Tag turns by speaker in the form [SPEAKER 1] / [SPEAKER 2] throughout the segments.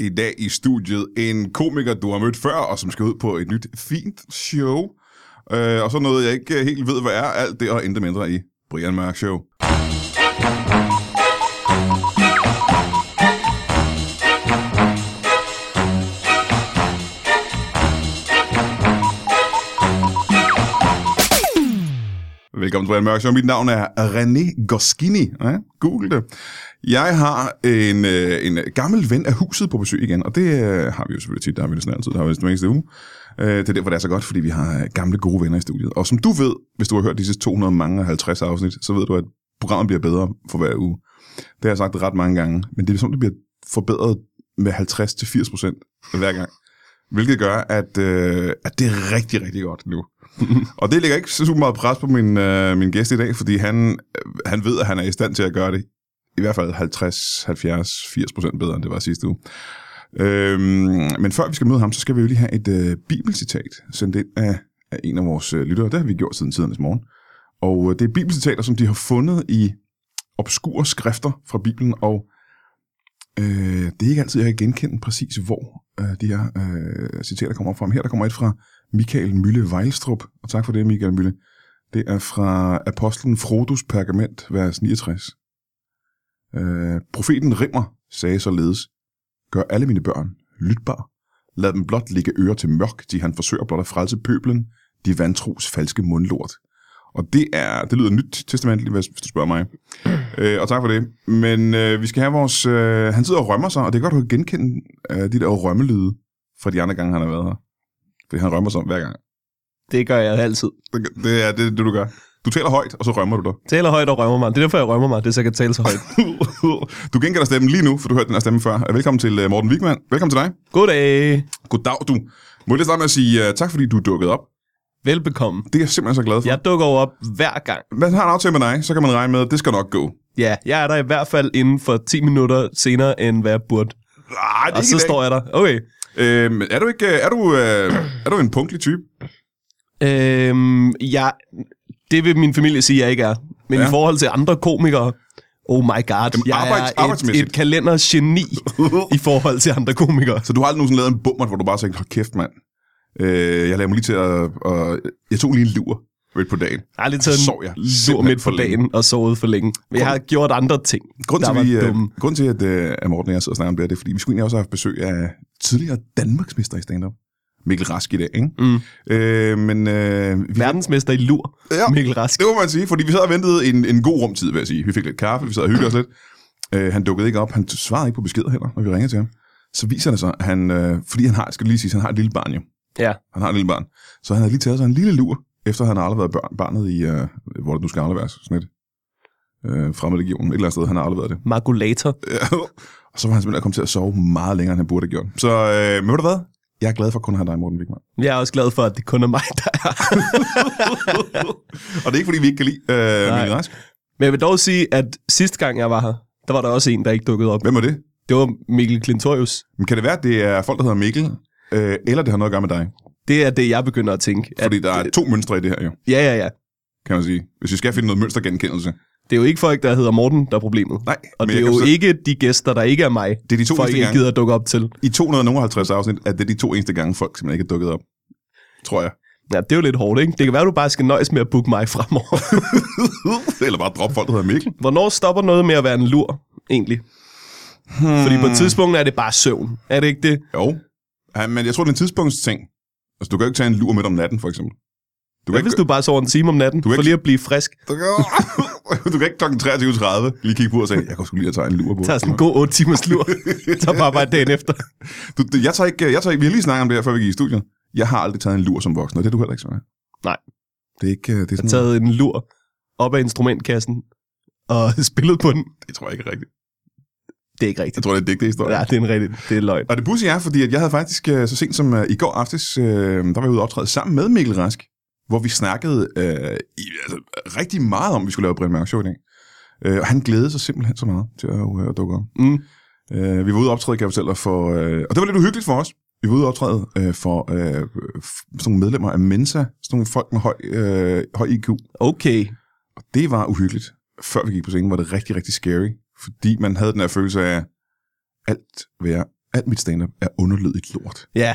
[SPEAKER 1] i dag i studiet en komiker, du har mødt før, og som skal ud på et nyt fint show. Øh, og så noget, jeg ikke helt ved, hvad er alt det, og intet mindre i Brian Mørk Show. Velkommen til Brian Mørk Show. Mit navn er René Goskini. Ja, Google det. Jeg har en, øh, en gammel ven af huset på besøg igen, og det øh, har vi jo selvfølgelig tit. Der har vi næsten altid. Der har vi næsten hver eneste uge. Øh, det er derfor, det er så godt, fordi vi har øh, gamle gode venner i studiet. Og som du ved, hvis du har hørt disse 250 afsnit, så ved du, at programmet bliver bedre for hver uge. Det har jeg sagt ret mange gange, men det er som, det bliver forbedret med 50-80 procent hver gang. Hvilket gør, at, øh, at det er rigtig, rigtig godt nu. og det lægger ikke så super meget pres på min, øh, min gæst i dag, fordi han, øh, han ved, at han er i stand til at gøre det i hvert fald 50, 70, 80 procent bedre, end det var sidste uge. Øhm, men før vi skal møde ham, så skal vi jo lige have et øh, bibelcitat sendt ind af, af en af vores øh, lyttere. Det har vi gjort siden tidernes morgen. Og øh, det er bibelcitater, som de har fundet i obskure skrifter fra Bibelen, og øh, det er ikke altid, jeg kan genkende præcis, hvor øh, de her øh, citater kommer op fra. Men her der kommer et fra Michael Mølle Vejlstrup, og tak for det, Michael Mølle. Det er fra Apostlen Frodos pergament, vers 69. Øh, profeten Rimmer sagde således, Gør alle mine børn lytbar. Lad dem blot ligge ører til mørk, de han forsøger blot at frelse pøblen, de vantros falske mundlort. Og det er det lyder nyt testamentligt, hvis, hvis du spørger mig. øh, og tak for det. Men øh, vi skal have vores... Øh, han sidder og rømmer sig, og det er godt, du kan genkende øh, de der rømmelyde fra de andre gange, han har været her. Fordi han rømmer sig om hver gang.
[SPEAKER 2] Det gør jeg altid.
[SPEAKER 1] Det, det er det, det, du gør. Du taler højt, og så rømmer du dig.
[SPEAKER 2] Taler højt og rømmer mig. Det er derfor, jeg rømmer mig. Det er så jeg kan tale så højt.
[SPEAKER 1] du genkender stemmen lige nu, for du hørte den her stemme før. Velkommen til øh, Morten Wigman. Velkommen til dig.
[SPEAKER 2] Goddag.
[SPEAKER 1] Goddag, du. Må jeg lige starte med at sige uh, tak, fordi du er dukket op.
[SPEAKER 2] Velbekomme.
[SPEAKER 1] Det er jeg simpelthen så glad for. Ja.
[SPEAKER 2] Jeg dukker jo op hver gang.
[SPEAKER 1] Hvis man har en aftale med dig, så kan man regne med, at det skal nok gå.
[SPEAKER 2] Ja, jeg er der i hvert fald inden for 10 minutter senere, end hvad jeg burde.
[SPEAKER 1] Nej,
[SPEAKER 2] Og så står jeg der. Okay.
[SPEAKER 1] øhm, er du ikke, øh, er du, øh, er du en punktlig type?
[SPEAKER 2] Øhm, jeg, det vil min familie sige, jeg ikke er. Men
[SPEAKER 1] Ja.
[SPEAKER 2] ja. i forhold til andre komikere, oh my god, Jamen, jeg
[SPEAKER 1] arbejds-
[SPEAKER 2] er et,
[SPEAKER 1] arbejdsmæssigt.
[SPEAKER 2] et kalendergeni i forhold til andre komikere.
[SPEAKER 1] Så du har aldrig nogensinde lavet en bummer, hvor du bare tænkte, hold kæft, mand. Øh, jeg lader mig lige til at... Og, jeg tog lige en lur midt på dagen.
[SPEAKER 2] Jeg har aldrig taget
[SPEAKER 1] Sov jeg
[SPEAKER 2] en lur
[SPEAKER 1] simpelthen
[SPEAKER 2] midt
[SPEAKER 1] for
[SPEAKER 2] for
[SPEAKER 1] længe.
[SPEAKER 2] dagen og sovet for længe. Men jeg har gjort andre ting,
[SPEAKER 1] Grunden
[SPEAKER 2] der
[SPEAKER 1] til, vi,
[SPEAKER 2] var
[SPEAKER 1] øh,
[SPEAKER 2] dumme.
[SPEAKER 1] grund til, at, øh, at Morten og jeg sidder og snakker om det, her, det er, fordi vi skulle egentlig også have haft besøg af tidligere Danmarksmester i stand-up. Mikkel Rask i dag, ikke?
[SPEAKER 2] Mm.
[SPEAKER 1] Øh, men øh, vi
[SPEAKER 2] Verdensmester i lur,
[SPEAKER 1] Ja.
[SPEAKER 2] ja. Mikkel Rask.
[SPEAKER 1] Det må man sige, fordi vi sad og ventede en, en god rumtid, vil jeg sige. Vi fik lidt kaffe, vi sad og hyggede os lidt. Øh, han dukkede ikke op, han svarede ikke på beskeder heller, når vi ringede til ham. Så viser det sig, at han, øh, fordi han har, skal det lige sige, han har et lille barn jo.
[SPEAKER 2] Ja.
[SPEAKER 1] Han har et lille barn. Så han havde lige taget sig en lille lur, efter han har afleveret børn, barnet i, øh, hvor det nu skal afleveres, sådan et øh, fremmedlegionen, et eller andet sted, han har afleveret det.
[SPEAKER 2] Makulator.
[SPEAKER 1] og så var han simpelthen kommet til at sove meget længere, end han burde have gjort. Så, øh, men ved du hvad? Jeg er glad for kun at have dig, Morten Wigman.
[SPEAKER 2] Jeg er også glad for, at det kun er mig, der er.
[SPEAKER 1] Og det er ikke, fordi vi ikke kan lide øh,
[SPEAKER 2] Nej.
[SPEAKER 1] Mikkel Rask.
[SPEAKER 2] Men jeg vil dog sige, at sidste gang jeg var her, der var der også en, der ikke dukkede op.
[SPEAKER 1] Hvem er det?
[SPEAKER 2] Det var Mikkel Klintorius.
[SPEAKER 1] Men kan det være, at det er folk, der hedder Mikkel, øh, eller det har noget at gøre med dig?
[SPEAKER 2] Det er det, jeg begynder at tænke. At,
[SPEAKER 1] Fordi der er to mønstre i det her jo,
[SPEAKER 2] ja, ja, ja.
[SPEAKER 1] kan man sige. Hvis vi skal finde noget mønstergenkendelse.
[SPEAKER 2] Det er jo ikke folk, der hedder Morten, der er problemet.
[SPEAKER 1] Nej,
[SPEAKER 2] Og
[SPEAKER 1] men
[SPEAKER 2] det
[SPEAKER 1] jeg
[SPEAKER 2] er
[SPEAKER 1] kan
[SPEAKER 2] jo
[SPEAKER 1] forstå-
[SPEAKER 2] ikke de gæster, der ikke er mig,
[SPEAKER 1] Det er de to
[SPEAKER 2] folk
[SPEAKER 1] eneste
[SPEAKER 2] ikke
[SPEAKER 1] gange.
[SPEAKER 2] gider at dukke op til.
[SPEAKER 1] I 250 afsnit er det de to eneste gange, folk simpelthen ikke er dukket op. Tror jeg.
[SPEAKER 2] Ja, det er jo lidt hårdt, ikke? Det kan være, du bare skal nøjes med at booke mig fremover.
[SPEAKER 1] eller bare droppe folk, der hedder Mikkel.
[SPEAKER 2] Hvornår stopper noget med at være en lur, egentlig? Hmm. Fordi på
[SPEAKER 1] Mm.
[SPEAKER 2] et tidspunkt er det bare søvn. Er det ikke det?
[SPEAKER 1] Jo. Ja, men jeg tror, det er en tidspunktsting. Altså, du kan jo ikke tage en lur midt om natten, for eksempel. Du
[SPEAKER 2] Hvad hvis du bare sover en time om natten,
[SPEAKER 1] er
[SPEAKER 2] for
[SPEAKER 1] ikke-
[SPEAKER 2] lige at blive frisk?
[SPEAKER 1] Du kan, du kan ikke kl. 23.30 lige kigge på og sige, jeg kunne skulle lige at tage en lur på.
[SPEAKER 2] Tag sådan en god 8 timers lur. Tag bare arbejde dagen efter.
[SPEAKER 1] Du, det- jeg tager ikke, jeg tager ikke, vi har lige snakket om det her, før vi gik i studiet. Jeg har aldrig taget en lur som voksen, og det er du heller ikke sådan.
[SPEAKER 2] Nej.
[SPEAKER 1] Det er ikke, øh, det er
[SPEAKER 2] Jeg har
[SPEAKER 1] sådan,
[SPEAKER 2] taget en lur op af instrumentkassen og spillet på den.
[SPEAKER 1] det tror jeg ikke er rigtigt.
[SPEAKER 2] Det er ikke
[SPEAKER 1] Jeg
[SPEAKER 2] rigtigt.
[SPEAKER 1] tror, det er en digte historie.
[SPEAKER 2] Ja,
[SPEAKER 1] Ja.
[SPEAKER 2] det er en rigtig, det er løgn.
[SPEAKER 1] Og det pudsige er, fordi at jeg havde faktisk øh, så sent som øh, i går aftes, øh, der var jeg ude og optræde sammen med Mikkel Rask, hvor vi snakkede øh, i, altså, rigtig meget om, at vi skulle lave Brian Mørk Show i dag. Øh, og han glædede sig simpelthen så meget til at, øh, at dukke op.
[SPEAKER 2] Mm.
[SPEAKER 1] Øh, vi var ude og optræde, kan jeg fortælle dig, for... Øh, og det var lidt uhyggeligt for os. Vi var ude og optræde øh, for øh, f- sådan nogle medlemmer af Mensa, sådan nogle folk med høj, øh, høj IQ.
[SPEAKER 2] Okay.
[SPEAKER 1] Og det var uhyggeligt. Før vi gik på scenen, var det rigtig, rigtig scary. Fordi man havde den her følelse af, alt hvad jeg alt mit stand-up er underlødigt lort.
[SPEAKER 2] Ja,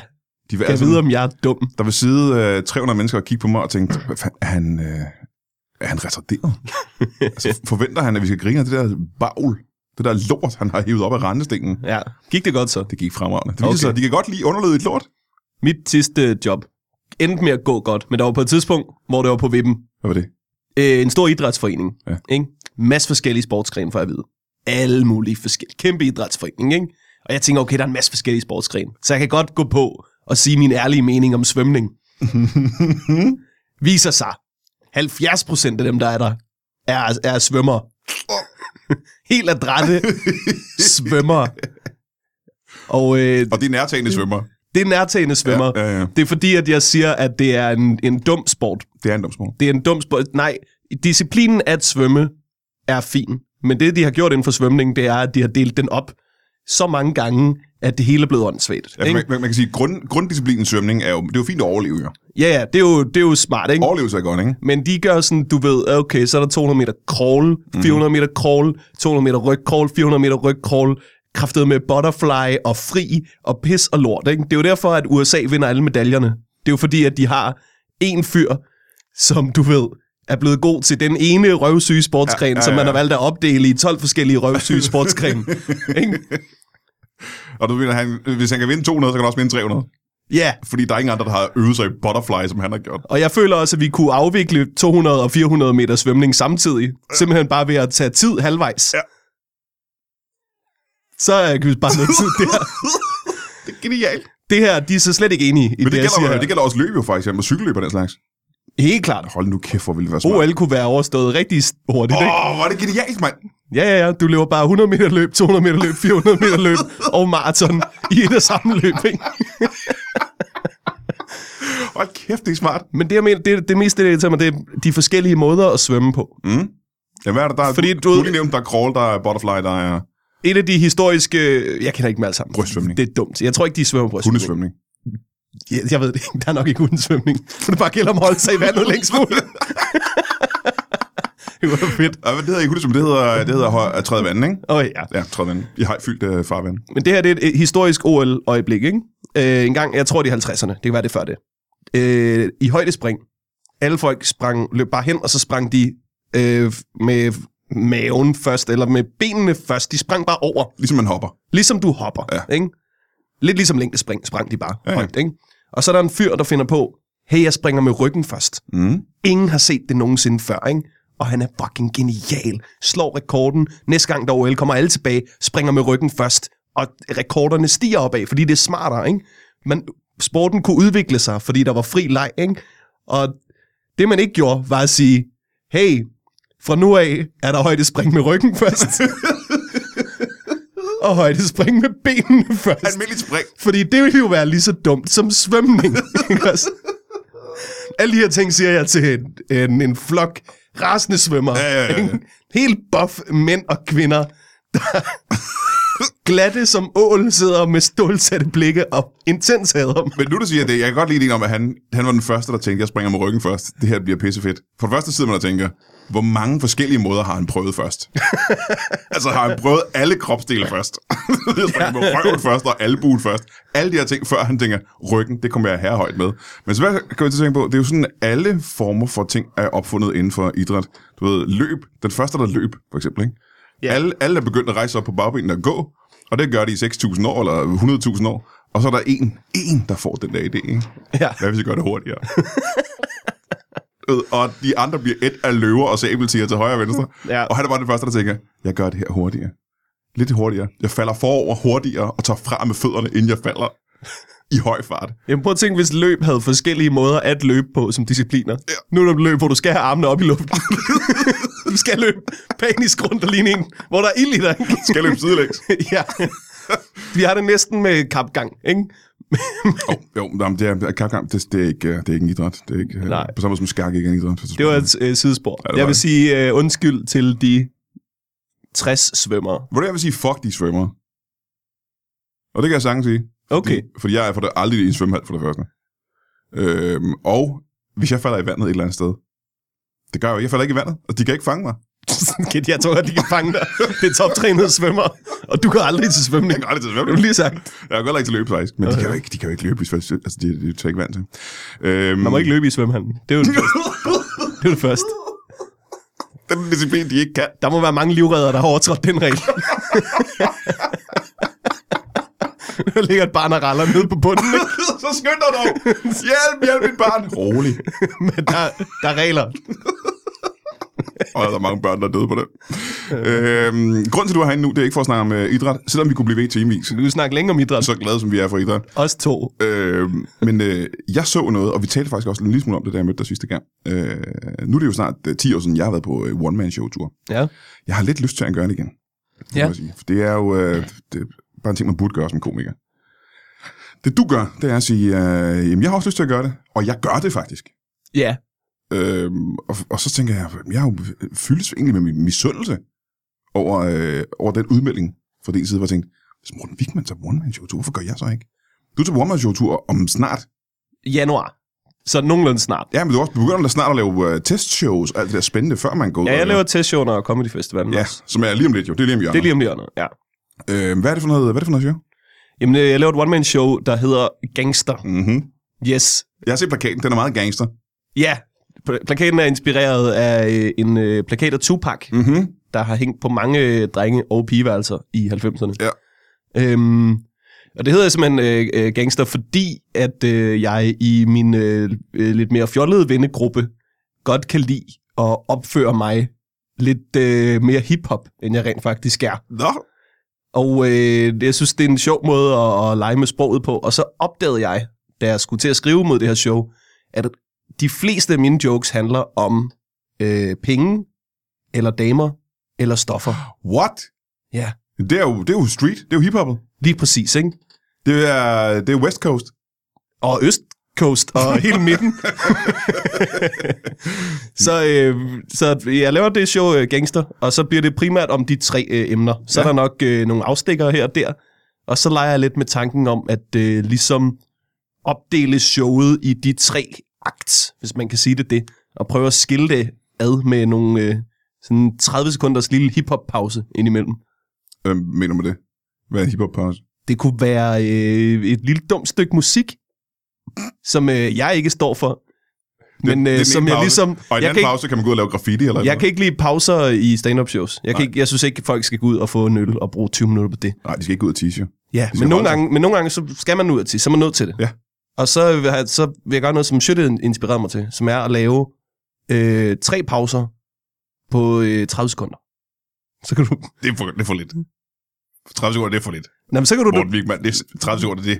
[SPEAKER 1] De vil,
[SPEAKER 2] jeg
[SPEAKER 1] altså,
[SPEAKER 2] ved, om jeg er dum.
[SPEAKER 1] der vil sidde øh, 300 mennesker og kigge på mig og tænke, hvad fanden, er han, øh, er han retarderet? altså, forventer han, at vi skal grine af det der bagl, det der lort, han har hævet op af rendestenen?
[SPEAKER 2] Ja. Gik det godt så?
[SPEAKER 1] Det gik fremragende. Det viser okay.
[SPEAKER 2] Okay.
[SPEAKER 1] sig, at de kan godt lide underlødigt lort.
[SPEAKER 2] Mit sidste job endte med at gå godt, men der var på et tidspunkt, hvor det var på vippen.
[SPEAKER 1] Hvad var det?
[SPEAKER 2] Øh, en stor idrætsforening.
[SPEAKER 1] Ja.
[SPEAKER 2] Ja. Ikke? Masse forskellige sportsgrene, får jeg at vide. Alle mulige forskellige. Kæmpe idrætsforening, ikke? Og jeg tænker, okay, der er en masse forskellige sportsgrene. Så jeg kan godt gå på og sige min ærlige mening om svømning. Viser sig, 70 procent af dem, der er der, er, er svømmer. Helt adrætte svømmer. Og øh,
[SPEAKER 1] Og det er nærtagende svømmer.
[SPEAKER 2] det er nærtagende svømmer.
[SPEAKER 1] Ja, ja, ja.
[SPEAKER 2] Det er fordi, at jeg siger, at det er en, en dum sport.
[SPEAKER 1] Det er en dum sport.
[SPEAKER 2] Det er en dum sport. Nej, disciplinen at svømme er fin. Men det, de har gjort inden for svømning, det er, at de har delt den op så mange gange, at det hele er blevet åndssvagt.
[SPEAKER 1] Ja, for Altså, man, man, man, kan sige, grund, grunddisciplinen svømning er jo, det er jo fint at overleve, jo.
[SPEAKER 2] Ja, ja, det er jo, det er jo smart, ikke?
[SPEAKER 1] Overlevelse er godt, ikke?
[SPEAKER 2] Men de gør sådan, du ved, okay, så er der 200 meter crawl, 400 meter crawl, 200 meter ryg crawl, 400 meter ryg crawl, kraftet med butterfly og fri og pis og lort. Ikke? Det er jo derfor, at USA vinder alle medaljerne. Det er jo fordi, at de har en fyr, som du ved, er blevet god til den ene røvsyge sportsgren, ja, ja, ja. som man har valgt at opdele i 12 forskellige røvsyge sportsgrene. Ikke?
[SPEAKER 1] Og du mener, han, hvis han kan vinde 200, så kan han også vinde 300.
[SPEAKER 2] Ja,
[SPEAKER 1] Fordi der er ingen andre, der har øvet sig i butterfly, som han har gjort.
[SPEAKER 2] og jeg føler også, at vi kunne afvikle 200 og 400 meter svømning samtidig. Simpelthen bare ved at tage tid halvvejs.
[SPEAKER 1] Ja.
[SPEAKER 2] Så øh, kan vi spare noget tid der.
[SPEAKER 1] Det er genialt.
[SPEAKER 2] Det her, de er så slet ikke enige i
[SPEAKER 1] Men det,
[SPEAKER 2] jeg
[SPEAKER 1] gælder,
[SPEAKER 2] siger.
[SPEAKER 1] jo- det gælder også løb jo faktisk, og cykelløb og den slags.
[SPEAKER 2] her. Helt klart.
[SPEAKER 1] Hold nu kæft, hvor ville det være smart.
[SPEAKER 2] OL kunne være overstået rigtig hurtigt,
[SPEAKER 1] Åh,
[SPEAKER 2] ikke?
[SPEAKER 1] oh, hvor er det genialt, mand.
[SPEAKER 2] Ja, ja, ja. Du løber bare 100 meter løb, 200 meter løb, 400 meter løb og maraton i et og samme løb, ikke?
[SPEAKER 1] Hold kæft, det er smart.
[SPEAKER 2] Men det, jeg mener, det, det mest, det der irriterer mig, det er de forskellige måder at svømme på.
[SPEAKER 1] Ja, hvad er det, der er?
[SPEAKER 2] Fordi
[SPEAKER 1] du,
[SPEAKER 2] du ved-
[SPEAKER 1] du lige nævnte, der er crawl, der er butterfly, der er
[SPEAKER 2] Et af de historiske... Jeg kender ikke dem alle sammen.
[SPEAKER 1] Brystsvømning.
[SPEAKER 2] Det er dumt. Jeg tror ikke, de svømmer brystsvømning.
[SPEAKER 1] hundesvømning.
[SPEAKER 2] Jeg, jeg ved det ikke. Der er nok ikke hundesvømning. For det bare gælder om at holde sig i vandet længst muligt. det var fedt.
[SPEAKER 1] Ja, hvad det hedder ikke hundesvømning, det hedder, det hedder hø- at træde vand, ikke?
[SPEAKER 2] Åh oh, ja.
[SPEAKER 1] Ja, træde vand. I har fyldt øh, farvand.
[SPEAKER 2] Men det her det er et øh, historisk OL-øjeblik, ikke? Øh, en gang, jeg tror det er 50'erne, det kan være det er før det. Øh, I højdespring, alle folk sprang, løb bare hen, og så sprang de øh, med maven først, eller med benene først. De sprang bare over,
[SPEAKER 1] Ligesom man hopper.
[SPEAKER 2] ligesom du hopper,
[SPEAKER 1] Ja.
[SPEAKER 2] ja. ikke? Lidt ligesom længdespring, sprang de bare
[SPEAKER 1] Ja, ja.
[SPEAKER 2] højt, ikke? Og så er der en fyr, der finder på, hey, jeg springer med ryggen først.
[SPEAKER 1] Mm.
[SPEAKER 2] Ingen har set det nogensinde før, ikke? Og han er fucking genial. Slår rekorden. Næste gang der er OL kommer alle tilbage, springer med ryggen først, og rekorderne stiger opad, fordi det er smartere, ikke? Men sporten kunne udvikle sig, fordi der var fri leg, ikke? Og det, man ikke gjorde, var at sige, hey, fra nu af er der højdespring med ryggen først. og højdespring med benene først.
[SPEAKER 1] Almindeligt spring.
[SPEAKER 2] Fordi det ville jo være lige så dumt som svømning. ikke også? Alle de her ting siger jeg til en, en, en flok rasende svømmer.
[SPEAKER 1] Ja, ja, ja, ja.
[SPEAKER 2] Helt buff mænd og kvinder, der glatte som ål sidder med stålsatte blikke og intens hader.
[SPEAKER 1] Men nu du siger det, jeg kan godt lide det om, at han, han var den første, der tænkte, jeg springer med ryggen først. Det her bliver pissefedt. For det første sidder man og tænker, hvor mange forskellige måder har han prøvet først? altså har han prøvet alle kropsdele først? jeg springer med røven først og albuen først. Alle de her ting, før han tænker, ryggen, det kommer jeg herhøjt med. Men så hvad kan vi til at tænke på, det er jo sådan, at alle former for ting er opfundet inden for idræt. Du ved, løb, den første, der løb, for eksempel, ikke?
[SPEAKER 2] Ja.
[SPEAKER 1] Alle, alle er begyndt at rejse op på bagbenene og gå, og det gør de i 6.000 år eller 100.000 år. Og så er der en, en der får den der idé, ikke?
[SPEAKER 2] Ja.
[SPEAKER 1] Hvad hvis vi gør det hurtigere? Øh, og de andre bliver et af løver og sabeltiger til højre og venstre.
[SPEAKER 2] Ja.
[SPEAKER 1] Og han er bare den første, der tænker, jeg gør det her hurtigere. Lidt hurtigere. Jeg falder forover hurtigere og tager fra med fødderne, inden jeg falder i høj fart.
[SPEAKER 2] Jamen prøv at tænke, hvis løb havde forskellige måder at løbe på som discipliner. Ja. Nu er der løb, hvor du skal have armene op i luften. du skal løbe panisk rundt og ligne en, hvor der er ild i dig.
[SPEAKER 1] Skal jeg løbe sidelægs?
[SPEAKER 2] ja. Vi har det næsten med kapgang, ikke?
[SPEAKER 1] oh, jo, jamen, det er, kapkamp, det, det, er ikke, øh, det er ikke en idræt. Det er ikke, øh,
[SPEAKER 2] Nej.
[SPEAKER 1] På samme måde som skak ikke er en idræt.
[SPEAKER 2] Det var et øh, sidespor.
[SPEAKER 1] det var
[SPEAKER 2] jeg vil
[SPEAKER 1] det.
[SPEAKER 2] sige øh, undskyld til de 60 svømmere.
[SPEAKER 1] Hvor det, jeg vil sige, fuck de svømmer. Og det kan jeg sagtens sige.
[SPEAKER 2] Okay.
[SPEAKER 1] Fordi, fordi jeg er for det aldrig i en svømmehal for det første. Øhm, og hvis jeg falder i vandet et eller andet sted, det gør jeg jo. ikke. Jeg falder ikke i vandet, og de kan ikke fange mig.
[SPEAKER 2] Sådan, Kid, jeg tror, at de kan fange dig. Det er toptrænede svømmer, og du kan aldrig til svømning.
[SPEAKER 1] Jeg kan aldrig til
[SPEAKER 2] Du har
[SPEAKER 1] svømning.
[SPEAKER 2] lige sagt,
[SPEAKER 1] Jeg kan godt ikke til løb, faktisk. Men de kan jo ikke, de kan jo ikke løbe, hvis først- altså, det, det er jo ikke vant til. Øhm,
[SPEAKER 2] man må ikke løbe i svømmehallen. Det er jo det, det, er jo det første.
[SPEAKER 1] Den disciplin, de ikke kan.
[SPEAKER 2] Der må være mange livredder, der har overtrådt den regel. der ligger et barn og raller nede på bunden, ikke?
[SPEAKER 1] Så skynd dig dog. Hjælp, hjælp mit barn. Rolig.
[SPEAKER 2] men der, der er regler.
[SPEAKER 1] Og der er mange børn, der er døde på det. øhm, grunden til, at du er herinde nu, det er ikke for at snakke om øh, idræt, selvom vi kunne blive ved i timevis.
[SPEAKER 2] Vi kan snakke længe om idræt.
[SPEAKER 1] Så glade, som vi er for idræt.
[SPEAKER 2] Os to.
[SPEAKER 1] Øh, men øh, jeg så noget, og vi talte faktisk også en lille smule om det, da jeg mødte dig sidste gang. Øh, nu er det jo snart øh, 10 år siden, jeg har været på øh, one-man-show-tur.
[SPEAKER 2] Ja.
[SPEAKER 1] Jeg har lidt lyst til at gøre det igen. må
[SPEAKER 2] Ja.
[SPEAKER 1] jeg sige. For det er jo øh, det er bare en ting, man burde gøre som komiker. Det du gør, det er at sige, øh, jamen, jeg har også lyst til at gøre det, og jeg gør det faktisk.
[SPEAKER 2] Ja.
[SPEAKER 1] Øh, og, og så tænker jeg, jeg er jo øh, fyldes egentlig med min misundelse over, øh, over den udmelding fra din side, hvor jeg tænkte, hvis Morten Wigman tager one-man-show-tur, hvorfor gør jeg så ikke? Du tager one-man-show-tur om snart
[SPEAKER 2] Januar. Så nogenlunde snart.
[SPEAKER 1] Ja, men du er også begynder da snart at lave uh, testshows og alt det der spændende, før man går ud.
[SPEAKER 2] Ja, jeg
[SPEAKER 1] og-
[SPEAKER 2] laver testshow under Comedy Festivalen
[SPEAKER 1] Ja,
[SPEAKER 2] også.
[SPEAKER 1] som er lige om lidt jo. Det er lige om
[SPEAKER 2] Det er
[SPEAKER 1] hjørnet.
[SPEAKER 2] lige om hjørnet, ja.
[SPEAKER 1] Lige... Øh, hvad er det for noget, hvad er det for noget show?
[SPEAKER 2] Jamen, øh, jeg laver et one-man-show, der hedder Gangster.
[SPEAKER 1] Mm-hmm.
[SPEAKER 2] Yes.
[SPEAKER 1] Jeg har set plakaten, den er meget gangster.
[SPEAKER 2] Ja. Pla- Plakaten er inspireret af øh, en øh, plakat af Tupac,
[SPEAKER 1] Mm-hmm.
[SPEAKER 2] der har hængt på mange øh, drenge- og pigeværelser i 90'erne.
[SPEAKER 1] Ja.
[SPEAKER 2] Øhm, og det hedder simpelthen øh, øh, Gangster, fordi at øh, jeg i min øh, øh, lidt mere fjollede vennegruppe godt kan lide at opføre mig lidt øh, mere hiphop, end jeg rent faktisk er.
[SPEAKER 1] Nå,
[SPEAKER 2] Og øh, jeg synes, det er en sjov måde at, at lege med sproget på. Og så opdagede jeg, da jeg skulle til at skrive mod det her show, at de fleste af mine jokes handler om øh, penge, eller damer, eller stoffer.
[SPEAKER 1] what?
[SPEAKER 2] Ja,
[SPEAKER 1] Det er jo, det er jo street, det er jo hiphoppet.
[SPEAKER 2] lige præcis, ikke?
[SPEAKER 1] Det er, det er West Coast.
[SPEAKER 2] Og Østcoast og hele midten. så, øh, så jeg laver det show øh, Gangster, og så bliver det primært om de tre øh, emner. Så ja.
[SPEAKER 1] Ja.
[SPEAKER 2] er der nok øh, nogle afstikker her og der, og så leger jeg lidt med tanken om, at øh, ligesom opdele showet i de tre akt, hvis man kan sige det det, og prøve at skille det ad med nogle øh, sådan 30 sekunders lille hiphop-pause indimellem.
[SPEAKER 1] Hvad mener du med det? Hvad er hiphop pause?
[SPEAKER 2] Det kunne være øh, et lille dumt stykke musik, som øh, jeg ikke står for, men
[SPEAKER 1] det er
[SPEAKER 2] øh,
[SPEAKER 1] den
[SPEAKER 2] som
[SPEAKER 1] ene
[SPEAKER 2] jeg
[SPEAKER 1] pause.
[SPEAKER 2] ligesom...
[SPEAKER 1] Og i den
[SPEAKER 2] Jeg kan,
[SPEAKER 1] anden
[SPEAKER 2] ikke,
[SPEAKER 1] pause kan man gå ud og lave graffiti eller
[SPEAKER 2] jeg kan ikke lide pauser i stand-up shows. Jeg, kan
[SPEAKER 1] Nej.
[SPEAKER 2] ikke, jeg synes ikke, at folk skal gå ud og få en øl og bruge 20 minutter på det.
[SPEAKER 1] Nej, de skal ikke ud og tisse jo.
[SPEAKER 2] Ja,
[SPEAKER 1] skal
[SPEAKER 2] men nogle,
[SPEAKER 1] holde sig.
[SPEAKER 2] gange, men nogle gange, så skal man ud og til, så er man nødt til det.
[SPEAKER 1] Ja.
[SPEAKER 2] Og så vil, jeg, så vil jeg gøre noget, som Sjøtte inspirerede mig til, som er at lave øh, tre pauser på øh, 30 sekunder. Så kan du...
[SPEAKER 1] Det er for, det er for lidt. 30 sekunder, det er for lidt.
[SPEAKER 2] Nå, men så kan du...
[SPEAKER 1] Morten Wigman, det er 30 sekunder, det,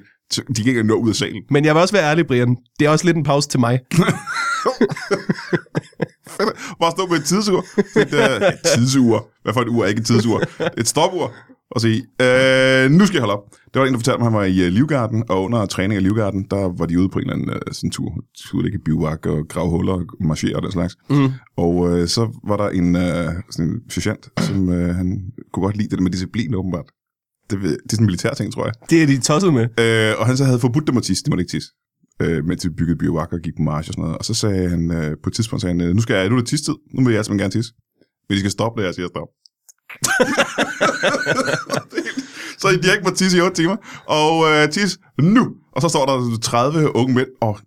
[SPEAKER 1] de kan ikke nå ud af salen.
[SPEAKER 2] Men jeg vil også være ærlig, Brian. Det er også lidt en pause til mig.
[SPEAKER 1] Fedt. Bare stå med et tidsur. Et, øh, et tidsur. Hvad for et ur? Ikke et tidsur. Et stopur. Og sige, øh, nu skal jeg holde op. Det var en, der fortalte mig, at han var i øh, Livgarden, og under træning i Livgarden, der var de ude på en eller anden øh, sådan tur. De skulle udlægge bivak og grave huller og marchere og den slags.
[SPEAKER 2] Mm.
[SPEAKER 1] Og øh, så var der en, øh, sådan en sergeant, som øh, han kunne godt lide det der med disciplin åbenbart. Det, ved, det er sådan en militær ting, tror jeg.
[SPEAKER 2] Det er de tosset med.
[SPEAKER 1] Øh, og han så havde forbudt dem at tisse, de måtte ikke tisse. Øh, mens de byggede biovakker og gik på march og sådan noget. Og så sagde han, øh, på et tidspunkt sagde han, øh, nu, skal jeg, nu er det tistid, nu vil jeg simpelthen gerne tisse. Men de skal stoppe, når jeg siger stop. så de har ikke måttet tisse i 8 timer. Og øh, tisse nu! Og så står der 30 unge mænd, og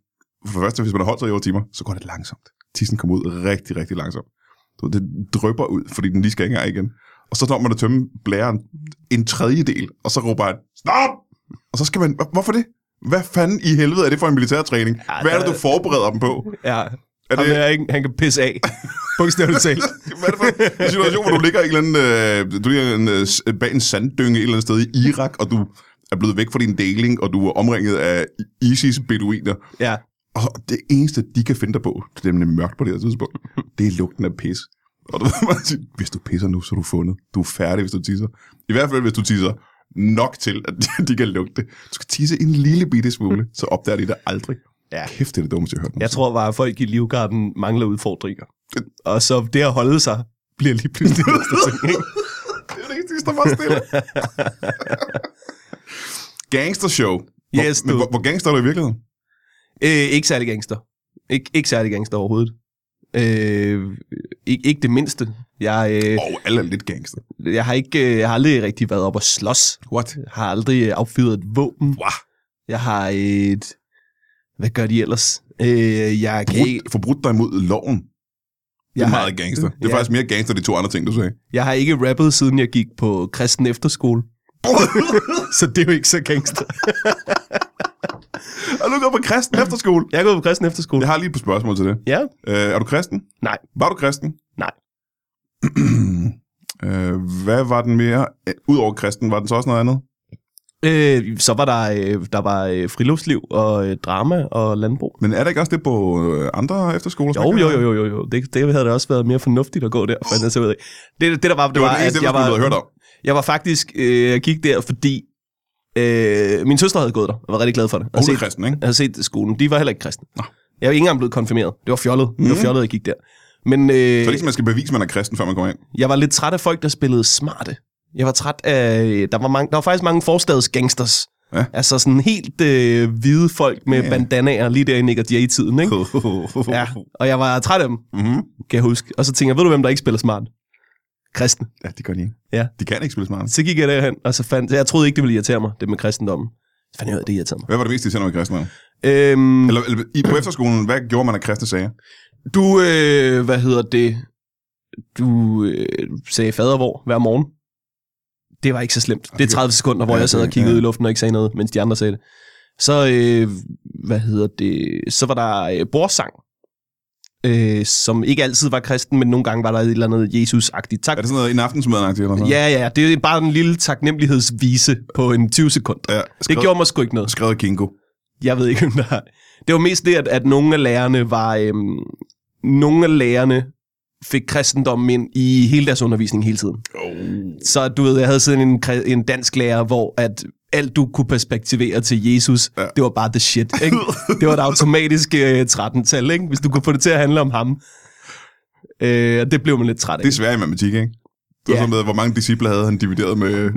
[SPEAKER 1] for det første, hvis man har holdt sig i 8 timer, så går det langsomt. Tissen kommer ud rigtig, rigtig langsomt. Du ved, Det drøber ud, fordi den lige skal ikke engang igen. Og så når man at tømme blæren en tredjedel, og så råber han, stop! Og så skal man, "Hvor- hvorfor det? Hvad fanden i helvede er det for en militærtræning?
[SPEAKER 2] Ja,
[SPEAKER 1] Hvad er det,
[SPEAKER 2] der-
[SPEAKER 1] du forbereder dem på?
[SPEAKER 2] Ja.
[SPEAKER 1] Er
[SPEAKER 2] Er
[SPEAKER 1] det-
[SPEAKER 2] det... er ikke, han kan pisse af. Bogstaveligt talt.
[SPEAKER 1] Hvad er det for en situation, hvor du ligger, i en eller anden, øh, du ligger en, øh, s- bag en sanddynge et eller andet sted i Irak, og du er blevet væk fra din deling, og du er omringet af ISIS-beduiner.
[SPEAKER 2] Ja.
[SPEAKER 1] Og det eneste, de kan finde dig på, det er nemlig mørkt på det her tidspunkt, det er lugten af pis. Og du ved, man siger, hvis du pisser nu, så er du fundet. Du er færdig, hvis du tisser. I hvert fald, hvis du tisser nok til, at de- de kan lugte det. Du skal tisse en lille bitte smule, så opdager de dig aldrig.
[SPEAKER 2] Ja.
[SPEAKER 1] Kæft, det er det dummeste, jeg har hørt.
[SPEAKER 2] Jeg tror bare, at folk i Livgarden mangler udfordringer. Og så det at holde sig bliver lige pludselig det næste ting. ikke?
[SPEAKER 1] Det er det eneste, de står bare stille. Gangstershow. Hvor,
[SPEAKER 2] Yes,
[SPEAKER 1] men
[SPEAKER 2] du.
[SPEAKER 1] hvor, hvor gangster er du i virkeligheden?
[SPEAKER 2] Øh, ikke særlig gangster. Ik- ikke særlig gangster overhovedet. Øh, ikke, ikke det mindste. Jeg, øh,
[SPEAKER 1] Og oh, alle er lidt gangster.
[SPEAKER 2] jeg, har ikke, øh, jeg har aldrig rigtig været op og slås.
[SPEAKER 1] What?
[SPEAKER 2] Jeg har aldrig øh, affyret et våben.
[SPEAKER 1] Wow.
[SPEAKER 2] Jeg har et... Hvad gør de ellers? Øh, jeg kan ikke...
[SPEAKER 1] Brudt, forbrudt dig mod loven. Det
[SPEAKER 2] Jeg
[SPEAKER 1] er
[SPEAKER 2] har-
[SPEAKER 1] meget gangster. Det er
[SPEAKER 2] Ja.
[SPEAKER 1] faktisk mere gangster, de to andre ting, du sagde.
[SPEAKER 2] Jeg har ikke rappet, siden jeg gik på kristen efterskole. så det er jo ikke så gangster.
[SPEAKER 1] Og du går på kristen efterskole.
[SPEAKER 2] Jeg er gået på kristen efterskole.
[SPEAKER 1] Jeg har lige et par spørgsmål til det.
[SPEAKER 2] Ja.
[SPEAKER 1] Øh, er du kristen?
[SPEAKER 2] Nej.
[SPEAKER 1] Var du kristen?
[SPEAKER 2] Nej.
[SPEAKER 1] øh, hvad var den mere? Øh, Udover kristen, var den så også noget andet?
[SPEAKER 2] Øh, så var der, øh, der var øh, friluftsliv og øh, drama og landbrug.
[SPEAKER 1] Men er der ikke også det på øh, andre efterskoler? som
[SPEAKER 2] Jo,
[SPEAKER 1] ikke
[SPEAKER 2] jo,
[SPEAKER 1] er-
[SPEAKER 2] jo, jo, jo, jo. Det, det havde da også været mere fornuftigt at gå der, for ellers så ved jeg. ikke. Det, det der var, det,
[SPEAKER 1] Det var det eneste,
[SPEAKER 2] at jeg
[SPEAKER 1] efterskole, du havde
[SPEAKER 2] var,
[SPEAKER 1] hørt om.
[SPEAKER 2] jeg var faktisk, øh, jeg gik der, fordi øh, min søster havde gået der, og var rigtig glad for det.
[SPEAKER 1] Og
[SPEAKER 2] Og
[SPEAKER 1] du
[SPEAKER 2] set,
[SPEAKER 1] er kristen, ikke?
[SPEAKER 2] jeg havde set skolen, de var heller ikke kristne.
[SPEAKER 1] Nå.
[SPEAKER 2] Jeg var ikke engang blevet konfirmeret. Det var fjollet. Mm. Det var
[SPEAKER 1] Mhm.
[SPEAKER 2] fjollet, jeg gik der. Men, øh,
[SPEAKER 1] Så det er ikke, sådan, man skal bevise, at man er kristen, før man kommer ind.
[SPEAKER 2] Jeg var lidt træt af folk, der spillede smarte. Jeg var træt af... Der var, mange, der var faktisk mange forstads gangsters.
[SPEAKER 1] Ja.
[SPEAKER 2] Altså sådan helt øh, hvide folk med
[SPEAKER 1] Ja.
[SPEAKER 2] ja. bandanaer lige der i Nick Jay-tiden, ikke? Ja, og jeg var træt af dem,
[SPEAKER 1] Mm-hmm.
[SPEAKER 2] kan jeg huske. Og så tænkte jeg, ved du hvem, der ikke spiller smart? Kristen.
[SPEAKER 1] Ja, det gør de ikke.
[SPEAKER 2] Ja.
[SPEAKER 1] De kan ikke spille smart.
[SPEAKER 2] Så gik jeg derhen, og så fandt... Jeg troede ikke, det ville irritere mig, det med kristendommen. Så fandt jeg ud af, det irriterede mig.
[SPEAKER 1] Hvad var det mest, de sender med kristne?
[SPEAKER 2] Øhm,
[SPEAKER 1] Eller, eller i, på efterskolen, hvad gjorde man af kristne sager?
[SPEAKER 2] du, øh, hvad hedder det? Du øh, sagde fadervor hver morgen. Det var ikke så slemt. Det er 30 sekunder, hvor
[SPEAKER 1] Ja,
[SPEAKER 2] jeg sad og
[SPEAKER 1] det-
[SPEAKER 2] kiggede
[SPEAKER 1] ja.
[SPEAKER 2] ud i luften og ikke sagde noget, mens de andre sagde det. Så, øh, hvad hedder det, så var der øh, bordsang, øh, som ikke altid var kristen, men nogle gange var der et eller andet Jesus-agtigt. Tak.
[SPEAKER 1] Er det sådan noget en aftensmadagtigt eller sådan noget?
[SPEAKER 2] Ja, ja, det er bare en lille taknemmelighedsvise på en 20 sekunder.
[SPEAKER 1] Ja,
[SPEAKER 2] Det
[SPEAKER 1] skrevet,
[SPEAKER 2] gjorde mig sgu ikke noget.
[SPEAKER 1] skrevet af Kinko.
[SPEAKER 2] Jeg ved ikke, om der er. Det var mest det, at, at nogle af lærerne var... Øhm, nogle af lærerne fik kristendommen ind i hele deres undervisning hele tiden.
[SPEAKER 1] Oh.
[SPEAKER 2] Så du ved, jeg havde sådan en, kri- en dansk lærer, hvor at alt du kunne perspektivere til Jesus,
[SPEAKER 1] Ja.
[SPEAKER 2] ja. det var bare the shit. Ikke? Det var et automatisk øh, 13-tal, ikke? hvis du kunne få det til at handle om ham. Øh, og det blev man lidt træt af.
[SPEAKER 1] Det er svært i matematik, ikke? Det var
[SPEAKER 2] Ja.
[SPEAKER 1] sådan med, hvor mange disciple havde han divideret med...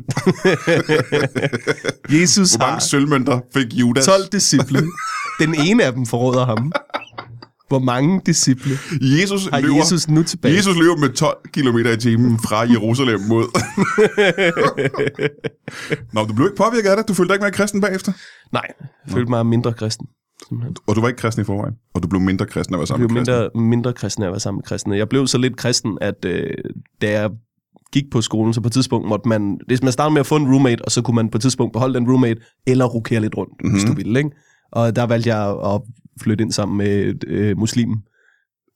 [SPEAKER 2] Jesus
[SPEAKER 1] Hvor mange
[SPEAKER 2] har
[SPEAKER 1] sølvmønter fik Judas?
[SPEAKER 2] 12 disciple. Den ene af dem forråder ham. Hvor mange disciple
[SPEAKER 1] Jesus
[SPEAKER 2] har
[SPEAKER 1] løber, Jesus,
[SPEAKER 2] Jesus nu tilbage?
[SPEAKER 1] Jesus løber med 12 km i timen fra Jerusalem mod... Nå, du blev ikke påvirket af det. Du følte dig ikke mere kristen bagefter.
[SPEAKER 2] Nej, jeg følte mig mindre kristen. Simpelthen.
[SPEAKER 1] Og du var ikke kristen i forvejen. Og du blev mindre kristen af at være
[SPEAKER 2] Jeg
[SPEAKER 1] sammen
[SPEAKER 2] blev
[SPEAKER 1] med kristne.
[SPEAKER 2] mindre, mindre kristen af at være sammen med kristne. Jeg blev så lidt kristen, at øh, da jeg gik på skolen, så på et tidspunkt måtte man... Hvis man startede med at få en roommate, og så kunne man på et tidspunkt beholde den roommate, eller rokere lidt rundt, mm-hmm. hvis du ville, ikke? Og der valgte jeg at flytte ind sammen med et, øh, muslimen.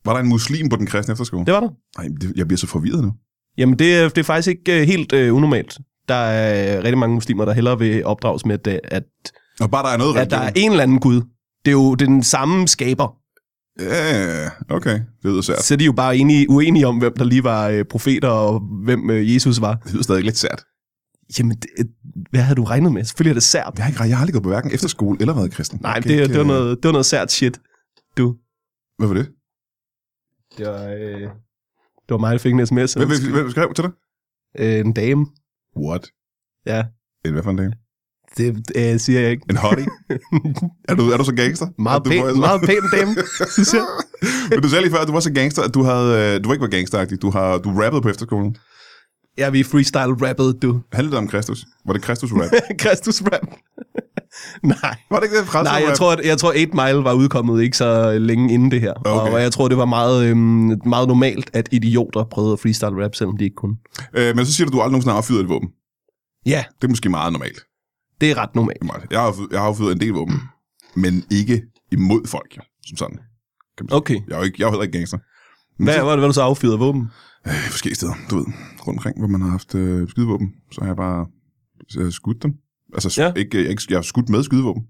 [SPEAKER 1] Var der en muslim på den kristne efterskole?
[SPEAKER 2] Det var der.
[SPEAKER 1] Nej, det- jeg bliver så forvirret nu.
[SPEAKER 2] Jamen, det, er- det er faktisk ikke øh, helt øh, unormalt. Der er øh, rigtig mange muslimer, der hellere vil opdrages med, at, at,
[SPEAKER 1] Og bare der er noget
[SPEAKER 2] at der er
[SPEAKER 1] religion.
[SPEAKER 2] en eller anden Gud. Det er jo det er den samme skaber.
[SPEAKER 1] Ja, okay. Det lyder sært.
[SPEAKER 2] så er de jo bare enige, uenige om, hvem der lige var øh, profeter, og hvem øh, Jesus var.
[SPEAKER 1] Det lyder stadig lidt sært.
[SPEAKER 2] Jamen, det, øh, hvad havde du regnet med? Selvfølgelig er det sært.
[SPEAKER 1] Jeg har, ikke, jeg har aldrig gået på hverken efterskole eller været kristen.
[SPEAKER 2] Nej,
[SPEAKER 1] Jeg
[SPEAKER 2] okay,
[SPEAKER 1] kan
[SPEAKER 2] det,
[SPEAKER 1] ikke,
[SPEAKER 2] det, var
[SPEAKER 1] øh,
[SPEAKER 2] noget, det var noget sært shit. Du.
[SPEAKER 1] Hvad var det?
[SPEAKER 2] Det var, øh, det var mig, der fik en sms.
[SPEAKER 1] Hvem, hvem, hvem skrev til dig?
[SPEAKER 2] Øh, en dame.
[SPEAKER 1] What?
[SPEAKER 2] Ja,
[SPEAKER 1] En, hvad for en dame?
[SPEAKER 2] det øh, siger jeg ikke.
[SPEAKER 1] En hottie? er, du, er du så gangster?
[SPEAKER 2] Meget
[SPEAKER 1] At du var-
[SPEAKER 2] pæn, meget pæn dame, synes jeg.
[SPEAKER 1] Men du sagde lige før, at du var så gangster, at du, havde, øh, du ikke var gangsteragtig. Du, har, du rappede på efterskolen.
[SPEAKER 2] Ja, vi freestyle rappede, du.
[SPEAKER 1] Handlede det om Kristus? Var det Kristus rap?
[SPEAKER 2] Kristus rap. Nej.
[SPEAKER 1] Var det ikke det? Frelser
[SPEAKER 2] Nej, jeg
[SPEAKER 1] rap?
[SPEAKER 2] tror, at, jeg tror 8 Mile var udkommet ikke så længe inden det her.
[SPEAKER 1] Okay.
[SPEAKER 2] Okay. Og jeg tror, det var meget, øhm, meget normalt, at idioter prøvede at freestyle rap, selvom de ikke kunne.
[SPEAKER 1] Øh, men så siger du, at du aldrig nogensinde har affyret et våben.
[SPEAKER 2] Ja,
[SPEAKER 1] Det er måske meget normalt.
[SPEAKER 2] det er ret normalt.
[SPEAKER 1] Det er meget- Jeg har, affyret- jeg har affyret en del våben, men ikke imod folk, jo, som sådan.
[SPEAKER 2] Okay.
[SPEAKER 1] Jeg er jo ikke, jeg er jo heller ikke gangster. Men
[SPEAKER 2] Hvad
[SPEAKER 1] så-
[SPEAKER 2] var det, hvad du så affyrede våben?
[SPEAKER 1] øh, forskellige steder, du ved, rundt omkring, hvor man har haft øh, skydevåben, så har jeg bare øh, skudt dem. Altså, ja.
[SPEAKER 2] Ja.
[SPEAKER 1] ikke, øh, ikke, jeg har skudt med skydevåben.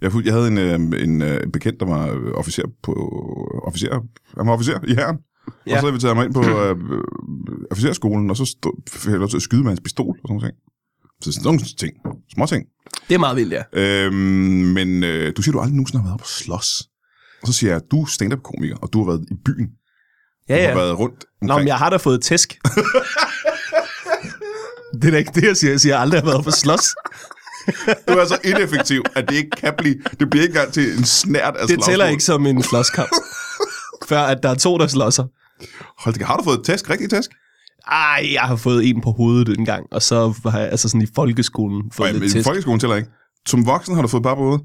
[SPEAKER 1] Jeg, fu- jeg havde en, øh, en, øh, en bekendt, der var øh, officer på... øh, Officer, han var officer i herren. Ja.
[SPEAKER 2] Ja.
[SPEAKER 1] Og så inviterede jeg mig ind på øh, øh, officerskolen, og så stod, fik jeg lov til at skyde med hans pistol og sådan noget. Så sådan nogle ting. Små ting.
[SPEAKER 2] Det er meget vildt, ja.
[SPEAKER 1] Øhm, men øh, du siger, du aldrig nogensinde har været på slås. Og så siger jeg, du er stand-up-komiker, og du har været i byen.
[SPEAKER 2] Ja,
[SPEAKER 1] Du har
[SPEAKER 2] ja.
[SPEAKER 1] været rundt
[SPEAKER 2] Nå, men jeg har da fået tæsk. det er da ikke det, jeg siger. Jeg siger, jeg aldrig har været på slås.
[SPEAKER 1] Du er så ineffektiv, at det ikke kan blive... Det bliver ikke engang til en snært af
[SPEAKER 2] Det
[SPEAKER 1] slagsmål.
[SPEAKER 2] tæller ikke som en slåskamp. før at der er to, der slår sig.
[SPEAKER 1] Hold da, har du fået tæsk, rigtig tæsk?
[SPEAKER 2] Ej, jeg har fået en på hovedet en gang, og så har jeg altså sådan i folkeskolen
[SPEAKER 1] Og
[SPEAKER 2] fået
[SPEAKER 1] i
[SPEAKER 2] lidt tæsk.
[SPEAKER 1] folkeskolen tæller ikke. Som voksen har du fået bare både.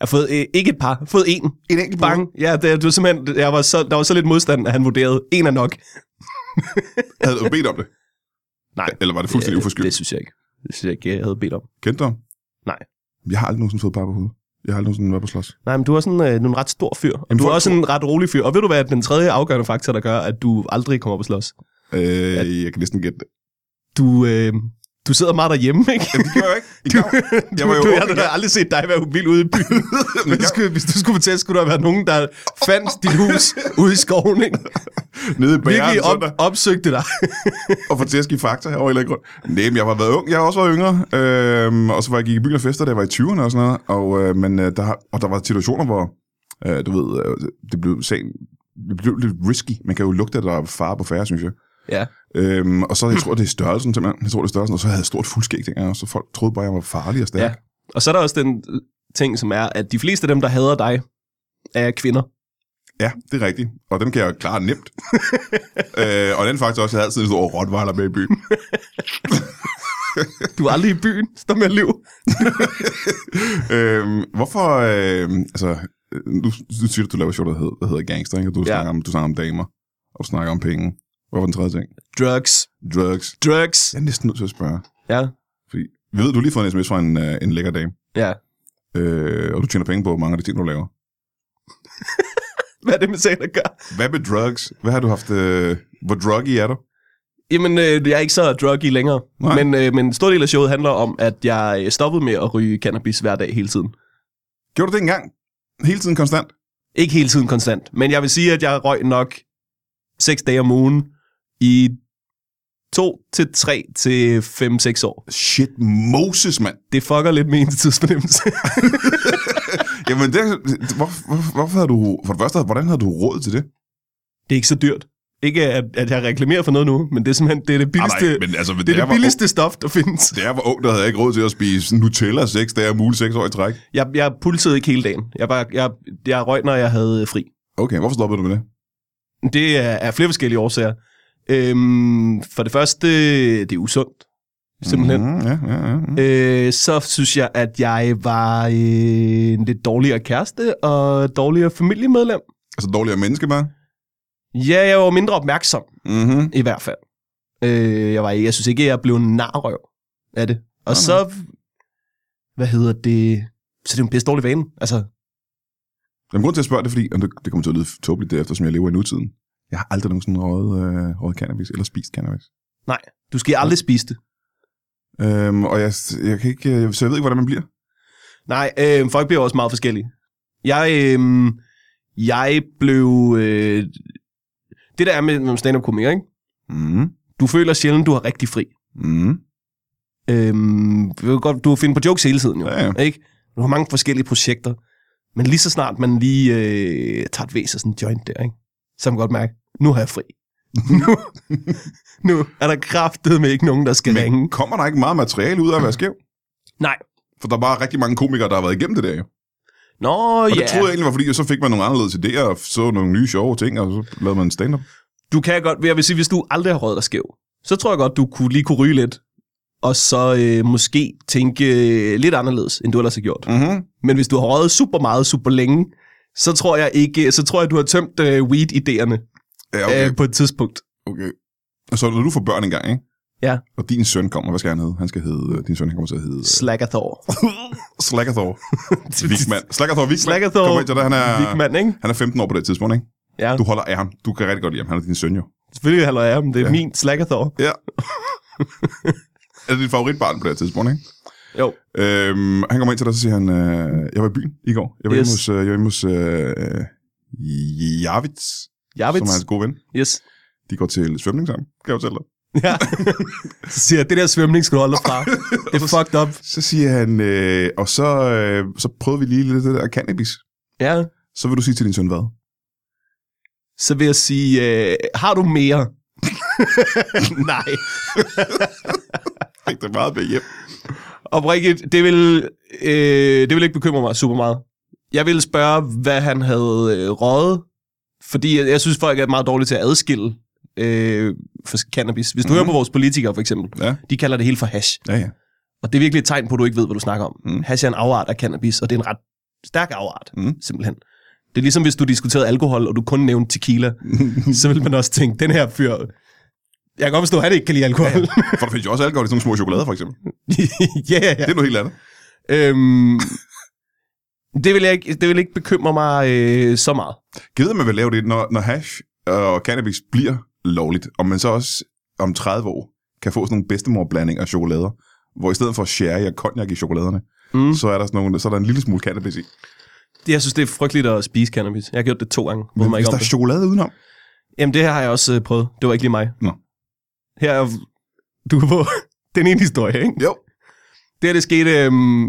[SPEAKER 2] Jeg har fået, øh, ikke et par, jeg har fået en.
[SPEAKER 1] En enkelt
[SPEAKER 2] Bang. Ja, det, det var simpelthen, jeg var så, der var så lidt modstand, at han vurderede, en er nok.
[SPEAKER 1] Havde du bedt om det?
[SPEAKER 2] Nej.
[SPEAKER 1] Eller var det fuldstændig
[SPEAKER 2] Øh,
[SPEAKER 1] uforskyldt?
[SPEAKER 2] Det synes jeg ikke. Det synes jeg ikke, jeg havde bedt om.
[SPEAKER 1] Kendte du ham?
[SPEAKER 2] Nej.
[SPEAKER 1] Jeg har aldrig nogensinde fået bare på hovedet. Jeg har aldrig nogensinde været på slås.
[SPEAKER 2] Nej, men du er sådan øh, du er en ret stor fyr. Og
[SPEAKER 1] Jamen,
[SPEAKER 2] du er
[SPEAKER 1] folk
[SPEAKER 2] også en ret rolig fyr. Og ved du hvad, den tredje afgørende faktor, der gør, at du aldrig kommer op og slås?
[SPEAKER 1] Øh, jeg kan næsten gætte det.
[SPEAKER 2] Du, øh, du sidder meget derhjemme, ikke?
[SPEAKER 1] Jamen, det gjorde jeg ikke. I gang. Jeg var jo
[SPEAKER 2] du,
[SPEAKER 1] ung
[SPEAKER 2] jeg har da aldrig set dig være vild ude i byen.
[SPEAKER 1] Jamen,
[SPEAKER 2] Men
[SPEAKER 1] i gang.
[SPEAKER 2] skulle, hvis du skulle fortælle, skulle der være nogen, der fandt dit hus ude i skoven, ikke?
[SPEAKER 1] Nede i bæren,
[SPEAKER 2] Virkelig op,
[SPEAKER 1] op.
[SPEAKER 2] opsøgte dig.
[SPEAKER 1] og få tæsk i fakta her over en eller anden grund. Nej, men jeg har været ung. Jeg har også været yngre. Øhm, og så var jeg gik i byen og fester, da jeg var i 20'erne og sådan noget. Og, øh, men, øh, der, og der var situationer, hvor øh, du ved, øh, det blev sagen, det blev lidt risky. Man kan jo lugte, at der er fare på færre, synes jeg.
[SPEAKER 2] Ja.
[SPEAKER 1] Øhm, og så, jeg tror, det er størrelsen simpelthen. Jeg tror, det er størrelsen, og så havde jeg stort fuldskæg dengang, og så folk troede bare, jeg var farlig og stærk.
[SPEAKER 2] ja. Og så er der også den øh, ting, som er, at de fleste af dem, der hader dig, er kvinder.
[SPEAKER 1] Ja, det er rigtigt. Og dem kan jeg jo klare nemt. øh, og den faktisk også, jeg havde altid en stor rottweiler med i byen.
[SPEAKER 2] Du er aldrig i byen. Stå med liv.
[SPEAKER 1] øhm, hvorfor, øh, altså, øh, nu, nu siger du, du laver et show, der hedder, der hedder Gangster, ikke? Og du, ja. snakker om, du snakker om damer, og du snakker om penge. Hvad var den tredje ting?
[SPEAKER 2] Drugs.
[SPEAKER 1] Drugs.
[SPEAKER 2] Drugs.
[SPEAKER 1] Jeg er næsten nødt til at spørge.
[SPEAKER 2] Ja.
[SPEAKER 1] Fordi, vi ved, du har lige fået en sms fra en, øh, en lækker dame,
[SPEAKER 2] Ja.
[SPEAKER 1] øh, og du tjener penge på mange af de ting, du laver.
[SPEAKER 2] Hvad er det med sagen at gøre?
[SPEAKER 1] Hvad med drugs? Hvad har du haft, øh, hvor druggy er du?
[SPEAKER 2] Jamen, øh, jeg er ikke så druggy længere.
[SPEAKER 1] Nej.
[SPEAKER 2] Men, øh, men en stor del af showet handler om, at jeg øh, stoppede med at ryge cannabis hver dag hele tiden.
[SPEAKER 1] Gjorde du det engang? Hele tiden konstant?
[SPEAKER 2] Ikke hele tiden konstant, men jeg vil sige, at jeg røg nok 6 dage om ugen i 2 til 3 til 5-6 år.
[SPEAKER 1] Shit, Moses, mand.
[SPEAKER 2] Det fucker lidt med ens tidsfornemmelse.
[SPEAKER 1] Jamen, det, hvor, hvor, hvorfor havde du... For det første, hvordan havde du råd til det?
[SPEAKER 2] det er ikke så dyrt. Ikke at, at jeg reklamerer for noget nu, men det er simpelthen det, er det billigste,
[SPEAKER 1] nej, men altså,
[SPEAKER 2] det, er
[SPEAKER 1] jeg
[SPEAKER 2] det billigste stof, der findes.
[SPEAKER 1] Var, da jeg var ung, der havde jeg ikke råd til at spise Nutella seks dage om ugen, seks år i træk.
[SPEAKER 2] Jeg, jeg pulsede ikke hele dagen. Jeg, var, jeg, jeg røg, når jeg havde fri.
[SPEAKER 1] Okay, hvorfor stoppede du med det?
[SPEAKER 2] Det er af flere forskellige årsager. Øhm, for det første, det er usundt, simpelthen. Mm-hmm.
[SPEAKER 1] Mm, ja, ja, ja. Mm.
[SPEAKER 2] Øh, så synes jeg, at jeg var øh, en lidt dårligere kæreste og dårligere familiemedlem.
[SPEAKER 1] Altså dårligere menneske bare?
[SPEAKER 2] Ja, jeg var mindre opmærksom,
[SPEAKER 1] Mm-hmm.
[SPEAKER 2] i hvert fald. Øh, jeg, var, jeg synes ikke, jeg blev en narrøv af det. Og
[SPEAKER 1] Nej,
[SPEAKER 2] så, hvad hedder det, så det er jo en pisse dårlig vane. Altså,
[SPEAKER 1] Jamen, grund til at spørge det, er fordi og det, det kommer til at lyde tåbeligt derefter, som jeg lever i nutiden. Jeg har aldrig nogensinde røget, øh, røget cannabis eller spist cannabis.
[SPEAKER 2] du skal aldrig spise det.
[SPEAKER 1] Øhm, og jeg, jeg kan ikke, øh, så jeg ved ikke, hvordan man bliver.
[SPEAKER 2] Nej, øh, folk bliver også meget forskellige. Jeg, øh, jeg blev... Øh, det der er med nogle stand up komikere ikke?
[SPEAKER 1] Mm.
[SPEAKER 2] Du føler sjældent, du har rigtig fri.
[SPEAKER 1] Mm.
[SPEAKER 2] Øhm, du kan godt- du finder på jokes hele tiden, jo.
[SPEAKER 1] Ja, ja.
[SPEAKER 2] Ikke? Du har mange forskellige projekter. Men lige så snart man lige øh, tager et væs og sådan en joint der, ikke? så kan man godt mærke, nu har jeg fri. nu, nu er der kraftet med ikke nogen, der skal
[SPEAKER 1] Men
[SPEAKER 2] ringe.
[SPEAKER 1] kommer der ikke meget materiale ud af at være skæv?
[SPEAKER 2] Nej.
[SPEAKER 1] For der er bare rigtig mange komikere, der har været igennem det der jo.
[SPEAKER 2] Nå,
[SPEAKER 1] Og
[SPEAKER 2] ja.
[SPEAKER 1] det troede jeg egentlig var, fordi så fik man nogle anderledes idéer, og så nogle nye sjove ting, og så lavede man en stand-up.
[SPEAKER 2] Du kan godt, jeg vil sige, hvis du aldrig har røget dig skæv, så tror jeg godt, du kunne lige kunne ryge lidt. Og så øh, måske tænke øh, lidt anderledes, end du ellers har gjort.
[SPEAKER 1] Mm-hmm.
[SPEAKER 2] Men hvis du har røget super meget, super længe, så tror jeg ikke, så tror jeg, du har tømt øh, weed-idéerne
[SPEAKER 1] Ja,
[SPEAKER 2] okay.
[SPEAKER 1] okay,
[SPEAKER 2] øh, på et tidspunkt.
[SPEAKER 1] okay. Og så når du får børn engang, ikke?
[SPEAKER 2] Ja.
[SPEAKER 1] Og din søn kommer, hvad skal han hedde? Han skal hedde, øh, din søn han kommer til at hedde...
[SPEAKER 2] Slagathor.
[SPEAKER 1] Slackerthor Wigman. Slackerthor Wigman.
[SPEAKER 2] Slagathor
[SPEAKER 1] Kommer ind til dig, han er,
[SPEAKER 2] Vigman, ikke?
[SPEAKER 1] han er 15 år på det tidspunkt, ikke?
[SPEAKER 2] Ja,
[SPEAKER 1] Du holder af ham. Du kan rigtig godt lide ham. Han er din søn jo.
[SPEAKER 2] selvfølgelig holder jeg ham. Det er
[SPEAKER 1] Ja.
[SPEAKER 2] ja. min Slagathor.
[SPEAKER 1] Ja. er det dit favoritbarn på det her tidspunkt, ikke?
[SPEAKER 2] Jo.
[SPEAKER 1] Øhm, han kommer ind til dig, og så siger han, øh, jeg var i byen i går. Jeg var yes.
[SPEAKER 2] Yes.
[SPEAKER 1] hjemme hos, øh, jeg var hjemme hos øh, Javits, som
[SPEAKER 2] Javits.
[SPEAKER 1] er hans gode ven.
[SPEAKER 2] Yes.
[SPEAKER 1] De går til svømning sammen, kan jeg fortælle dig.
[SPEAKER 2] Ja. så siger jeg, det der svømning skal du holde dig fra. Det er fucked up.
[SPEAKER 1] Så siger han, øh, og så, øh, så prøvede vi lige lidt af det der cannabis.
[SPEAKER 2] Ja.
[SPEAKER 1] Så vil du sige til din søn hvad?
[SPEAKER 2] så vil jeg sige, øh, har du mere? Nej.
[SPEAKER 1] Fik det meget med hjem.
[SPEAKER 2] Oprigtigt, det vil, øh, det vil ikke bekymre mig super meget. Jeg ville spørge, hvad han havde øh, røget Fordi jeg, jeg synes, folk er meget dårlige til at adskille øh, for cannabis. Hvis du mm. hører på vores politikere, for eksempel,
[SPEAKER 1] Ja.
[SPEAKER 2] de kalder det hele for hash.
[SPEAKER 1] Ja, ja.
[SPEAKER 2] Og det er virkelig et tegn på, at du ikke ved, hvad du snakker om.
[SPEAKER 1] Mm.
[SPEAKER 2] Mm. Hash er en afart af cannabis, og det er en ret stærk afart,
[SPEAKER 1] Mm.
[SPEAKER 2] mm. simpelthen. Det er ligesom, hvis du diskuterede alkohol, og du kun nævnte tequila, så vil man også tænke, den her fyr, jeg kan godt forstå, at han ikke kan lide alkohol.
[SPEAKER 1] For der findes jo også alkohol i sådan nogle små chokolader, for eksempel.
[SPEAKER 2] ja, ja, ja.
[SPEAKER 1] Det er noget helt andet.
[SPEAKER 2] Øhm, det, vil jeg ikke, det vil ikke bekymre mig øh, så meget.
[SPEAKER 1] Gider man vil lave det, når, når hash og cannabis bliver lovligt, om man så også om 30 år kan få sådan nogle bedstemor-blanding af chokolader, hvor i stedet for sherry og cognac i chokoladerne, mm.
[SPEAKER 2] Mm.
[SPEAKER 1] så er der sådan nogle, så er der en lille smule cannabis i.
[SPEAKER 2] Det, jeg synes, det er frygteligt at spise cannabis. Jeg har gjort det to gange. Ved
[SPEAKER 1] Men
[SPEAKER 2] mig
[SPEAKER 1] hvis
[SPEAKER 2] ikke
[SPEAKER 1] der
[SPEAKER 2] om
[SPEAKER 1] er
[SPEAKER 2] det.
[SPEAKER 1] chokolade udenom,
[SPEAKER 2] Jamen, det har jeg også øh, prøvet. Det var ikke lige mig.
[SPEAKER 1] Nå.
[SPEAKER 2] Her er... Du kan få den ene historie, ikke?
[SPEAKER 1] jo,
[SPEAKER 2] Det her, det skete... Øhm,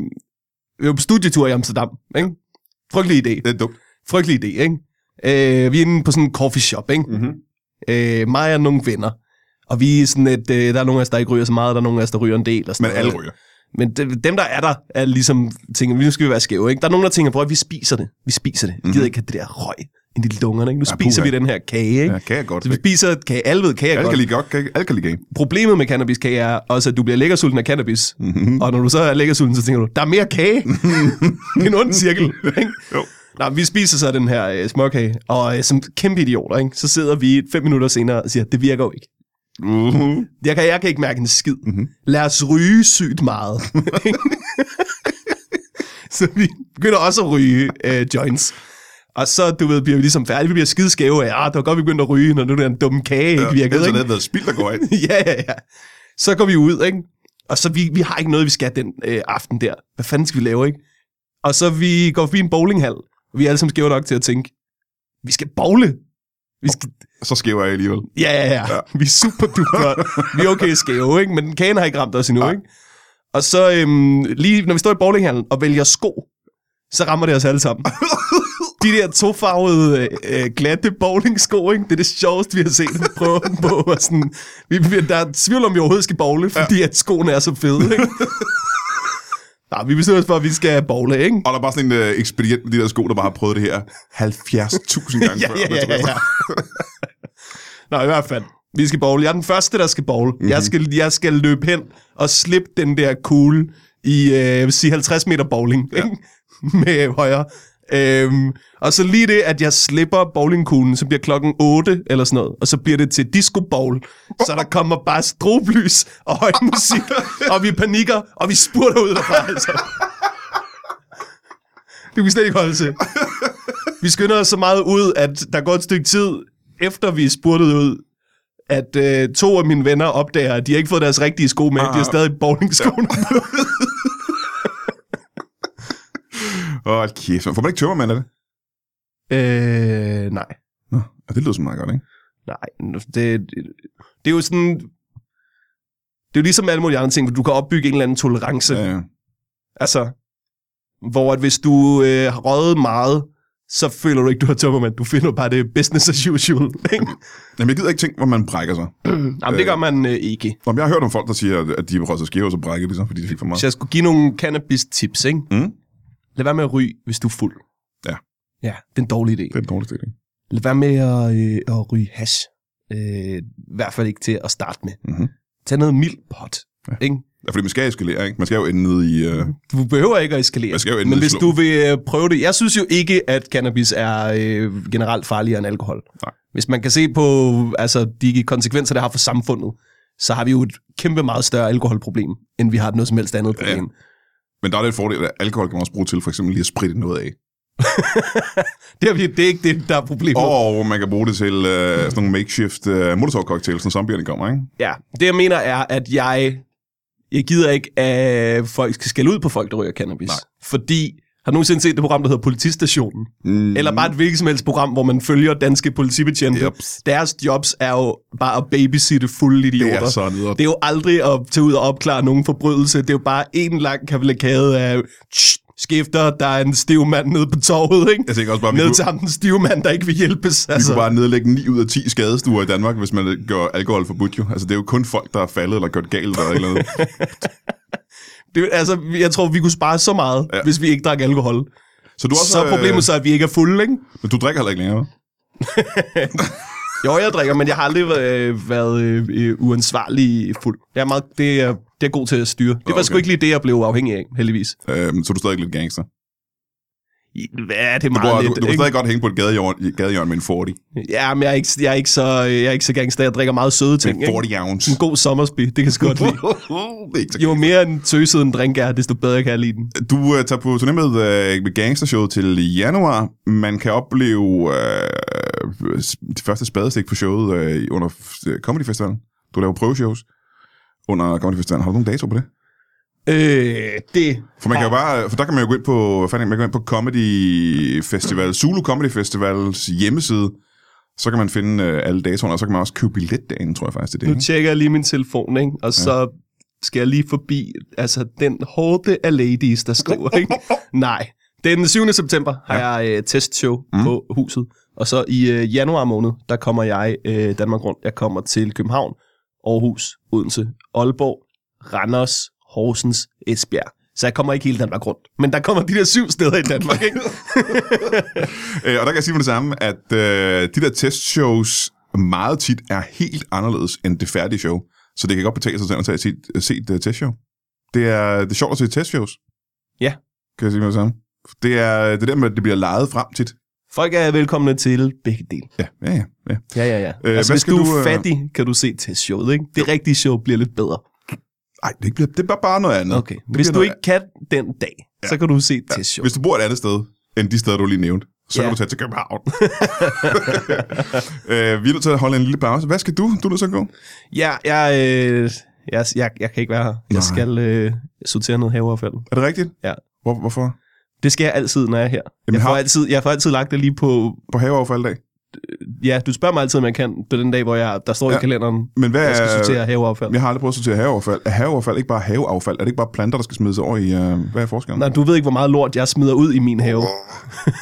[SPEAKER 2] vi var på studietur i Amsterdam, ikke? Frygtelig idé.
[SPEAKER 1] det er dumt.
[SPEAKER 2] Frygtelig idé, ikke? Øh, vi er inde på sådan en coffee shop, ikke?
[SPEAKER 1] Mm-hmm.
[SPEAKER 2] Øh, mig og nogle venner. Og vi er sådan, at øh, der er nogle af os, der ikke ryger så meget, og der er nogle af os, der ryger en del. Og sådan
[SPEAKER 1] Men
[SPEAKER 2] noget.
[SPEAKER 1] alle ryger.
[SPEAKER 2] Men de, dem, der er der, er ligesom tænker, nu skal vi være skæve. Ikke? Der er nogen, der tænker, prøv at vi spiser det. Vi spiser det. Vi gider ikke have det der røg ind i lungerne. Ikke? Nu
[SPEAKER 1] Mhm. Ja,
[SPEAKER 2] spiser
[SPEAKER 1] puha.
[SPEAKER 2] vi den her kage. Ikke?
[SPEAKER 1] Ja, kan jeg godt.
[SPEAKER 2] Så vi spiser kage. Alle ved kage er
[SPEAKER 1] Alle
[SPEAKER 2] godt.
[SPEAKER 1] kan lide godt, kan ikke- alle kan lide game.
[SPEAKER 2] Problemet med cannabiskage er også, at du bliver lækkersulten af cannabis.
[SPEAKER 1] Mm-hmm.
[SPEAKER 2] Og når du så er lækkersulten, så tænker du, der er mere kage. det er en ond cirkel. Ikke?
[SPEAKER 1] Jo.
[SPEAKER 2] Nå, vi spiser så den her øh, småkage, og øh, som kæmpe idioter, ikke? så sidder vi fem minutter senere og siger, det virker jo ikke.
[SPEAKER 1] Uh-huh.
[SPEAKER 2] Jeg kan, jeg kan ikke mærke en skid.
[SPEAKER 1] Mhm.
[SPEAKER 2] Mm-hmm. Lad os ryge sygt meget. så vi begynder også at ryge øh, joints. Og så, du ved, bliver vi ligesom færdige. Vi bliver skideskæve af, ah, det var godt, vi begyndte at ryge, når nu den dumme kage ikke virkede.
[SPEAKER 1] Ellers
[SPEAKER 2] ikke?
[SPEAKER 1] har det været spild, der går af.
[SPEAKER 2] ja, ja, ja. Så går vi ud, ikke? Og så vi, vi har ikke noget, vi skal den øh, aften der. Hvad fanden skal vi lave, ikke? Og så vi går forbi en bowlinghal. Og vi er alle sammen skæve nok til at tænke, vi skal bowle. Vi skal,
[SPEAKER 1] Så skæver jeg alligevel.
[SPEAKER 2] ja, ja, ja,
[SPEAKER 1] Ja.
[SPEAKER 2] ja. Vi er super duper. vi er okay skæve, ikke? Men kagen har ikke ramt os endnu,
[SPEAKER 1] Nej.
[SPEAKER 2] ikke? Og så øhm, lige når vi står i bowlinghallen og vælger sko, så rammer det os alle sammen. De der tofarvede, øh, øh, glatte bowlingsko, ikke? det er det sjoveste, vi har set prøve dem på. Og sådan, vi, vi, der er tvivl om, vi overhovedet skal bowle, fordi ja. at skoene er så fede. Ikke? Nej, vi beslutter os for, at vi skal bowle, ikke?
[SPEAKER 1] Og der er bare sådan en øh, ekspedient med de der sko, der bare har prøvet det her 70.000 gange
[SPEAKER 2] ja,
[SPEAKER 1] før.
[SPEAKER 2] ja, ja, ja, ja. Nå, i hvert fald. Vi skal bowl. Jeg er den første, der skal bowl. Mm-hmm.
[SPEAKER 1] Mhm.
[SPEAKER 2] Jeg, skal, jeg skal løbe hen og slippe den der kugle i, øh, jeg vil sige, 50 meter bowling. Ja. Ikke? Med højre. Øhm, og så lige det, at jeg slipper bowlingkuglen, så bliver klokken 8 eller sådan noget, og så bliver det til disco bowl. Så der kommer bare stroblys og høj musik, og vi panikker, og vi spurter ud derfra, altså. Det kunne vi slet ikke holde til. Vi skynder os så meget ud, at der går et stykke tid, efter vi er spurtet ud, at øh, to af mine venner opdager, at de har ikke fået deres rigtige sko med, de har stadig bowlingskoene på.
[SPEAKER 1] Åh, kæft. Får man ikke tømmermand af det?
[SPEAKER 2] øh, nej,
[SPEAKER 1] Nå, og det lyder så meget godt, ikke?
[SPEAKER 2] nej. Det, det, det er jo sådan... Det er jo ligesom alle mulige andre ting, hvor du kan opbygge en eller anden tolerance.
[SPEAKER 1] Ja,
[SPEAKER 2] Ja.
[SPEAKER 1] ja.
[SPEAKER 2] Altså, hvor at hvis du øh, har røget meget, så føler du ikke, du har tømmermand. Du finder bare det er business as usual. Ikke?
[SPEAKER 1] Jamen, jeg gider ikke ting, hvor man brækker sig.
[SPEAKER 2] Jamen, det gør man øh, ikke.
[SPEAKER 1] Om jeg har hørt om folk, der siger, at- at de rød sig skæve, og så brækker de sig, fordi de fik for meget.
[SPEAKER 2] Hvis jeg skulle give nogle cannabis-tips, ikke?
[SPEAKER 1] Mm.
[SPEAKER 2] Lad være med at ryge, hvis du er fuld.
[SPEAKER 1] Ja.
[SPEAKER 2] Ja, det er en dårlig idé.
[SPEAKER 1] Det er en dårlig stilling.
[SPEAKER 2] Lad være med at, øh, at ryge hash. Øh, I hvert fald ikke til at starte med.
[SPEAKER 1] Mhm.
[SPEAKER 2] Tag noget mild pot. Ja. Ikke?
[SPEAKER 1] Ja, fordi man skal eskalere, ikke? Man skal jo ende nede i... Øh...
[SPEAKER 2] Du behøver ikke at eskalere.
[SPEAKER 1] Jeg skal jo endelig
[SPEAKER 2] men hvis
[SPEAKER 1] slå.
[SPEAKER 2] du vil øh, prøve det... Jeg synes jo ikke, at cannabis er øh, generelt farligere end alkohol.
[SPEAKER 1] Nej.
[SPEAKER 2] Hvis man kan se på altså, de konsekvenser, det har for samfundet, så har vi jo et kæmpe meget større alkoholproblem, end vi har et noget som helst andet problem. Ja.
[SPEAKER 1] Men der er det et fordel, at alkohol kan man også bruge til for eksempel lige at spritte noget af.
[SPEAKER 2] Det, er, vi- det er ikke det, der er problemet.
[SPEAKER 1] Og man kan bruge det til øh, sådan nogle makeshift øh, molotov-cocktails, når zombierne kommer, ikke?
[SPEAKER 2] Ja, det jeg mener er, at jeg, jeg gider ikke, at folk skal skælde ud på folk, der ryger cannabis.
[SPEAKER 1] Nej.
[SPEAKER 2] Fordi, har du nogensinde set det program, der hedder Politistationen?
[SPEAKER 1] Mm.
[SPEAKER 2] Mm. Eller bare et hvilket som helst program, hvor man følger danske politibetjente.
[SPEAKER 1] Jeps.
[SPEAKER 2] Deres jobs er jo bare at babysitte fulde idioter.
[SPEAKER 1] Mm, Det er så nederen.
[SPEAKER 2] Det er jo aldrig at tage ud og opklare nogen forbrydelse. Det er jo bare en lang kavalkade af tsch, skifter, der er en stiv mand nede på torvet, ikke?
[SPEAKER 1] Jeg tænker også bare, at Altså, vi
[SPEAKER 2] Ned
[SPEAKER 1] kunne,
[SPEAKER 2] til ham, den stive mand, der ikke vil hjælpes. Altså,
[SPEAKER 1] vi kunne bare nedlægge 9 ud af 10 skadestuer i Danmark, hvis man gør alkohol forbudt jo. Altså, det er jo kun folk, der er faldet eller gjort galt eller et eller andet.
[SPEAKER 2] Det, altså, jeg tror, vi kunne spare så meget, ja. hvis vi ikke drak alkohol.
[SPEAKER 1] Så du er også,
[SPEAKER 2] så er problemet
[SPEAKER 1] øh,
[SPEAKER 2] så, at vi ikke er fulde, ikke?
[SPEAKER 1] Men du drikker heller ikke længere, hva'?
[SPEAKER 2] Jo, jeg drikker, men jeg har aldrig øh, været øh, øh, uansvarlig fuld. Det er, meget, det, er, det er god til at styre. Det var okay. sgu
[SPEAKER 1] Okay.
[SPEAKER 2] ikke lige det, jeg blev afhængig af, heldigvis.
[SPEAKER 1] Øhm, så er du stadig lidt gangster.
[SPEAKER 2] I- Hvad er det
[SPEAKER 1] Du,
[SPEAKER 2] meget
[SPEAKER 1] bor,
[SPEAKER 2] lidt?
[SPEAKER 1] du, du kan
[SPEAKER 2] ikke?
[SPEAKER 1] stadig godt hænge på et gadehjørn, gadehjørn med en 40.
[SPEAKER 2] Ja, men jeg er, ikke, jeg, er ikke så, øh, jeg er ikke så gangster. Jeg drikker meget søde ting.
[SPEAKER 1] Med en
[SPEAKER 2] Ikke?
[SPEAKER 1] 40 ounce.
[SPEAKER 2] En god sommersby, det kan jeg sgu godt lide.
[SPEAKER 1] det er ikke så
[SPEAKER 2] Jo mere en tøset en drink er, desto bedre kan jeg lide den.
[SPEAKER 1] Du øh, tager på turné med, øh, med Gangstershowet til januar. Man kan opleve øh, de første spadestik på showet øh, under øh, Comedy Festivalen. Du laver prøveshows under Comedy Festivalen. Har du nogen dato på det?
[SPEAKER 2] Øh, det...
[SPEAKER 1] For, man kan jo bare, for der kan man jo gå ind på, hvad fanden, man kan gå ind på Comedy Festival, Zulu Comedy Festivals hjemmeside. Så kan man finde øh, alle datoerne, og så kan man også købe billet derinde, tror jeg faktisk, det er
[SPEAKER 2] Nu
[SPEAKER 1] det. Ikke?
[SPEAKER 2] tjekker jeg lige min telefon, ikke? Og så skal jeg lige forbi altså, den hårde af ladies, der skriver, ikke? Nej. Den 7. september har jeg øh, testshow mm. på huset. Og så i øh, januar måned, der kommer jeg øh, Danmark rundt. Jeg kommer til København, Aarhus, Odense, Aalborg, Randers, Horsens, Esbjerg. Så jeg kommer ikke hele Danmark rundt. Men der kommer de der syv steder i Danmark, ikke?
[SPEAKER 1] Øh, og der kan jeg sige med det samme, at øh, de der testshows meget tit er helt anderledes end det færdige show. Så det kan godt betale sig til at tage- se, se et uh, testshow. Det er, det er sjovt at se testshows.
[SPEAKER 2] Ja.
[SPEAKER 1] Kan jeg sige med det samme. Det er det er der med, at det bliver lejet frem tit.
[SPEAKER 2] Folk er velkomne til begge dele.
[SPEAKER 1] Ja, ja, ja. ja.
[SPEAKER 2] Ja, ja, ja.
[SPEAKER 1] Øh,
[SPEAKER 2] Øh, altså,
[SPEAKER 1] hvad
[SPEAKER 2] hvis
[SPEAKER 1] skal
[SPEAKER 2] du
[SPEAKER 1] du,
[SPEAKER 2] er
[SPEAKER 1] øh,
[SPEAKER 2] fattig, kan du se testshowet, ikke? Det rigtige show bliver lidt bedre.
[SPEAKER 1] Ej, det, er ikke, blevet- det er bare- bare noget andet.
[SPEAKER 2] Okay.
[SPEAKER 1] Det
[SPEAKER 2] Hvis
[SPEAKER 1] bliver
[SPEAKER 2] du
[SPEAKER 1] noget-
[SPEAKER 2] ikke kan den dag, ja. så kan du se testshowet.
[SPEAKER 1] Hvis du bor et andet sted, end de steder, du lige nævnte, så
[SPEAKER 2] Ja.
[SPEAKER 1] kan du tage til København. øh, vi er nødt til at holde en lille pause. Hvad skal du? Du er nødt til at gå.
[SPEAKER 2] Ja, jeg, øh, jeg, jeg, jeg kan ikke være her. Jeg
[SPEAKER 1] Nej.
[SPEAKER 2] skal øh, sortere noget haveaffald.
[SPEAKER 1] Er det rigtigt?
[SPEAKER 2] Ja.
[SPEAKER 1] Hvor, hvorfor?
[SPEAKER 2] Det skal jeg altid, når jeg er her.
[SPEAKER 1] Jamen,
[SPEAKER 2] jeg, får
[SPEAKER 1] har-
[SPEAKER 2] altid, jeg får altid lagt det lige på...
[SPEAKER 1] På haveaffald i dag?
[SPEAKER 2] Ja, du spørger mig altid, om jeg kan på den dag, hvor jeg, der står ja.
[SPEAKER 1] Ja.
[SPEAKER 2] i kalenderen,
[SPEAKER 1] Men hvad
[SPEAKER 2] jeg skal sortere haveaffald.
[SPEAKER 1] Jeg har aldrig prøvet at sortere haveaffald. Er haveaffald ikke bare haveaffald? Er det ikke bare planter, der skal smides over i... Øh, hvad er forskellen?
[SPEAKER 2] Nej, du ved ikke, hvor meget lort jeg smider ud i min have.
[SPEAKER 1] det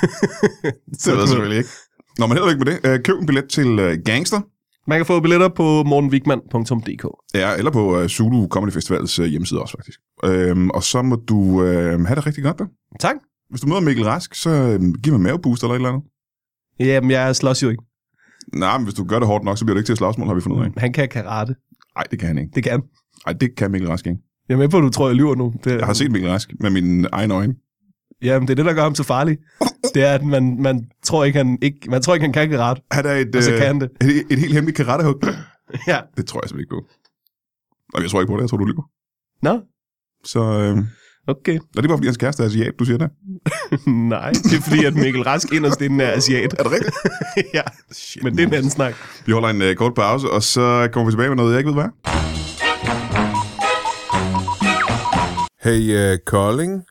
[SPEAKER 1] ved jeg selvfølgelig ikke. Nå, men heller ikke med det. Øh, køb en billet til øh, Gangster,
[SPEAKER 2] Man kan få billetter på mortenwigman.dk.
[SPEAKER 1] ja, eller på øh, Zulu Comedy Festivals øh, hjemmeside også, faktisk. Øhm, og så må du øh, have det rigtig godt, da.
[SPEAKER 2] Tak.
[SPEAKER 1] Hvis du møder Mikkel Rask, så øh, giv mig en maveboost eller et eller andet.
[SPEAKER 2] Jamen, jeg slås jo ikke.
[SPEAKER 1] Nej, men hvis du gør det hårdt nok, så bliver det ikke til et slagsmål, har vi fundet ud af.
[SPEAKER 2] Han kan karate.
[SPEAKER 1] Nej, det kan han ikke.
[SPEAKER 2] Det kan han.
[SPEAKER 1] Nej, det kan Mikkel Rask ikke.
[SPEAKER 2] Jeg er med på, at du tror, jeg lyver nu. Det,
[SPEAKER 1] Jeg har set Mikkel Rask med mine egne øjne.
[SPEAKER 2] Jamen, det er det, der gør ham så farlig. Det er, at man, man, tror, ikke, han ikke, man tror ikke, han kan karate.
[SPEAKER 1] Han er et, øh,
[SPEAKER 2] Og så Altså, kan han det.
[SPEAKER 1] et, et helt hemmeligt karatehug.
[SPEAKER 2] Ja.
[SPEAKER 1] Det tror jeg simpelthen ikke på. Nej, jeg tror ikke på det. Jeg tror, du lyver.
[SPEAKER 2] Nå,
[SPEAKER 1] Så øh,
[SPEAKER 2] okay.
[SPEAKER 1] er det bare, fordi hans kæreste er asiat, du siger det?
[SPEAKER 2] Nej, det er fordi, at Mikkel Rask inderst inden er asiat.
[SPEAKER 1] Er det rigtigt?
[SPEAKER 2] ja,
[SPEAKER 1] Shit,
[SPEAKER 2] men det er en anden snak.
[SPEAKER 1] Vi holder en øh, kort pause, og så kommer vi tilbage med noget, jeg ikke ved, hvad er.
[SPEAKER 3] Hey, uh, Kolding?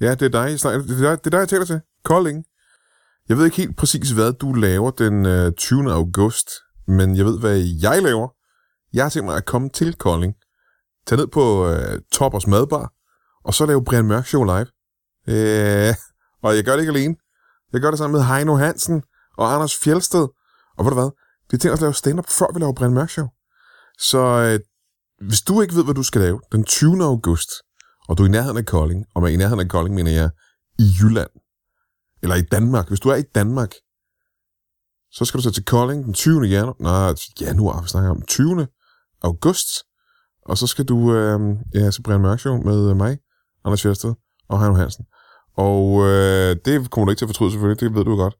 [SPEAKER 3] Ja, det er dig, jeg snakker, det, er dig, det er dig, jeg taler til. Kolding. Jeg ved ikke helt præcis, hvad du laver den øh, 20. august, men jeg ved, hvad jeg laver. Jeg har tænkt mig at komme til Kolding, tage ned på øh, Toppers Madbar, og så lave Brian Mørk Show live. Øh, og jeg gør det ikke alene. Jeg gør det sammen med Heino Hansen og Anders Fjelsted. Og ved du hvad? Vi tænker os at lave stand-up, før vi laver Brian Mørk Show. Så øh, hvis du ikke ved, hvad du skal lave den 20. august, og du er i nærheden af Kolding, og med i nærheden af Kolding mener jeg i Jylland, eller i Danmark, hvis du er i Danmark, så skal du så til Kolding den 20. januar, nej, januar, vi snakker om 20. august, og så skal du, øh, ja, så Brian Mørk Show med øh, mig, Anders Fjersted og Heino Hansen. Og øh, det kommer du ikke til at fortryde selvfølgelig, det ved du godt.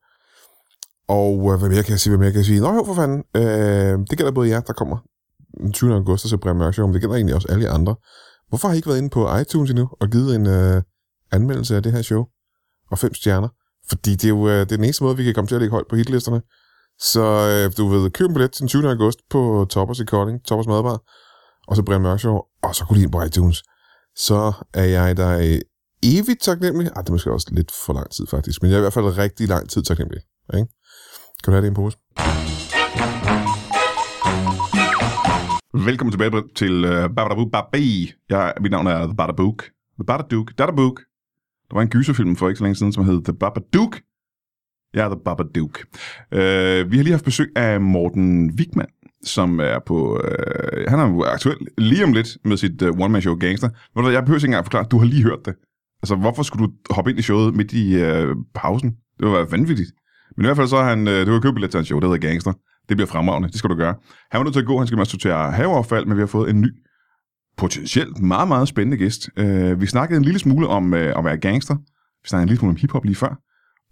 [SPEAKER 3] Og øh, hvad mere kan jeg sige, hvad mere kan jeg sige? Nå jo, for fanden, øh, det gælder både jer, der kommer den 20. august og ser Brian Mørk Show, men det gælder egentlig også alle jer andre. Hvorfor har I ikke været inde på iTunes endnu og givet en øh, anmeldelse af det her show? Og fem stjerner. Fordi det er jo øh, det er den eneste måde, vi kan komme til at ligge højt på hitlisterne. Så øh, du ved, køb en billet til den 20. august på Toppers i Kolding, Toppers Madbar, og så Brian Mørk Show, og så gå lige ind på iTunes. Så er jeg dig evigt taknemmelig. Ej, det er måske også lidt for lang tid faktisk, men jeg er i hvert fald rigtig lang tid taknemmelig. Ikke? Kan du have det i en pose?
[SPEAKER 1] Velkommen tilbage til øh, Babadabu Babi. Jeg, mit navn er The Badabook. The Badadook. Dadabook. Der var en gyserfilm for ikke så længe siden, som hed The Babadook. Jeg er The Babadook. Øh, vi har lige haft besøg af Morten Wigman, som er på... Øh, han er jo aktuel lige om lidt med sit øh, one-man-show Gangster. Ved du hvad, jeg behøver ikke engang forklare, du har lige hørt det. Altså, hvorfor skulle du hoppe ind i showet midt i øh, pausen? Det var vanvittigt. Men i hvert fald så har han, øh, du kan købe billet til hans show, det hedder Gangster. Det bliver fremragende, det skal du gøre. Han var nødt til at gå, han skal med sortere haveaffald, men vi har fået en ny, potentielt meget, meget spændende gæst. Øh, vi snakkede en lille smule om øh, at være gangster. Vi snakkede en lille smule om hiphop lige før.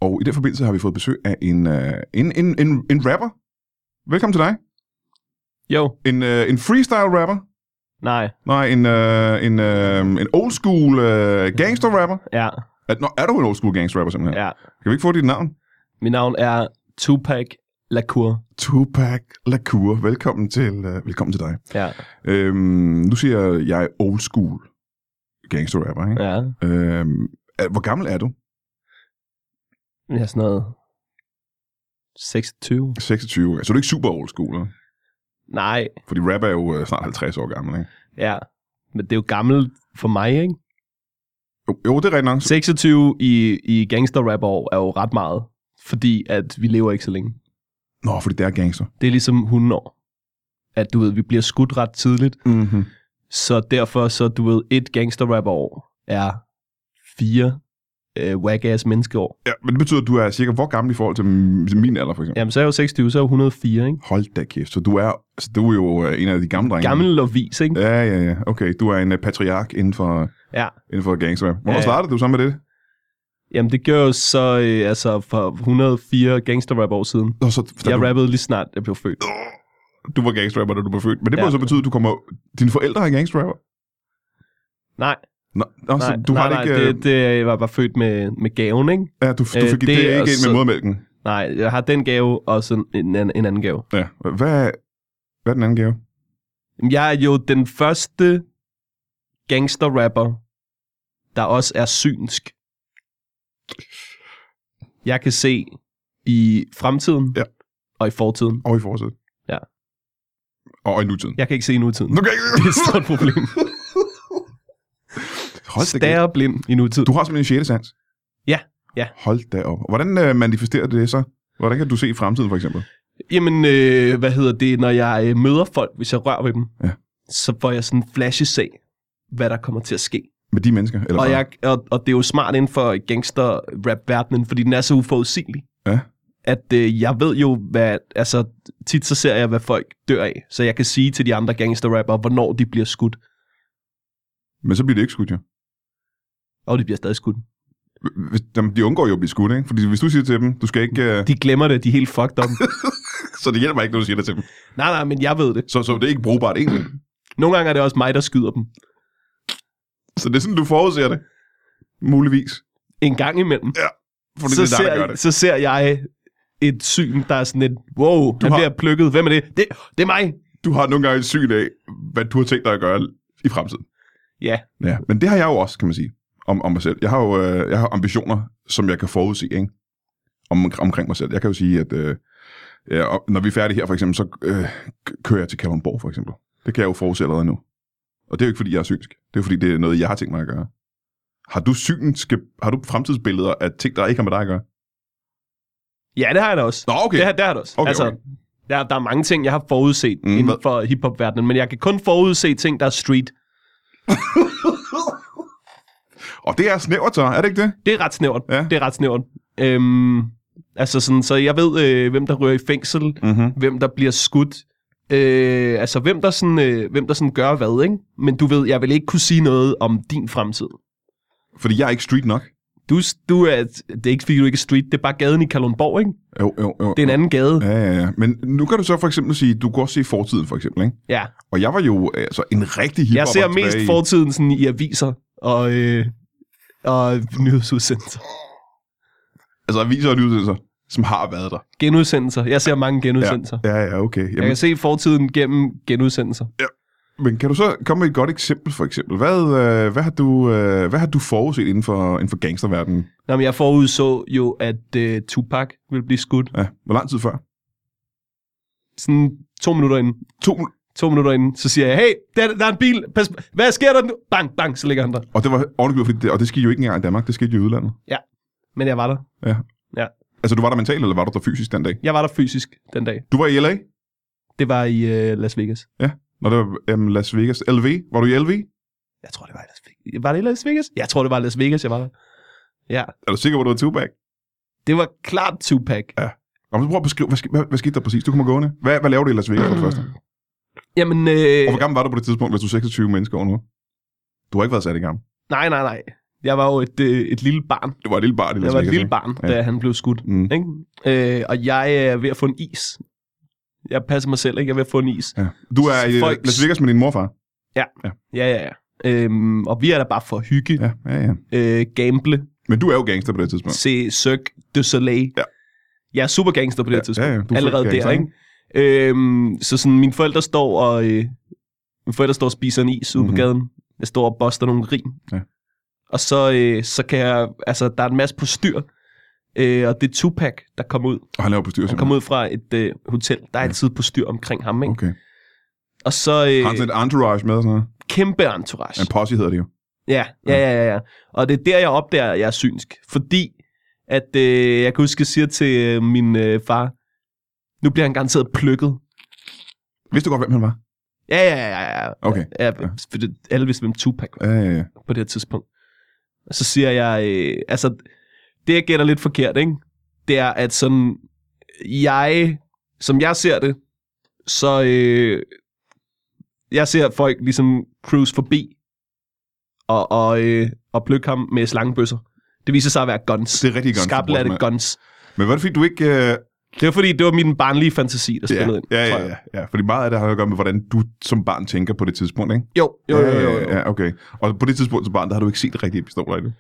[SPEAKER 1] Og i den forbindelse har vi fået besøg af en, øh, en, en, en, en rapper. Velkommen til dig.
[SPEAKER 2] Jo,
[SPEAKER 1] En, øh, en freestyle rapper.
[SPEAKER 2] nej,
[SPEAKER 1] Nej, en, øh, en, øh, en old school øh, gangster rapper.
[SPEAKER 2] ja,
[SPEAKER 1] Er, nå, er du en old school gangster rapper simpelthen?
[SPEAKER 2] ja.
[SPEAKER 1] Kan vi ikke få dit navn?
[SPEAKER 2] Mit navn er Tupac Lacour.
[SPEAKER 1] Tupac Lacour. Velkommen til, øh, velkommen til dig.
[SPEAKER 2] Ja,
[SPEAKER 1] Øhm, nu siger jeg old school gangster rapper, ikke?
[SPEAKER 2] ja.
[SPEAKER 1] Øhm, er- hvor gammel er du?
[SPEAKER 2] Jeg er sådan noget 26.
[SPEAKER 1] 26. okay. Så er du ikke super old school, eller?
[SPEAKER 2] Nej,
[SPEAKER 1] Fordi rap er jo øh, snart 50 år gammel, ikke?
[SPEAKER 2] ja. Men det er jo gammelt for mig, ikke?
[SPEAKER 1] Jo, jo det er rigtigt nok.
[SPEAKER 2] 26 i, i gangster rap år er jo ret meget, fordi at vi lever ikke så længe.
[SPEAKER 1] Nå, fordi det er gangster.
[SPEAKER 2] Det er ligesom hundeår. At du ved, vi bliver skudt ret tidligt,
[SPEAKER 1] Mm-hmm.
[SPEAKER 2] så derfor så, du ved, et gangster rap år er fire øh, whack-ass menneskeår.
[SPEAKER 1] Ja, men det betyder, at du er cirka hvor gammel i forhold til m- til min alder, for eksempel?
[SPEAKER 2] Jamen, så er jeg jo 26, så er jeg jo 104, ikke?
[SPEAKER 1] Hold da kæft. Så du er, så du er jo øh, en af de gamle drenge.
[SPEAKER 2] Gammel og vis, ikke?
[SPEAKER 1] Ja, ja, ja. Okay, du er en uh, patriark inden for,
[SPEAKER 2] Ja.
[SPEAKER 1] inden for gangster rap. Hvornår
[SPEAKER 2] Ja, ja.
[SPEAKER 1] startede du så med det?
[SPEAKER 2] Jamen, det gør jo så, øh, altså, for 104 gangster rap år siden.
[SPEAKER 1] Nå, så, da
[SPEAKER 2] Jeg
[SPEAKER 1] du,
[SPEAKER 2] rappede lige snart, jeg blev født.
[SPEAKER 1] du var gangsterrapper, da du blev født. Men det må
[SPEAKER 2] Ja.
[SPEAKER 1] så betyde, at du kommer... Dine forældre er gangsterrapper?
[SPEAKER 2] Nej,
[SPEAKER 1] Nå, nå så
[SPEAKER 2] nej,
[SPEAKER 1] du
[SPEAKER 2] nej,
[SPEAKER 1] har det
[SPEAKER 2] nej,
[SPEAKER 1] ikke... øh,
[SPEAKER 2] det, det, jeg var bare født med, med gaven, ikke?
[SPEAKER 1] ja, du, du
[SPEAKER 2] øh,
[SPEAKER 1] fik det,
[SPEAKER 2] det
[SPEAKER 1] det ikke
[SPEAKER 2] er
[SPEAKER 1] ind med
[SPEAKER 2] så-
[SPEAKER 1] modermælken.
[SPEAKER 2] Nej, jeg har den gave, og så en, en, en anden gave.
[SPEAKER 1] Ja. Hvad, er- hvad er den anden gave?
[SPEAKER 2] Jamen, Jeg er jo den første gangster-rapper, der også er synsk. Jeg kan se i fremtiden
[SPEAKER 1] Ja.
[SPEAKER 2] og i fortiden.
[SPEAKER 1] Og i forsæt.
[SPEAKER 2] Ja.
[SPEAKER 1] Og, og oh, i nutiden. Ja.
[SPEAKER 2] Jeg kan ikke se i nutiden.
[SPEAKER 1] Du kan ikke...
[SPEAKER 2] Det er et stort problem.
[SPEAKER 1] Hold da kæft.
[SPEAKER 2] Stær blind i nutiden.
[SPEAKER 1] Du har simpelthen en sjette sans?
[SPEAKER 2] Ja, ja.
[SPEAKER 1] Hold da op. Hvordan øh, manifesterer det så? Hvordan kan du se i fremtiden, for eksempel?
[SPEAKER 2] Jamen, øh, hvad hedder det, når jeg øh, møder folk, hvis jeg rører ved dem,
[SPEAKER 1] Ja.
[SPEAKER 2] så får jeg sådan en flashes af, hvad der kommer til at ske.
[SPEAKER 1] Med de mennesker? Eller
[SPEAKER 2] Og,
[SPEAKER 1] hvad?
[SPEAKER 2] jeg, og, og det er jo smart inden for gangster-rap-verdenen, fordi den er så uforudsigelig.
[SPEAKER 1] Ja.
[SPEAKER 2] At øh, jeg ved jo, hvad, altså tit så ser jeg, hvad folk dør af, så jeg kan sige til de andre gangster-rapper, hvornår de bliver skudt,
[SPEAKER 1] Men så bliver det ikke skudt, jo.
[SPEAKER 2] og de bliver stadig skudt.
[SPEAKER 1] Hvis, jamen, de undgår jo at blive skudt, ikke? Fordi hvis du siger til dem, du skal ikke... Øh,
[SPEAKER 2] De glemmer det, de er helt fucked up.
[SPEAKER 1] så det hjælper ikke, når du siger det til dem.
[SPEAKER 2] nej, nej, men jeg ved det.
[SPEAKER 1] Så, så det er ikke brugbart egentlig.
[SPEAKER 2] Nogle gange er det også mig, der skyder dem.
[SPEAKER 1] Så det er sådan, du forudser det. Muligvis.
[SPEAKER 2] En gang imellem.
[SPEAKER 1] Fordi
[SPEAKER 2] så,
[SPEAKER 1] det er dig,
[SPEAKER 2] ser,
[SPEAKER 1] der gør det.
[SPEAKER 2] så ser jeg et syn, der er sådan et, wow, du han
[SPEAKER 1] har-
[SPEAKER 2] har... bliver plukket. Hvem er det? det? Det er mig!
[SPEAKER 1] Du har nogle gange et syn af, hvad du har tænkt dig at gøre i fremtiden.
[SPEAKER 2] Ja,
[SPEAKER 1] Ja, men det har jeg jo også, kan man sige, om, om mig selv. Jeg har jo øh, jeg har ambitioner, som jeg kan forudse, ikke? Om, omkring mig selv. Jeg kan jo sige, at øh, ja, og når vi er færdige her, for eksempel, så øh, k- kører jeg til Kalundborg, for eksempel. Det kan jeg jo forudse allerede nu. Og det er jo ikke, fordi jeg er synsk. Det er jo, fordi, det er noget, jeg har tænkt mig at gøre. Har du synske, har du fremtidsbilleder af ting, der ikke har med dig at gøre?
[SPEAKER 2] ja det har jeg da også.
[SPEAKER 1] Nå, okay.
[SPEAKER 2] Det, har, det har det også.
[SPEAKER 1] Okay,
[SPEAKER 2] altså,
[SPEAKER 1] okay.
[SPEAKER 2] Der, der er mange ting, jeg har forudset
[SPEAKER 1] Mm,
[SPEAKER 2] mm, inden
[SPEAKER 1] hvad-
[SPEAKER 2] for hiphop-verdenen, men jeg kan kun forudse ting, der er street.
[SPEAKER 1] Og det er snævert så, er det ikke det?
[SPEAKER 2] Det er ret snævert.
[SPEAKER 1] Ja.
[SPEAKER 2] Det er ret snævert. Øhm, altså sådan, så jeg ved, øh, hvem der rører i fængsel,
[SPEAKER 1] Mm-hmm.
[SPEAKER 2] hvem der bliver skudt, øh, altså hvem der, sådan, øh, hvem der sådan gør hvad, ikke? Men du ved, jeg vil ikke kunne sige noget om din fremtid.
[SPEAKER 1] Fordi jeg er ikke street nok.
[SPEAKER 2] Du, du er, det er ikke, fordi du ikke er street, det er bare gaden i Kalundborg, ikke?
[SPEAKER 1] Jo, jo, jo.
[SPEAKER 2] Det er en anden gade.
[SPEAKER 1] Ja, ja, ja. Men nu kan du så for eksempel sige, du kan også se fortiden, for eksempel, ikke?
[SPEAKER 2] Ja.
[SPEAKER 1] Og jeg var jo altså, en rigtig hiphopper
[SPEAKER 2] Jeg ser mest
[SPEAKER 1] tilbage i-
[SPEAKER 2] fortiden sådan, i aviser og, øh, og nyhedsudsendelser.
[SPEAKER 1] Altså aviser og nyhedsudsendelser, som har været der.
[SPEAKER 2] Genudsendelser. Jeg ser mange genudsendelser. Ja.
[SPEAKER 1] Ja, ja, okay.
[SPEAKER 2] Jeg
[SPEAKER 1] Jamen,
[SPEAKER 2] kan se fortiden gennem genudsendelser.
[SPEAKER 1] Men kan du så komme med et godt eksempel, for eksempel? Hvad, øh, hvad, har, du, øh, hvad har du forudset inden for, inden for gangsterverdenen?
[SPEAKER 2] Nå, men jeg forudså jo, at øh, Tupac ville blive skudt.
[SPEAKER 1] Ja, hvor lang tid før?
[SPEAKER 2] Sådan to minutter inden.
[SPEAKER 1] To,
[SPEAKER 2] To minutter inden, så siger jeg, hey, der, der er en bil. Pas, hvad sker der nu? Bang, bang, så ligger han der.
[SPEAKER 1] og det var ordentligt, fordi det, og det skete jo ikke engang i Danmark, det skete jo i udlandet.
[SPEAKER 2] Men jeg var der.
[SPEAKER 1] Altså, du var der mentalt, eller var du der fysisk den dag?
[SPEAKER 2] Jeg var der fysisk den dag.
[SPEAKER 1] Du var i LA?
[SPEAKER 2] Det var i øh, Las Vegas.
[SPEAKER 1] Når det var jamen, Las Vegas. LV? Var du i LV?
[SPEAKER 2] Jeg tror, det var i Las Vegas. Var det i Las Vegas? Jeg tror, det var i Las Vegas, jeg var der. Ja,
[SPEAKER 1] Er du sikker på, at du var Tupac?
[SPEAKER 2] Det var klart Tupac.
[SPEAKER 1] Nå, men så prøv at beskrive, hvad, sk- hvad, hvad skete der præcis? Du kommer gående. Hvad, hvad laver du i Las Vegas for det første?
[SPEAKER 2] Jamen, øh,
[SPEAKER 1] Og hvor gammel var du på det tidspunkt, hvis du er 26 mennesker over nu? Du har ikke været særlig gammel.
[SPEAKER 2] nej, nej, nej. Jeg var jo et, øh, et lille barn.
[SPEAKER 1] Det var et lille barn i Las
[SPEAKER 2] Jeg
[SPEAKER 1] Vegas.
[SPEAKER 2] var et lille
[SPEAKER 1] ikke?
[SPEAKER 2] barn,
[SPEAKER 1] Ja.
[SPEAKER 2] da han blev skudt.
[SPEAKER 1] Mm.
[SPEAKER 2] Ikke? Øh, og jeg er ved at få en is. Jeg passer mig selv, ikke? Jeg er ved at få en is.
[SPEAKER 1] Ja. Du er i øh,
[SPEAKER 2] Folks-
[SPEAKER 1] Las Vegas med din morfar.
[SPEAKER 2] Ja, ja, ja. Øhm, og vi er der bare for at hygge, ja.
[SPEAKER 1] Ja, ja, ja.
[SPEAKER 2] øh, gamble,
[SPEAKER 1] Men du er jo gangster på det tidspunkt.
[SPEAKER 2] se Cirque du Soleil.
[SPEAKER 1] Ja.
[SPEAKER 2] Jeg er super gangster på det
[SPEAKER 1] Ja,
[SPEAKER 2] her tidspunkt.
[SPEAKER 1] ja, ja. Du er
[SPEAKER 2] Allerede
[SPEAKER 1] gangster,
[SPEAKER 2] der, ikke? Øhm, så sådan, mine forældre står og... Øh, mine forældre står og spiser en is ude mm-hmm.
[SPEAKER 1] Mhm.
[SPEAKER 2] på gaden. Jeg står og boster nogle rim.
[SPEAKER 1] Ja.
[SPEAKER 2] Og så, øh, så kan jeg... Altså, der er en masse på styr. Øh, og det er Tupac, der kommer ud.
[SPEAKER 1] Og han laver på styr.
[SPEAKER 2] Han kommer ud fra et øh, hotel. Der er altid på styr omkring ham, ikke?
[SPEAKER 1] Okay.
[SPEAKER 2] Og så øh,
[SPEAKER 1] Har han sådan et entourage med og sådan noget?
[SPEAKER 2] kæmpe entourage.
[SPEAKER 1] En posse hedder det jo.
[SPEAKER 2] Ja, ja, ja, ja, ja. Og det er der, jeg opdager, at jeg er synsk. Fordi, at øh, jeg kan huske, jeg siger til øh, min øh, far, nu bliver han garanteret plukket.
[SPEAKER 1] Vidste du godt, hvem han var?
[SPEAKER 2] Ja, ja, ja, ja, ja.
[SPEAKER 1] Okay.
[SPEAKER 2] ja for det, alle vidste, hvem Tupac var
[SPEAKER 1] Ja, ja, ja.
[SPEAKER 2] på det her tidspunkt. Og så siger jeg, øh, altså, det jeg gætter lidt forkert, ikke? Det er, at sådan, jeg, som jeg ser det, så, øh, jeg ser folk ligesom cruise forbi og, og, øh, og plukke ham med slangebøsser. Det viser sig at være guns.
[SPEAKER 1] Det er rigtig guns. du
[SPEAKER 2] Skarplatte
[SPEAKER 1] bruger den
[SPEAKER 2] guns.
[SPEAKER 1] af. Men var det fordi, du ikke... Øh...
[SPEAKER 2] Det var fordi, det var min barnlige fantasi, der
[SPEAKER 1] Ja,
[SPEAKER 2] spillede ind,
[SPEAKER 1] ja,
[SPEAKER 2] tror
[SPEAKER 1] ja,
[SPEAKER 2] jeg.
[SPEAKER 1] ja, ja. Fordi meget af det har at gøre med, hvordan du som barn tænker på det tidspunkt, ikke?
[SPEAKER 2] Jo, jo, jo, jo. jo.
[SPEAKER 1] Ja, okay. Og på det tidspunkt som barn, der har du ikke set rigtige pistoler i det.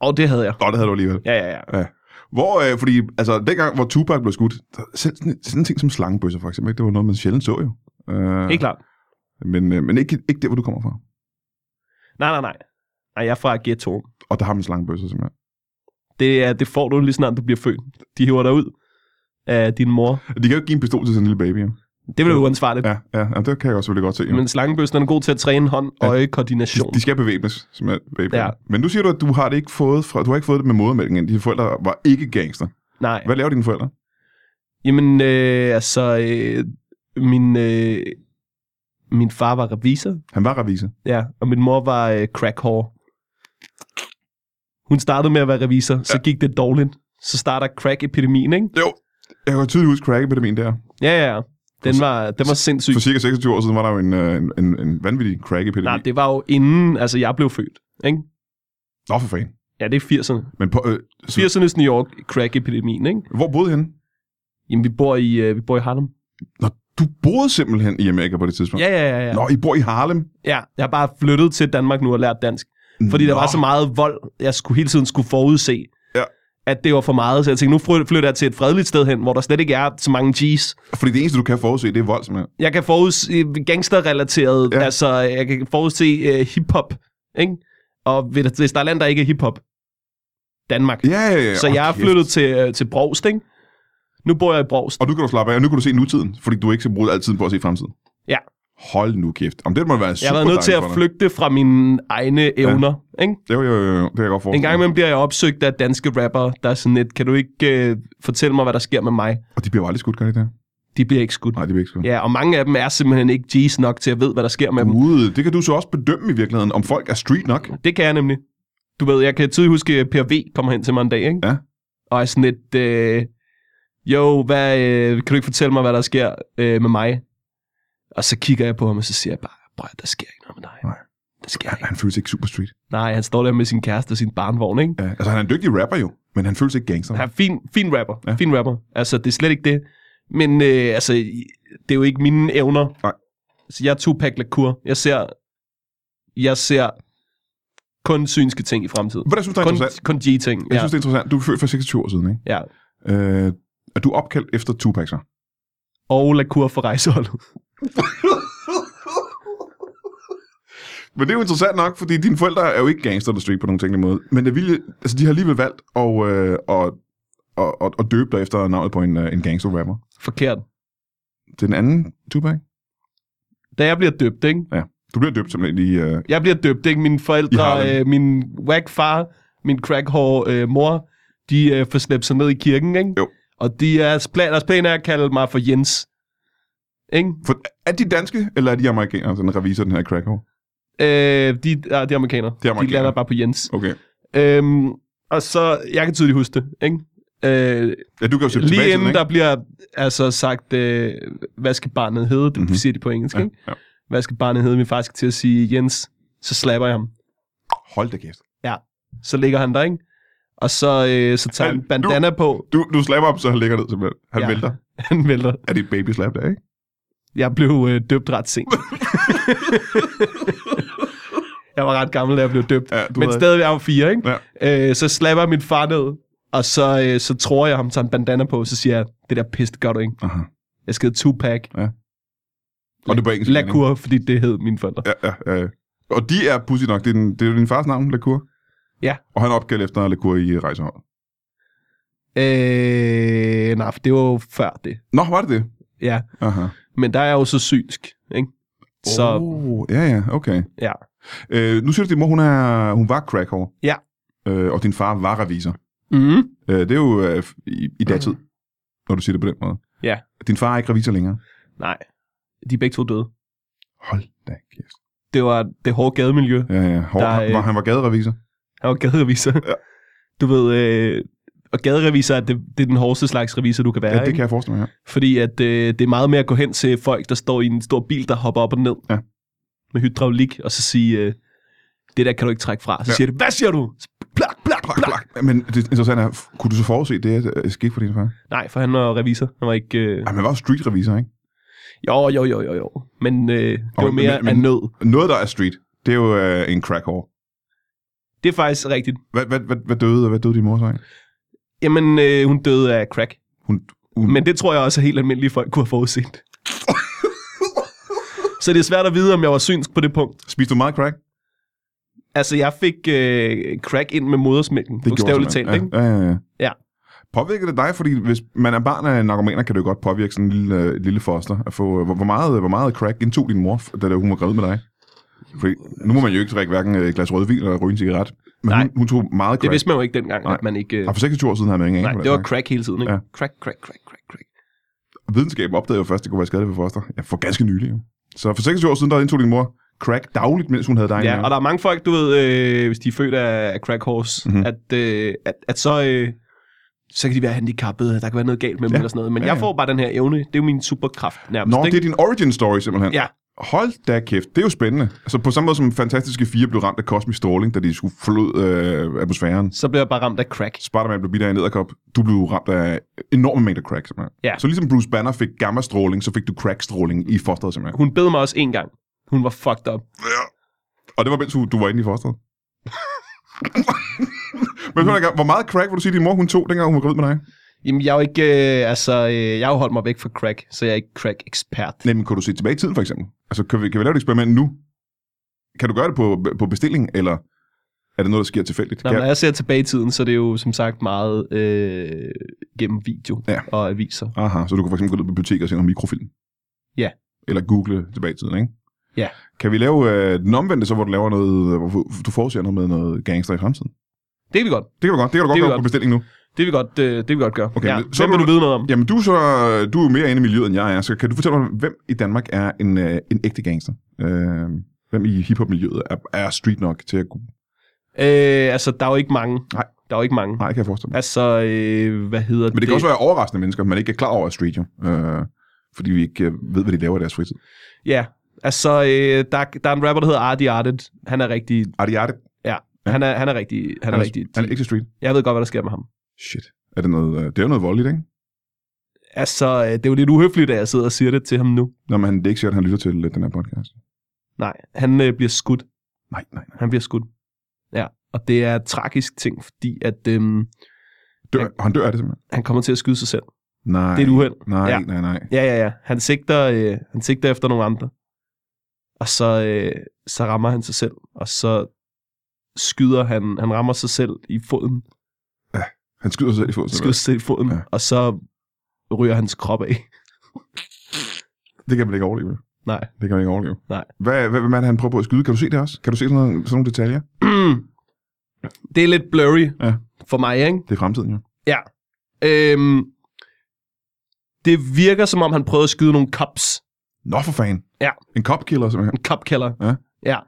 [SPEAKER 2] Og det havde jeg.
[SPEAKER 1] Nå, det havde du alligevel.
[SPEAKER 2] Ja, ja, ja.
[SPEAKER 1] Hvor, øh, fordi, altså, dengang, hvor Tupac blev skudt, der, selv sådan, sådan en ting som slangebøsser, for eksempel, ikke? det var noget, man sjældent så jo. Øh,
[SPEAKER 2] Helt klart.
[SPEAKER 1] Men, øh, men ikke, ikke der, hvor du kommer fra.
[SPEAKER 2] Nej, nej, nej. Nej, jeg er fra ghettoen.
[SPEAKER 1] Og der har man slangebøsser, simpelthen.
[SPEAKER 2] Det, er, det får du lige snart, du bliver født. De hiver dig ud af din mor.
[SPEAKER 1] De kan jo ikke give en pistol til sådan en lille baby. Jo.
[SPEAKER 2] Det vil være uansvarligt. Ja.
[SPEAKER 1] Ja, ja, ja, det kan jeg også selvfølgelig godt se. Jo. Men,
[SPEAKER 2] Men slangebøsten er god til at træne hånd,
[SPEAKER 1] Ja.
[SPEAKER 2] øje,
[SPEAKER 1] de,
[SPEAKER 2] koordination.
[SPEAKER 1] de, skal bevæbnes, simpelthen, baby.
[SPEAKER 2] Ja.
[SPEAKER 1] Ja. Men nu siger du, at du har det ikke fået, fra, du har ikke fået det med modermælken. Dine forældre var ikke gangster.
[SPEAKER 2] Nej.
[SPEAKER 1] Hvad laver dine forældre?
[SPEAKER 2] Jamen, øh, altså, øh, min, øh, min far var revisor,
[SPEAKER 1] Han var revisor.
[SPEAKER 2] ja, og min mor var øh, crack whore. Hun startede med at være revisor, så gik det dårligt. Så starter crack-epidemien, ikke?
[SPEAKER 1] Jo. Jeg kan tydeligt huske crack-epidemien der.
[SPEAKER 2] Ja, ja, ja. Den var, den var sindssyg.
[SPEAKER 1] For cirka 26 år siden var der jo en, øh, en, en, en vanvittig crack-epidemi.
[SPEAKER 2] Nej, det var jo inden, altså, jeg blev født, ikke?
[SPEAKER 1] Nå for fanden.
[SPEAKER 2] Ja, det er 80'erne.
[SPEAKER 1] Men på, øh, så,
[SPEAKER 2] 80'ernes New York, crack-epidemien, ikke?
[SPEAKER 1] hvor boede I henne?
[SPEAKER 2] Jamen, vi bor i, øh, vi bor i Harlem.
[SPEAKER 1] Nå, du boede simpelthen i Amerika på det tidspunkt.
[SPEAKER 2] Ja, ja, ja, ja.
[SPEAKER 1] Nå, I bor i Harlem.
[SPEAKER 2] ja. Jeg har bare flyttet til Danmark nu og lært dansk. Fordi
[SPEAKER 1] Nå.
[SPEAKER 2] der var så meget vold, jeg skulle hele tiden skulle forudse,
[SPEAKER 1] Ja.
[SPEAKER 2] at det var for meget. Så jeg tænkte, nu fly- flytter jeg til et fredeligt sted hen, hvor der slet ikke er så mange G's.
[SPEAKER 1] Fordi det eneste, du kan forudse, det er vold, simpelthen.
[SPEAKER 2] Jeg kan forudse øh, gangsterrelateret, ja.
[SPEAKER 1] Ja.
[SPEAKER 2] altså jeg kan forudse uh, hiphop, ikke? Og ved- hvis der er land, der ikke er hiphop, Danmark.
[SPEAKER 1] Ja, ja, ja.
[SPEAKER 2] så
[SPEAKER 1] Åh,
[SPEAKER 2] jeg er
[SPEAKER 1] kæft.
[SPEAKER 2] flyttet til, øh, til Brogst, ikke? Nu bor jeg i Brogst.
[SPEAKER 1] Og nu kan du slappe af, og nu kan du se nutiden, fordi du ikke skal bruge altid på at se fremtiden.
[SPEAKER 2] Ja.
[SPEAKER 1] Hold nu kæft. Om det må være super
[SPEAKER 2] Jeg har været nødt til at
[SPEAKER 1] dejligt for dig.
[SPEAKER 2] flygte fra mine egne evner, ja. ikke?
[SPEAKER 1] Jo, jo, jo, jo, det kan jeg godt forstå.
[SPEAKER 2] En gang imellem bliver jeg opsøgt af danske rapper, der er sådan lidt, kan du ikke øh, fortælle mig, hvad der sker med mig?
[SPEAKER 1] Og de bliver jo aldrig skudt, gør de det?
[SPEAKER 2] De bliver ikke skudt.
[SPEAKER 1] Nej, de bliver ikke skudt.
[SPEAKER 2] Ja, og mange af dem er simpelthen ikke G's nok til at vide, hvad der sker med dem.
[SPEAKER 1] Ude, det kan du så også bedømme i virkeligheden, om folk er street nok.
[SPEAKER 2] Det kan jeg nemlig. Du ved, jeg kan tydeligt huske, at Per V kommer hen til mig en dag, ikke?
[SPEAKER 1] Ja.
[SPEAKER 2] Og er sådan lidt, øh, jo, hvad, øh, kan du ikke fortælle mig, hvad der sker øh, med mig? Og så kigger jeg på ham, og så siger jeg bare, bror, der sker ikke noget med dig.
[SPEAKER 1] Nej.
[SPEAKER 2] Der sker
[SPEAKER 1] Han,
[SPEAKER 2] ikke.
[SPEAKER 1] han føles ikke super street.
[SPEAKER 2] Nej, han står der med sin kæreste og sin barnvogn, ikke?
[SPEAKER 1] Ja. Altså, han er en dygtig rapper jo, men han føles ikke gangster.
[SPEAKER 2] Han er fin, fin rapper. Ja.
[SPEAKER 1] Ja.
[SPEAKER 2] Fin rapper. Altså, det er slet ikke det. Men øh, altså, det er jo ikke mine evner.
[SPEAKER 1] Nej.
[SPEAKER 2] Så jeg er Tupac Lacour. Jeg ser, jeg ser kun synske ting i fremtiden.
[SPEAKER 1] Hvad jeg synes, der er
[SPEAKER 2] Kun,
[SPEAKER 1] interessant?
[SPEAKER 2] kun G-ting.
[SPEAKER 1] Jeg
[SPEAKER 2] Ja.
[SPEAKER 1] synes, det er interessant. Du er født for 26 år siden, ikke?
[SPEAKER 2] ja.
[SPEAKER 1] Øh, er du opkaldt efter Tupac så?
[SPEAKER 2] Og Lacour for rejseholdet.
[SPEAKER 1] Men det er jo interessant nok, fordi dine forældre er jo ikke gangster, der street på nogen tænkelig måde. Men det vilje, altså, de har alligevel valgt at, øh, at, at, at, at døbe dig efter navnet på en, øh, en gangster-rapper.
[SPEAKER 2] Forkert.
[SPEAKER 1] Det er den anden Tupac.
[SPEAKER 2] Da jeg bliver døbt, ikke?
[SPEAKER 1] Du bliver døbt simpelthen i... Øh,
[SPEAKER 2] Jeg bliver døbt, ikke? Mine
[SPEAKER 1] I
[SPEAKER 2] forældre,
[SPEAKER 1] Harlem.
[SPEAKER 2] øh, min whack far, min crackhår øh, mor, de øh, får slæbt sig ned i kirken, ikke?
[SPEAKER 1] Jo.
[SPEAKER 2] Og de er, plan, deres plan er at kalde mig for Jens. Ikke?
[SPEAKER 1] for, er de danske, eller er de amerikanere, den revisor, den her cracker?
[SPEAKER 2] Øh, de, ah, de er amerikanere.
[SPEAKER 1] amerikanere.
[SPEAKER 2] De lander bare på Jens.
[SPEAKER 1] Okay.
[SPEAKER 2] Øhm, Og så, jeg kan tydeligt huske det, ikke? Øh,
[SPEAKER 1] Ja, du kan jo se tilbage
[SPEAKER 2] lige
[SPEAKER 1] til den,
[SPEAKER 2] inden
[SPEAKER 1] ikke?
[SPEAKER 2] der bliver altså sagt, øh, hvad skal barnet hedde? Det
[SPEAKER 1] Mhm.
[SPEAKER 2] mm-hmm. siger de på engelsk, ja. ikke?
[SPEAKER 1] Ja, ja.
[SPEAKER 2] Hvad skal barnet hedde? Min far skal til at sige, Jens, så slapper jeg ham.
[SPEAKER 1] Hold da kæft.
[SPEAKER 2] Så ligger han der, ikke? Og så, øh, så tager han
[SPEAKER 1] Men
[SPEAKER 2] bandana på.
[SPEAKER 1] Du, du slapper op, så han ligger ned simpelthen. Han ja.
[SPEAKER 2] Ja.
[SPEAKER 1] vælter.
[SPEAKER 2] Han vælter.
[SPEAKER 1] Er det et baby slap der, ikke?
[SPEAKER 2] Jeg blev øh, døbt ret sent. jeg var ret gammel, da jeg blev døbt.
[SPEAKER 1] Ja, du
[SPEAKER 2] Men
[SPEAKER 1] havde-
[SPEAKER 2] stadig jeg var fire, ikke? Ja. Øh, så slapper jeg min far ned, og så, øh, så tror jeg ham, tager en bandana på, så siger jeg, det der pis, det gør du ikke.
[SPEAKER 1] Aha.
[SPEAKER 2] Jeg skrev Tupac.
[SPEAKER 1] Og det er på engelsk. ikke?
[SPEAKER 2] Lacour, fordi det hed mine forældre.
[SPEAKER 1] Ja, ja, ja. ja. Og de er pussy nok. Det er, din, det er jo din fars navn, Lacour.
[SPEAKER 2] Ja.
[SPEAKER 1] Og han opgav efter Lacour i øh, rejseholdet.
[SPEAKER 2] Øh, nej, for det var jo før det.
[SPEAKER 1] Nå, var det det?
[SPEAKER 2] Ja,
[SPEAKER 1] Aha.
[SPEAKER 2] men der er jeg jo så synsk, ikke? Så
[SPEAKER 1] Oh, ja, ja, okay.
[SPEAKER 2] ja,
[SPEAKER 1] Øh, nu siger du, at din mor, hun, er, hun var crackhår.
[SPEAKER 2] Ja.
[SPEAKER 1] Øh, og din far var revisor.
[SPEAKER 2] mm,
[SPEAKER 1] Øh, det er jo øh, i, i datid, mm. når du siger det på den måde.
[SPEAKER 2] Ja.
[SPEAKER 1] Din far er ikke revisor længere.
[SPEAKER 2] nej, de er begge to døde.
[SPEAKER 1] Hold da kæft.
[SPEAKER 2] Det var det hårde gademiljø.
[SPEAKER 1] Ja, ja. Hår,
[SPEAKER 2] Der er,
[SPEAKER 1] der,
[SPEAKER 2] øh,
[SPEAKER 1] var, han var gaderevisor.
[SPEAKER 2] Han var gadereviser.
[SPEAKER 1] Ja.
[SPEAKER 2] Du ved, øh, og gadereviser, er det, det er den hårdeste slags revisor, du kan være,
[SPEAKER 1] Ja, det
[SPEAKER 2] ikke?
[SPEAKER 1] kan jeg forestille mig, ja.
[SPEAKER 2] Fordi at, øh, det er meget mere at gå hen til folk, der står i en stor bil, der hopper op og ned
[SPEAKER 1] Ja.
[SPEAKER 2] med hydraulik, og så sige, øh, det der kan du ikke trække fra. Så
[SPEAKER 1] Ja.
[SPEAKER 2] ja. siger det, hvad siger du? Så Plak, plak, plak, plak.
[SPEAKER 1] Men det interessante er, f- kunne du så forudse det, at skete for din far?
[SPEAKER 2] Nej, for han var revisor. Han var ikke... Øh,
[SPEAKER 1] Ej, man var jo streetrevisor, ikke?
[SPEAKER 2] Jo, jo, jo, jo, jo. Men øh, det
[SPEAKER 1] Og-
[SPEAKER 2] var mere
[SPEAKER 1] men- men-
[SPEAKER 2] af nød.
[SPEAKER 1] Noget, der er street, det er jo øh, en crackhår.
[SPEAKER 2] Det er faktisk rigtigt.
[SPEAKER 1] Hvad, hvad, hvad, hvad døde, og hvad døde din mor så? af?
[SPEAKER 2] Jamen, øh, hun døde af crack.
[SPEAKER 1] Hun, hun,
[SPEAKER 2] Men det tror jeg også, at helt almindelige folk kunne have forudset. Så det er svært at vide, om jeg var synsk på det punkt.
[SPEAKER 1] Spiste du meget crack?
[SPEAKER 2] Altså, jeg fik øh, crack ind med modersmælken,
[SPEAKER 1] gjorde
[SPEAKER 2] bogstaveligt
[SPEAKER 1] simpelthen.
[SPEAKER 2] talt, ikke?
[SPEAKER 1] ja, ja, ja, ja.
[SPEAKER 2] Ja.
[SPEAKER 1] Påvirker det dig, fordi hvis man er barn af narkomaner, kan det jo godt påvirke sådan en lille, øh, et lille foster. At få, øh, hvor, hvor, meget, hvor meget crack indtog din mor, f- da hun var gravid med dig? Fordi nu må man jo ikke drikke hverken øh, et glas rødvin eller ryge en cigaret. Men
[SPEAKER 2] Nej.
[SPEAKER 1] Hun, hun tog meget
[SPEAKER 2] Det
[SPEAKER 1] crack.
[SPEAKER 2] vidste man jo ikke dengang,
[SPEAKER 1] Nej.
[SPEAKER 2] at man ikke... Øh,
[SPEAKER 1] Og for 26 år siden havde man ingen
[SPEAKER 2] nej,
[SPEAKER 1] aning på
[SPEAKER 2] det var
[SPEAKER 1] slags.
[SPEAKER 2] crack hele tiden, ikke?
[SPEAKER 1] Ja.
[SPEAKER 2] Ja. Crack, crack, crack, crack, crack.
[SPEAKER 1] Videnskaben opdagede jo først, at det kunne være skadeligt for foster. Ja, for ganske nylig jo. Så for 26 år siden, der indtog din mor crack dagligt, mens hun havde dig. i
[SPEAKER 2] Ja,
[SPEAKER 1] maven.
[SPEAKER 2] og der er mange folk, du ved, øh, hvis de er født af crack horse,
[SPEAKER 1] Mhm.
[SPEAKER 2] mm-hmm. at, øh, at, at så, øh, så kan de være handicappede, der kan være noget galt med dem
[SPEAKER 1] Ja.
[SPEAKER 2] ja. eller sådan noget. Men
[SPEAKER 1] Ja,
[SPEAKER 2] ja, jeg
[SPEAKER 1] ja.
[SPEAKER 2] får bare den her evne. Det er jo min superkraft nærmest.
[SPEAKER 1] Nå, det er din origin story simpelthen.
[SPEAKER 2] Ja.
[SPEAKER 1] Hold da kæft, det er jo spændende. Altså på samme måde som Fantastiske Fire blev ramt af kosmisk stråling, da de skulle forlod øh, atmosfæren.
[SPEAKER 2] Så bliver jeg bare ramt af crack.
[SPEAKER 1] Spider-Man blev bidt af en edderkop. Du blev ramt af enorme mængder crack, simpelthen.
[SPEAKER 2] Ja.
[SPEAKER 1] Så ligesom Bruce Banner fik gammastråling, så fik du crackstråling i fosteret, simpelthen.
[SPEAKER 2] Hun bed mig også en gang. Hun var fucked up.
[SPEAKER 1] Ja. Og det var mens du, du var inde i fosteret. Men hør en gang, hvor meget crack vil du sige, din mor hun tog, dengang hun var gravid med dig?
[SPEAKER 2] Jamen, jeg er jo ikke, øh, altså, øh, jeg har jo holdt mig væk fra crack, så jeg er ikke crack-ekspert.
[SPEAKER 1] Jamen, kan du se tilbage i tiden, for eksempel? Altså, kan vi, kan vi lave et eksperiment nu? Kan du gøre det på, på bestilling, eller er det noget, der sker tilfældigt?
[SPEAKER 2] Nå,
[SPEAKER 1] Kan-
[SPEAKER 2] men når jeg ser tilbage i tiden, så er det jo som sagt meget øh, gennem video
[SPEAKER 1] Ja.
[SPEAKER 2] ja. og aviser.
[SPEAKER 1] Aha, så du kan for eksempel gå ned på biblioteket og se noget mikrofilm?
[SPEAKER 2] Ja.
[SPEAKER 1] Eller google tilbage i tiden, ikke?
[SPEAKER 2] Ja.
[SPEAKER 1] Kan vi lave øh, den omvendte, så hvor du laver noget, øh, hvor du forudser noget med noget gangster i fremtiden?
[SPEAKER 2] Det kan vi godt.
[SPEAKER 1] Det kan du godt, det kan du godt
[SPEAKER 2] Det vil
[SPEAKER 1] gøre
[SPEAKER 2] jeg
[SPEAKER 1] på bestilling nu.
[SPEAKER 2] Det kan vi godt, øh, det kan vi godt gøre.
[SPEAKER 1] Okay,
[SPEAKER 2] ja.
[SPEAKER 1] men så
[SPEAKER 2] Hvem
[SPEAKER 1] er
[SPEAKER 2] vil
[SPEAKER 1] du-
[SPEAKER 2] du vide noget om?
[SPEAKER 1] Jamen, du er, så, du er jo mere inde i miljøet, end jeg er, så kan du fortælle mig, hvem i Danmark er en, øh, en ægte gangster? Øh, hvem i hiphop-miljøet er, er street nok til at kunne...
[SPEAKER 2] Øh, altså, der er jo ikke mange.
[SPEAKER 1] Nej.
[SPEAKER 2] Der er jo ikke mange.
[SPEAKER 1] Nej, kan jeg forestille mig.
[SPEAKER 2] Altså, øh, hvad hedder det?
[SPEAKER 1] Men det, kan også være overraskende mennesker, man ikke er klar over er street, jo. Øh, fordi vi ikke øh, ved, hvad de laver i deres fritid.
[SPEAKER 2] Ja, altså, øh, der, der er en rapper, der hedder Artie Artet. Han er rigtig...
[SPEAKER 1] Artiarte, Ja.
[SPEAKER 2] Ja. Han, er, han er rigtig... Han er, rigtig
[SPEAKER 1] han er ikke til street.
[SPEAKER 2] Jeg ved godt, hvad der sker med ham.
[SPEAKER 1] Shit. Er det noget, øh, det er jo noget voldeligt, ikke?
[SPEAKER 2] Altså, øh, det er jo lidt uhøfligt, at jeg sidder og siger det til ham nu.
[SPEAKER 1] Nå, men han, det er ikke sikkert, at han lytter til øh, den her podcast.
[SPEAKER 2] Nej, han øh, bliver skudt.
[SPEAKER 1] Nej, nej, nej.
[SPEAKER 2] Han bliver skudt. Ja, og det er en tragisk ting, fordi at øh,
[SPEAKER 1] Dør,
[SPEAKER 2] Ja.
[SPEAKER 1] Han dør af det simpelthen.
[SPEAKER 2] han kommer til at skyde sig selv.
[SPEAKER 1] Nej.
[SPEAKER 2] Det er et uheld.
[SPEAKER 1] Nej,
[SPEAKER 2] Ja.
[SPEAKER 1] nej, nej.
[SPEAKER 2] Ja, ja, ja. Han sigter, øh, han sigter efter nogle andre. Og så, øh, så rammer han sig selv. Og så skyder han, han rammer sig selv i foden.
[SPEAKER 1] Han skyder sig selv i foden.
[SPEAKER 2] Skyder
[SPEAKER 1] simpelthen.
[SPEAKER 2] sig selv i foden.
[SPEAKER 1] Ja.
[SPEAKER 2] Ja. Og så ryger hans krop af.
[SPEAKER 1] Det kan man ikke overleve.
[SPEAKER 2] Nej.
[SPEAKER 1] Det kan man ikke overleve.
[SPEAKER 2] Nej.
[SPEAKER 1] Hvad, hvad, hvad er det, han prøver på at skyde? Kan du se det også? Kan du se sådan, noget, sådan nogle detaljer?
[SPEAKER 2] det er lidt blurry
[SPEAKER 1] Ja.
[SPEAKER 2] ja. for mig, ikke?
[SPEAKER 1] Det er fremtiden, jo.
[SPEAKER 2] Øhm, det virker, som om han prøvede at skyde nogle cops.
[SPEAKER 1] Nå for fanden.
[SPEAKER 2] Ja.
[SPEAKER 1] En copkiller, simpelthen.
[SPEAKER 2] En copkiller.
[SPEAKER 1] Ja.
[SPEAKER 2] ja.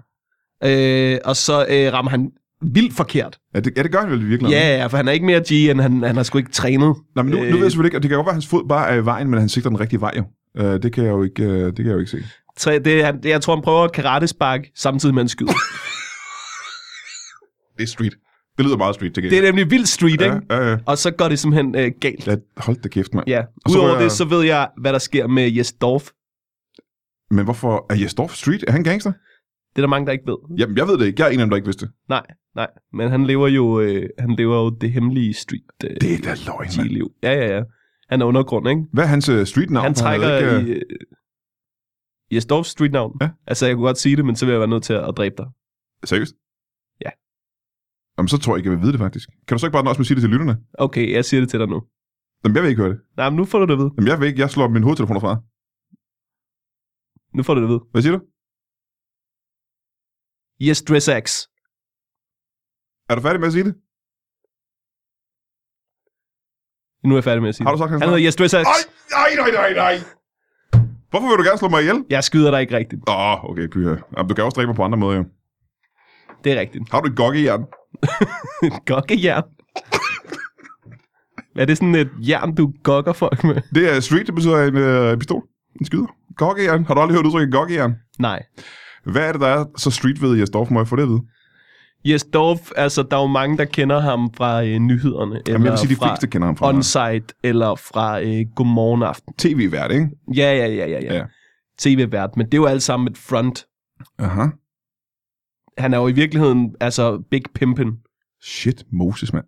[SPEAKER 2] Øh, og så øh, rammer han vildt forkert.
[SPEAKER 1] Ja, det, ja, det gør han vel i virkeligheden.
[SPEAKER 2] Ja, øh, ja, for han er ikke mere G, end han, han har sgu ikke trænet.
[SPEAKER 1] Nej, men nu, nu ved jeg selvfølgelig ikke, og det kan jo godt være, at hans fod bare er i vejen, men han sigter den rigtige vej jo. Øh, det, kan jeg jo ikke, øh, det kan jeg jo ikke se.
[SPEAKER 2] Træ, det, er- han, det, jeg tror, han prøver at karatespark, samtidig med han skyder.
[SPEAKER 1] Det er street. Det lyder meget street til
[SPEAKER 2] Det er nemlig vildt street, ikke?
[SPEAKER 1] ja, ja.
[SPEAKER 2] Og så går det simpelthen øh, galt.
[SPEAKER 1] ja, hold da kæft, mand.
[SPEAKER 2] Ja.
[SPEAKER 1] Og så
[SPEAKER 2] Udover
[SPEAKER 1] rører-
[SPEAKER 2] det, så ved jeg, hvad der sker med Jes Dorf.
[SPEAKER 1] Men hvorfor er Jesdorf street? Er han gangster?
[SPEAKER 2] Det er der mange, der ikke ved.
[SPEAKER 1] Jamen, jeg ved det ikke. Jeg er en af dem, der ikke vidste det.
[SPEAKER 2] Nej, nej. Men han lever jo, øh, han lever jo det hemmelige street øh,
[SPEAKER 1] Det er da løgn, mand.
[SPEAKER 2] liv. Ja, ja, ja. Han er undergrund, ikke?
[SPEAKER 1] Hvad er hans øh, street-navn?
[SPEAKER 2] han
[SPEAKER 1] for havde
[SPEAKER 2] trækker
[SPEAKER 1] ikke, øh,
[SPEAKER 2] i... Øh, Jes Dorfs streetnavn.
[SPEAKER 1] Ja.
[SPEAKER 2] Altså, jeg kunne godt sige det, men så vil jeg være nødt til at dræbe dig.
[SPEAKER 1] Seriøst?
[SPEAKER 2] Ja.
[SPEAKER 1] Jamen, så tror jeg ikke, jeg vil vide det faktisk. Kan du så ikke bare nøjes med at sige det til lytterne?
[SPEAKER 2] Okay, jeg siger det til dig nu.
[SPEAKER 1] Jamen, jeg vil ikke høre det.
[SPEAKER 2] Nej, men nu får du det ved.
[SPEAKER 1] Jamen, jeg vil ikke. Jeg slår min hovedtelefoner fra.
[SPEAKER 2] Nu får du det ved.
[SPEAKER 1] Hvad siger du?
[SPEAKER 2] Yes, Dress Axe.
[SPEAKER 1] Er du færdig med at sige det?
[SPEAKER 2] Nu er jeg færdig med at sige
[SPEAKER 1] Har du
[SPEAKER 2] det.
[SPEAKER 1] sagt hans
[SPEAKER 2] Han hedder Yes, Dress Axe.
[SPEAKER 1] Ej, nej, nej, nej, nej. Hvorfor vil du gerne slå mig ihjel?
[SPEAKER 2] Jeg skyder dig ikke rigtigt.
[SPEAKER 1] Åh, oh, okay, pyha. Jamen, du kan også dræbe mig på andre måder, jo.
[SPEAKER 2] Det er rigtigt.
[SPEAKER 1] Har du et gokkejern?
[SPEAKER 2] Gokkejern. er det sådan et jern, du gokker folk med?
[SPEAKER 1] Det er street, det betyder en øh, pistol. En skyder. Gokkejern. Har du aldrig hørt udtrykket gokkejern?
[SPEAKER 2] Nej.
[SPEAKER 1] Hvad er det, der er så street ved Jes Dorf? Må jeg få det at vide?
[SPEAKER 2] Jes Dorf, altså der er jo mange, der kender ham fra øh, nyhederne. Eller
[SPEAKER 1] Jamen, jeg vil sige, de
[SPEAKER 2] fra
[SPEAKER 1] fleste kender ham fra
[SPEAKER 2] Onsite, eller fra øh, Godmorgen Aften.
[SPEAKER 1] tv-vært, ikke?
[SPEAKER 2] Ja, ja, ja, ja, ja.
[SPEAKER 1] Ja.
[SPEAKER 2] ja. TV-vært, men det er jo alt sammen et front.
[SPEAKER 1] Aha.
[SPEAKER 2] Han er jo i virkeligheden, altså Big Pimpin.
[SPEAKER 1] Shit, Moses, mand.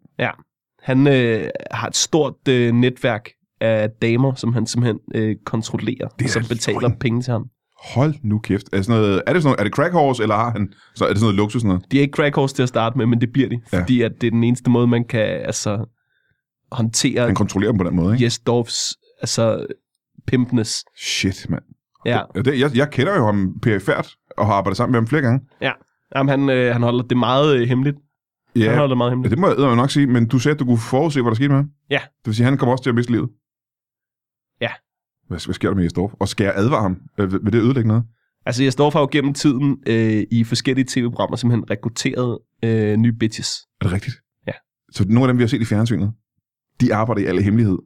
[SPEAKER 2] Han øh, har et stort øh, netværk af damer, som han simpelthen øh, kontrollerer,
[SPEAKER 1] er
[SPEAKER 2] og som
[SPEAKER 1] da
[SPEAKER 2] betaler
[SPEAKER 1] løgn.
[SPEAKER 2] penge til ham.
[SPEAKER 1] Hold nu kæft. Er det sådan noget, er det sådan noget, er det crack horse, eller har han, så er det sådan noget luksus noget?
[SPEAKER 2] De er ikke crack horse til at starte med, men det bliver de,
[SPEAKER 1] Ja.
[SPEAKER 2] ja. fordi at det er den eneste måde, man kan altså, håndtere
[SPEAKER 1] Han kontrollerer dem på den måde, ikke?
[SPEAKER 2] Jes Dorfs altså, pimpness.
[SPEAKER 1] Shit, mand.
[SPEAKER 2] Ja.
[SPEAKER 1] Ja, Det, jeg, jeg kender jo ham perifært, og har arbejdet sammen med ham flere gange.
[SPEAKER 2] Jamen, han, øh, han holder det meget øh, hemmeligt.
[SPEAKER 1] Ja,
[SPEAKER 2] Han holder det meget
[SPEAKER 1] ja
[SPEAKER 2] hemmeligt.
[SPEAKER 1] det må jeg eddermame nok sige, men du sagde, at du kunne forudse, hvad der skete med ham.
[SPEAKER 2] Ja.
[SPEAKER 1] Det vil sige, at han kommer også til at miste livet.
[SPEAKER 2] Ja.
[SPEAKER 1] Hvad, hvad sker der med Jesdorf? Og skal jeg advare ham? Øh, Vil vil det ødelægge noget?
[SPEAKER 2] Altså, jeg står for jo gennem tiden øh, i forskellige tv-programmer, simpelthen rekrutteret øh, nye bitches
[SPEAKER 1] Er det rigtigt?
[SPEAKER 2] Ja.
[SPEAKER 1] Så nogle af dem, vi har set i fjernsynet, de arbejder i alle hemmelighed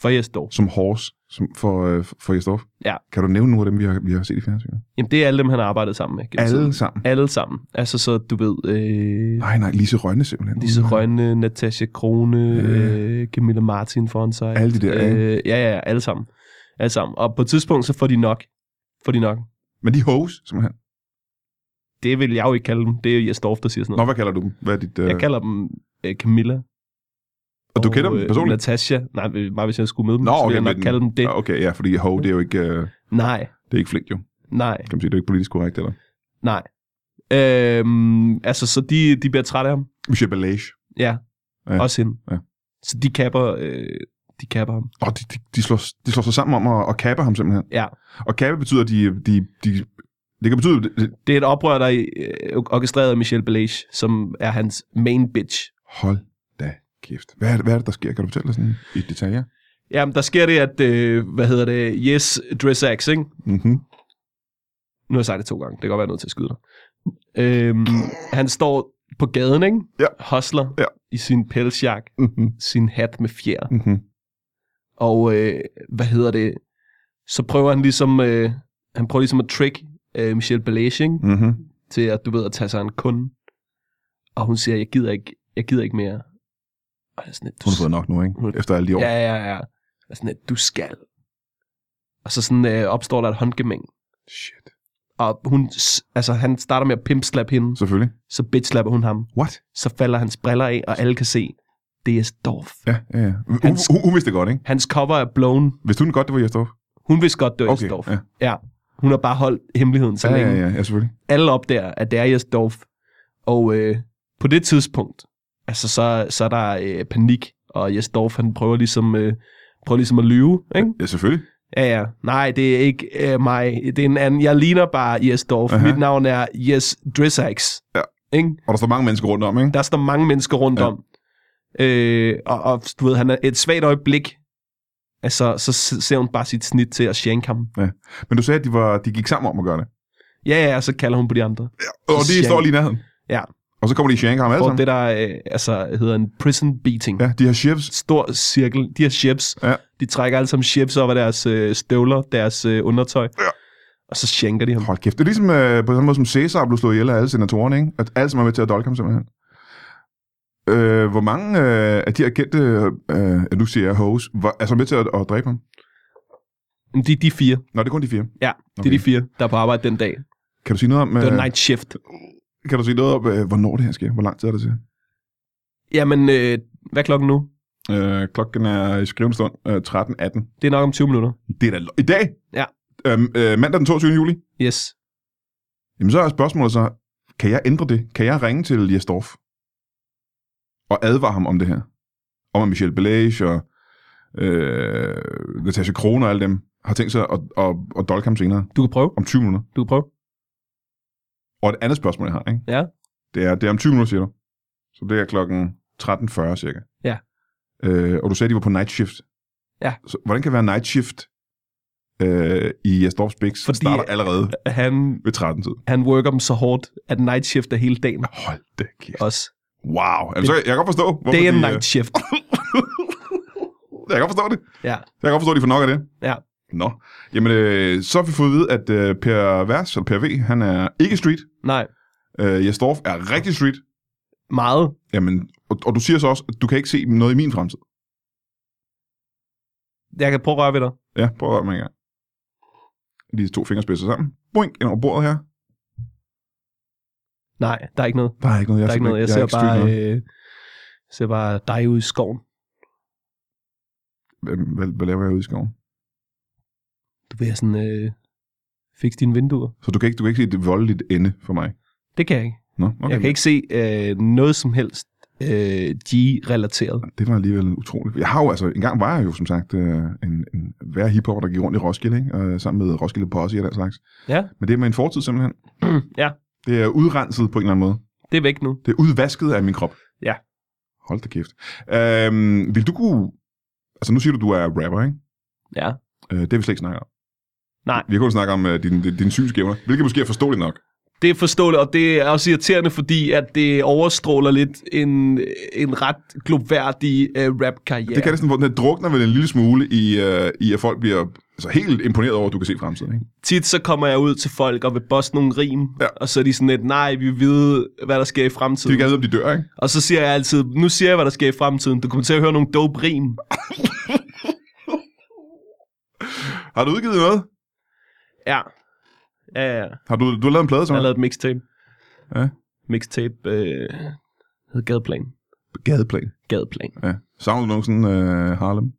[SPEAKER 2] for Jes Dorf.
[SPEAKER 1] som horse som for, øh, for Jesdorf.
[SPEAKER 2] Ja.
[SPEAKER 1] Kan du nævne nogle af dem, vi har, vi har set i fjernsynet?
[SPEAKER 2] Jamen, det er alle dem, han har arbejdet sammen med. gennem
[SPEAKER 1] Alle
[SPEAKER 2] tiden.
[SPEAKER 1] sammen.
[SPEAKER 2] Alle sammen. Altså, så du ved, øh,
[SPEAKER 1] Nej, nej, Lise Rønne simpelthen.
[SPEAKER 2] Lise Rønne, Natasha Krone,
[SPEAKER 1] Øh.
[SPEAKER 2] øh, Camilla Martin foran sig.
[SPEAKER 1] Alle de der, ikke?
[SPEAKER 2] Øh, ja, ja, ja, alle sammen. Alle sammen. Og på et tidspunkt, så får de nok. Får de nok.
[SPEAKER 1] Men de hoes, simpelthen.
[SPEAKER 2] Det vil jeg jo ikke kalde dem. Det er Jes Dorf, der siger sådan
[SPEAKER 1] Nå,
[SPEAKER 2] noget.
[SPEAKER 1] hvad kalder du dem? Hvad er dit, øh...
[SPEAKER 2] jeg kalder dem øh, Camilla.
[SPEAKER 1] Og du kender dem
[SPEAKER 2] øh,
[SPEAKER 1] personligt?
[SPEAKER 2] Natasha. Nej, øh, bare hvis jeg skulle møde dem,
[SPEAKER 1] Nå,
[SPEAKER 2] så
[SPEAKER 1] okay,
[SPEAKER 2] ville jeg nok
[SPEAKER 1] men-
[SPEAKER 2] kalde dem det.
[SPEAKER 1] Nå, Okay, ja, fordi ho, det er jo ikke, øh,
[SPEAKER 2] Nej,
[SPEAKER 1] det er ikke flink, jo.
[SPEAKER 2] nej,
[SPEAKER 1] Kan man sige, det er ikke politisk korrekt, eller?
[SPEAKER 2] nej. Øhm, altså, så de, de bliver trætte af ham.
[SPEAKER 1] Michel Balage.
[SPEAKER 2] Ja,
[SPEAKER 1] Ja.
[SPEAKER 2] ja. også hende.
[SPEAKER 1] Ja.
[SPEAKER 2] Så de kapper, øh, de kapper ham.
[SPEAKER 1] Og de, de, de, slår, de slår sig sammen om at, at kappe ham, simpelthen.
[SPEAKER 2] Ja.
[SPEAKER 1] Og kappe betyder, at de, de, de, det kan betyde,
[SPEAKER 2] Det er et oprør, der er øh, orkestreret af Michel Belage, som er hans main bitch.
[SPEAKER 1] Hold da kæft. Hvad er, det, hvad er det, der sker? Kan du fortælle os sådan i detaljer?
[SPEAKER 2] Jamen, der sker det, at, øh, hvad hedder det, Yes Dress Axe, ikke?
[SPEAKER 1] Mm-hmm.
[SPEAKER 2] Nu har jeg sagt det to gange, det kan godt være, jeg er nødt til at skyde dig. Øhm, han står på gaden, ikke?
[SPEAKER 1] Ja.
[SPEAKER 2] Hustler
[SPEAKER 1] Ja.
[SPEAKER 2] i sin pelsjakke,
[SPEAKER 1] Mm-hmm.
[SPEAKER 2] sin hat med fjer.
[SPEAKER 1] Mm-hmm.
[SPEAKER 2] Og øh, hvad hedder det? Så prøver han ligesom, øh, han prøver ligesom at trick øh, Michelle Balage, ikke?
[SPEAKER 1] Mm-hmm.
[SPEAKER 2] til at, du ved, at tage sig en kunde. Og hun siger, jeg gider ikke, jeg gider ikke mere. Og han er sådan, lidt, du,
[SPEAKER 1] Hun har fået nok nu,
[SPEAKER 2] Hun-
[SPEAKER 1] ikke? Efter alle de år.
[SPEAKER 2] ja, ja, ja. Jeg er sådan, lidt, du skal. Og så sådan øh, opstår der et håndgemæng.
[SPEAKER 1] Shit.
[SPEAKER 2] Og hun, s- altså, han starter med at pimpslap hende,
[SPEAKER 1] Selvfølgelig.
[SPEAKER 2] så bitchslapper hun ham.
[SPEAKER 1] What?
[SPEAKER 2] Så falder hans briller af, og alle kan se, det er Storf.
[SPEAKER 1] Ja, ja, ja. Hun,
[SPEAKER 2] Hans-
[SPEAKER 1] hun, hun vidste det godt, ikke?
[SPEAKER 2] Hans cover er blown.
[SPEAKER 1] Vidste hun godt, det var Jesdorf?
[SPEAKER 2] Hun vidste godt, det var okay,
[SPEAKER 1] ja.
[SPEAKER 2] Ja. Hun har bare holdt hemmeligheden så
[SPEAKER 1] Ja,
[SPEAKER 2] længe.
[SPEAKER 1] ja, ja, ja, selvfølgelig.
[SPEAKER 2] alle opdager, at det er Jes Dorf. Og øh, på det tidspunkt, altså så, så er der øh, panik, og Jes Dorf, han prøver ligesom, øh, prøver ligesom at lyve, ikke?
[SPEAKER 1] Ja, selvfølgelig.
[SPEAKER 2] Ja, ja. Nej, det er ikke øh, mig. Det er en anden. Jeg ligner bare Jes Dorf.
[SPEAKER 1] Aha.
[SPEAKER 2] Mit navn er Jes Drissax.
[SPEAKER 1] Ja.
[SPEAKER 2] Ikke?
[SPEAKER 1] Og der står mange mennesker rundt om, ikke?
[SPEAKER 2] Der står mange mennesker rundt
[SPEAKER 1] Ja.
[SPEAKER 2] ja. om. Øh, og, og, du ved, han er et svagt øjeblik. Altså, så s- ser hun bare sit snit til at shank ham.
[SPEAKER 1] Men du sagde, at de, var, de gik sammen om at gøre det.
[SPEAKER 2] Ja, ja, og så kalder hun på de andre.
[SPEAKER 1] Og det
[SPEAKER 2] Shit.
[SPEAKER 1] står lige i nærheden. Og så kommer de i Shanghai med alle
[SPEAKER 2] Hvor
[SPEAKER 1] sammen.
[SPEAKER 2] det der øh, altså, hedder en prison beating.
[SPEAKER 1] Ja, de her chefs.
[SPEAKER 2] Stor cirkel. De har chips.
[SPEAKER 1] Ja.
[SPEAKER 2] De trækker alle sammen chips op af deres øh, støvler, deres øh, undertøj. Ja. Og så skænker de ham.
[SPEAKER 1] Hold kæft, det er ligesom øh, på samme måde, som Cæsar blev slået ihjel af alle senatorerne, ikke? At alle som er med til at dolke ham simpelthen. Øh, hvor mange øh, af de her kendte, øh, øh, nu siger jeg hoes, var, er så med til at, at dræbe ham?
[SPEAKER 2] Men de, de er fire.
[SPEAKER 1] Nå, det er kun de fire.
[SPEAKER 2] Ja, okay. det
[SPEAKER 1] Okay.
[SPEAKER 2] er de fire, der er på arbejde den dag.
[SPEAKER 1] Kan du sige noget om,
[SPEAKER 2] Det var
[SPEAKER 1] øh,
[SPEAKER 2] night shift.
[SPEAKER 1] kan du sige noget om øh, hvornår det her sker? Hvor lang tid er det til?
[SPEAKER 2] Jamen, øh, hvad er klokken nu?
[SPEAKER 1] Øh, klokken er i skrivende stund øh, 13.18.
[SPEAKER 2] Det er nok om 20 minutter.
[SPEAKER 1] Det er da lo- I dag?
[SPEAKER 2] Ja.
[SPEAKER 1] Øh, øh, mandag den 22. juli?
[SPEAKER 2] Yes.
[SPEAKER 1] Jamen så er spørgsmålet så, kan jeg ændre det? Kan jeg ringe til Jesdorf og advare ham om det her? Om at Michel Belage og øh, Natasha Krone og alle dem har tænkt sig at, at, at dolke ham senere
[SPEAKER 2] Du kan prøve.
[SPEAKER 1] om 20 minutter.
[SPEAKER 2] Du kan prøve.
[SPEAKER 1] Og et andet spørgsmål, jeg har, ikke?
[SPEAKER 2] Ja.
[SPEAKER 1] Det er, det er om 20 minutter, siger du. Så det er klokken 13.40 cirka.
[SPEAKER 2] Ja.
[SPEAKER 1] Øh, og du sagde, de var på night shift.
[SPEAKER 2] Ja.
[SPEAKER 1] Så, hvordan kan det være night shift øh, i Jesdorfs Bix?
[SPEAKER 2] Fordi-
[SPEAKER 1] starter allerede
[SPEAKER 2] Han,
[SPEAKER 1] ved 13-tid.
[SPEAKER 2] han worker dem så hårdt, at night shift er hele dagen
[SPEAKER 1] Hold da kæft.
[SPEAKER 2] også.
[SPEAKER 1] Wow. Jamen, så, jeg kan godt forstå, hvorfor
[SPEAKER 2] Day and
[SPEAKER 1] de, øh,
[SPEAKER 2] night shift.
[SPEAKER 1] Jeg kan godt forstå det.
[SPEAKER 2] Ja.
[SPEAKER 1] Jeg kan godt forstå, at de får nok af det.
[SPEAKER 2] Ja.
[SPEAKER 1] Nå. Jamen, øh, så har vi fået at vide, at øh, Per Vers, eller Per V, han er ikke street.
[SPEAKER 2] Nej,
[SPEAKER 1] Øh, Jesdorf er rigtig street.
[SPEAKER 2] meget.
[SPEAKER 1] Jamen, og, og, du siger så også, at du kan ikke se noget i min fremtid.
[SPEAKER 2] Jeg kan prøve at røre ved dig.
[SPEAKER 1] Ja, prøv at røre mig en gang. De to fingerspidser sammen. Boink, ind over bordet her.
[SPEAKER 2] Nej, der er ikke noget.
[SPEAKER 1] Der er ikke noget, Altså, jeg
[SPEAKER 2] Der er ikke
[SPEAKER 1] er ikke
[SPEAKER 2] noget. Jeg ser bare,
[SPEAKER 1] street noget.
[SPEAKER 2] øh, ser bare dig ude i skoven. øh-
[SPEAKER 1] Hvem- Hvad, hvad, laver jeg ude i skoven?
[SPEAKER 2] Du vil have sådan, øh, fikse dine vinduer.
[SPEAKER 1] Så du kan ikke, du kan ikke se det voldeligt ende for mig?
[SPEAKER 2] Det kan jeg ikke.
[SPEAKER 1] Nå, okay.
[SPEAKER 2] Okay. Jeg kan ikke se øh, noget som helst øh, G-relateret.
[SPEAKER 1] Det var alligevel utroligt. Jeg har jo altså, en gang var jeg jo som sagt øh, en, en hver hiphopper, der gik rundt i Roskilde, ikke? Øh, sammen med Roskilde Posse og den slags.
[SPEAKER 2] Ja.
[SPEAKER 1] Men det er med en fortid simpelthen.
[SPEAKER 2] ja,
[SPEAKER 1] Det er udrenset på en eller anden måde.
[SPEAKER 2] det er væk nu.
[SPEAKER 1] Det er udvasket af min krop.
[SPEAKER 2] Ja.
[SPEAKER 1] Hold da kæft. Øhm, vil du kunne... Altså nu siger du, du er rapper, ikke?
[SPEAKER 2] Ja.
[SPEAKER 1] Øh, det har vi slet ikke snakket om.
[SPEAKER 2] Nej.
[SPEAKER 1] Vi har kun snakket om uh, dine din, din synsgævner, hvilket måske er forståeligt nok.
[SPEAKER 2] Det er forståeligt, og det er også irriterende, fordi at det overstråler lidt en, en ret gloværdig øh, rap-karriere.
[SPEAKER 1] Det kan det sådan, hvor den her drukner vel en lille smule i, øh, i at folk bliver altså, helt imponeret over, at du kan se fremtiden, ikke?
[SPEAKER 2] Tit så kommer jeg ud til folk og vil bosse nogle rim,
[SPEAKER 1] Ja.
[SPEAKER 2] og så er de sådan lidt, nej, vi vil vide, hvad der sker i
[SPEAKER 1] De vil
[SPEAKER 2] fremtiden.
[SPEAKER 1] gerne vide, om de dør, ikke?
[SPEAKER 2] Og så siger jeg altid, nu siger jeg, hvad der sker i fremtiden. Du kommer til at høre nogle dope rim.
[SPEAKER 1] Har du udgivet noget?
[SPEAKER 2] Ja. Ja, ja.
[SPEAKER 1] Har du, du har lavet en plade, som
[SPEAKER 2] Jeg har lavet et mixtape.
[SPEAKER 1] Ja.
[SPEAKER 2] Mixtape øh, hed Gadeplan.
[SPEAKER 1] Gadeplan.
[SPEAKER 2] Gadeplan.
[SPEAKER 1] Ja. Savner du nogensinde øh, Harlem?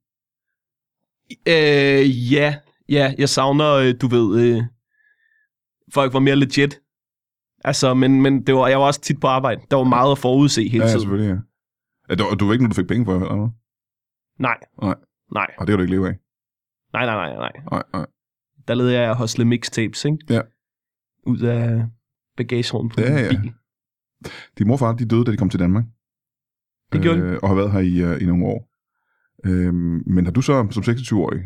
[SPEAKER 2] Øh, ja. Ja, jeg savner, øh, du ved, øh, folk var mere legit. Altså, men, men det var, jeg var også tit på arbejde. Der var meget at forudse
[SPEAKER 1] Ja,
[SPEAKER 2] hele
[SPEAKER 1] altså- ja,
[SPEAKER 2] tiden.
[SPEAKER 1] selvfølgelig, ja. ja du, du var ikke nogen, du fik penge for, eller hvad?
[SPEAKER 2] Nej.
[SPEAKER 1] Nej.
[SPEAKER 2] Nej,
[SPEAKER 1] Og det kan du ikke leve af.
[SPEAKER 2] nej, nej, nej, nej.
[SPEAKER 1] Nej, nej.
[SPEAKER 2] Der led jeg af at hostle mixtapes, ikke?
[SPEAKER 1] Ja.
[SPEAKER 2] Ud af bagagerummet på
[SPEAKER 1] Ja,
[SPEAKER 2] ja,
[SPEAKER 1] ja.
[SPEAKER 2] ja. bil.
[SPEAKER 1] Din mor og far, de døde, da de kom til Danmark.
[SPEAKER 2] Det gjorde
[SPEAKER 1] øh, Og har været her i, øh, i nogle år. Øhm, men har du så som 26-årig,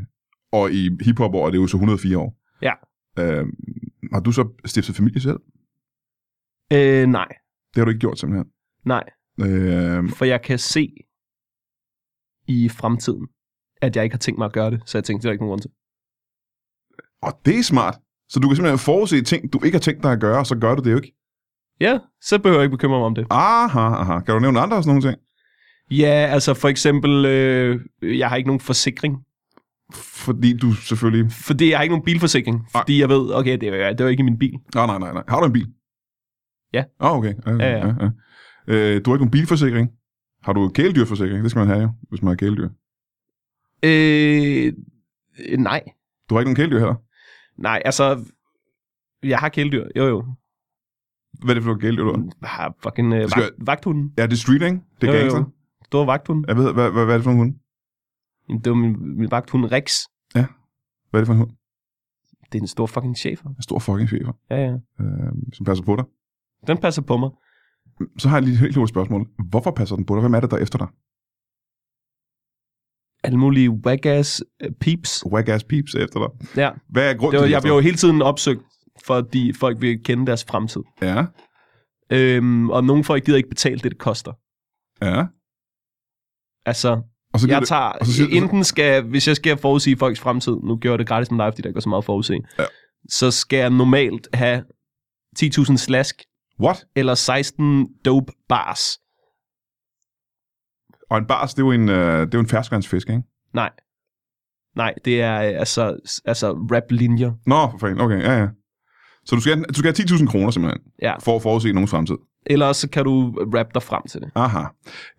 [SPEAKER 1] og i hiphop år er det jo så 104 år.
[SPEAKER 2] Ja.
[SPEAKER 1] Øhm, har du så stiftet familie selv?
[SPEAKER 2] Øh, nej,
[SPEAKER 1] Det har du ikke gjort simpelthen.
[SPEAKER 2] nej.
[SPEAKER 1] Øhm,
[SPEAKER 2] For jeg kan se i fremtiden, at jeg ikke har tænkt mig at gøre det. Så jeg tænkte, det var ikke nogen grund til.
[SPEAKER 1] og det er smart. Så du kan simpelthen forudse ting, du ikke har tænkt dig at gøre, og så gør du det jo ikke.
[SPEAKER 2] Ja, så behøver jeg ikke bekymre mig om det.
[SPEAKER 1] Aha, aha. Kan du nævne andre og sådan nogle ting?
[SPEAKER 2] Ja, altså for eksempel, øh, jeg har ikke nogen forsikring.
[SPEAKER 1] Fordi du selvfølgelig...
[SPEAKER 2] Fordi jeg har ikke nogen bilforsikring. Fordi jeg ved, okay, det var, det var ikke min bil.
[SPEAKER 1] Nej, nej, nej, nej. Har du en bil?
[SPEAKER 2] Ja.
[SPEAKER 1] Ah, okay. okay.
[SPEAKER 2] Ja, ja.
[SPEAKER 1] ja. Øh, du har ikke nogen bilforsikring. Har du kæledyrforsikring? Det skal man have jo, hvis man har kæledyr.
[SPEAKER 2] Øh, øh, nej.
[SPEAKER 1] Du har ikke nogen kæledyr heller?
[SPEAKER 2] Nej, altså, jeg har kæledyr. Jo, jo.
[SPEAKER 1] Hvad er det for nogle kæledyr, du har?
[SPEAKER 2] Jeg har fucking øh,
[SPEAKER 1] Det skal-
[SPEAKER 2] vagt, vagthunden.
[SPEAKER 1] Ja, det er street, ikke? Det er
[SPEAKER 2] Jo, jo,
[SPEAKER 1] gangster.
[SPEAKER 2] jo. Stor vagthund.
[SPEAKER 1] Jeg ved, hvad, hvad, hvad er det for en hund?
[SPEAKER 2] Jamen, Det var min, min vagthund Rex.
[SPEAKER 1] Hvad er det for en hund?
[SPEAKER 2] Det er en stor fucking chefer.
[SPEAKER 1] En stor fucking chefer,
[SPEAKER 2] Ja, ja.
[SPEAKER 1] øh, som passer på dig.
[SPEAKER 2] Den passer på mig.
[SPEAKER 1] Så har jeg lige et helt lille spørgsmål. Hvorfor passer den på dig? Hvem er det, der er efter dig?
[SPEAKER 2] Alle mulige whack-ass øh, peeps.
[SPEAKER 1] Whack-ass peeps er efter dig.
[SPEAKER 2] Ja.
[SPEAKER 1] Hvad er grunden
[SPEAKER 2] Det var,
[SPEAKER 1] til,
[SPEAKER 2] jeg
[SPEAKER 1] at de
[SPEAKER 2] blev
[SPEAKER 1] er
[SPEAKER 2] jo hele tiden opsøgt, fordi folk vil kende deres fremtid.
[SPEAKER 1] efter dig? Ja.
[SPEAKER 2] Øhm, og nogle folk gider ikke betale det, det koster.
[SPEAKER 1] Ja.
[SPEAKER 2] Altså,
[SPEAKER 1] Og så,
[SPEAKER 2] jeg
[SPEAKER 1] det,
[SPEAKER 2] tager,
[SPEAKER 1] og så siger-
[SPEAKER 2] enten skal, hvis jeg skal forudsige folks fremtid, nu gjorde jeg det gratis med dig, fordi der ikke var så meget at forudse,
[SPEAKER 1] Ja.
[SPEAKER 2] så skal jeg normalt have 10.000 slask
[SPEAKER 1] what?
[SPEAKER 2] eller 16 dope bars.
[SPEAKER 1] Og en bars, det er jo en, øh, det er jo en ferskvandsfisk, ikke?
[SPEAKER 2] Nej. Nej, det er øh, altså, s- altså rap-linjer.
[SPEAKER 1] Nå, for fanden. Okay, ja, ja. Så du skal, du skal have 10.000 kroner simpelthen,
[SPEAKER 2] Ja.
[SPEAKER 1] for at forudse nogens fremtid.
[SPEAKER 2] Ellers så kan du rap dig frem til det.
[SPEAKER 1] Aha.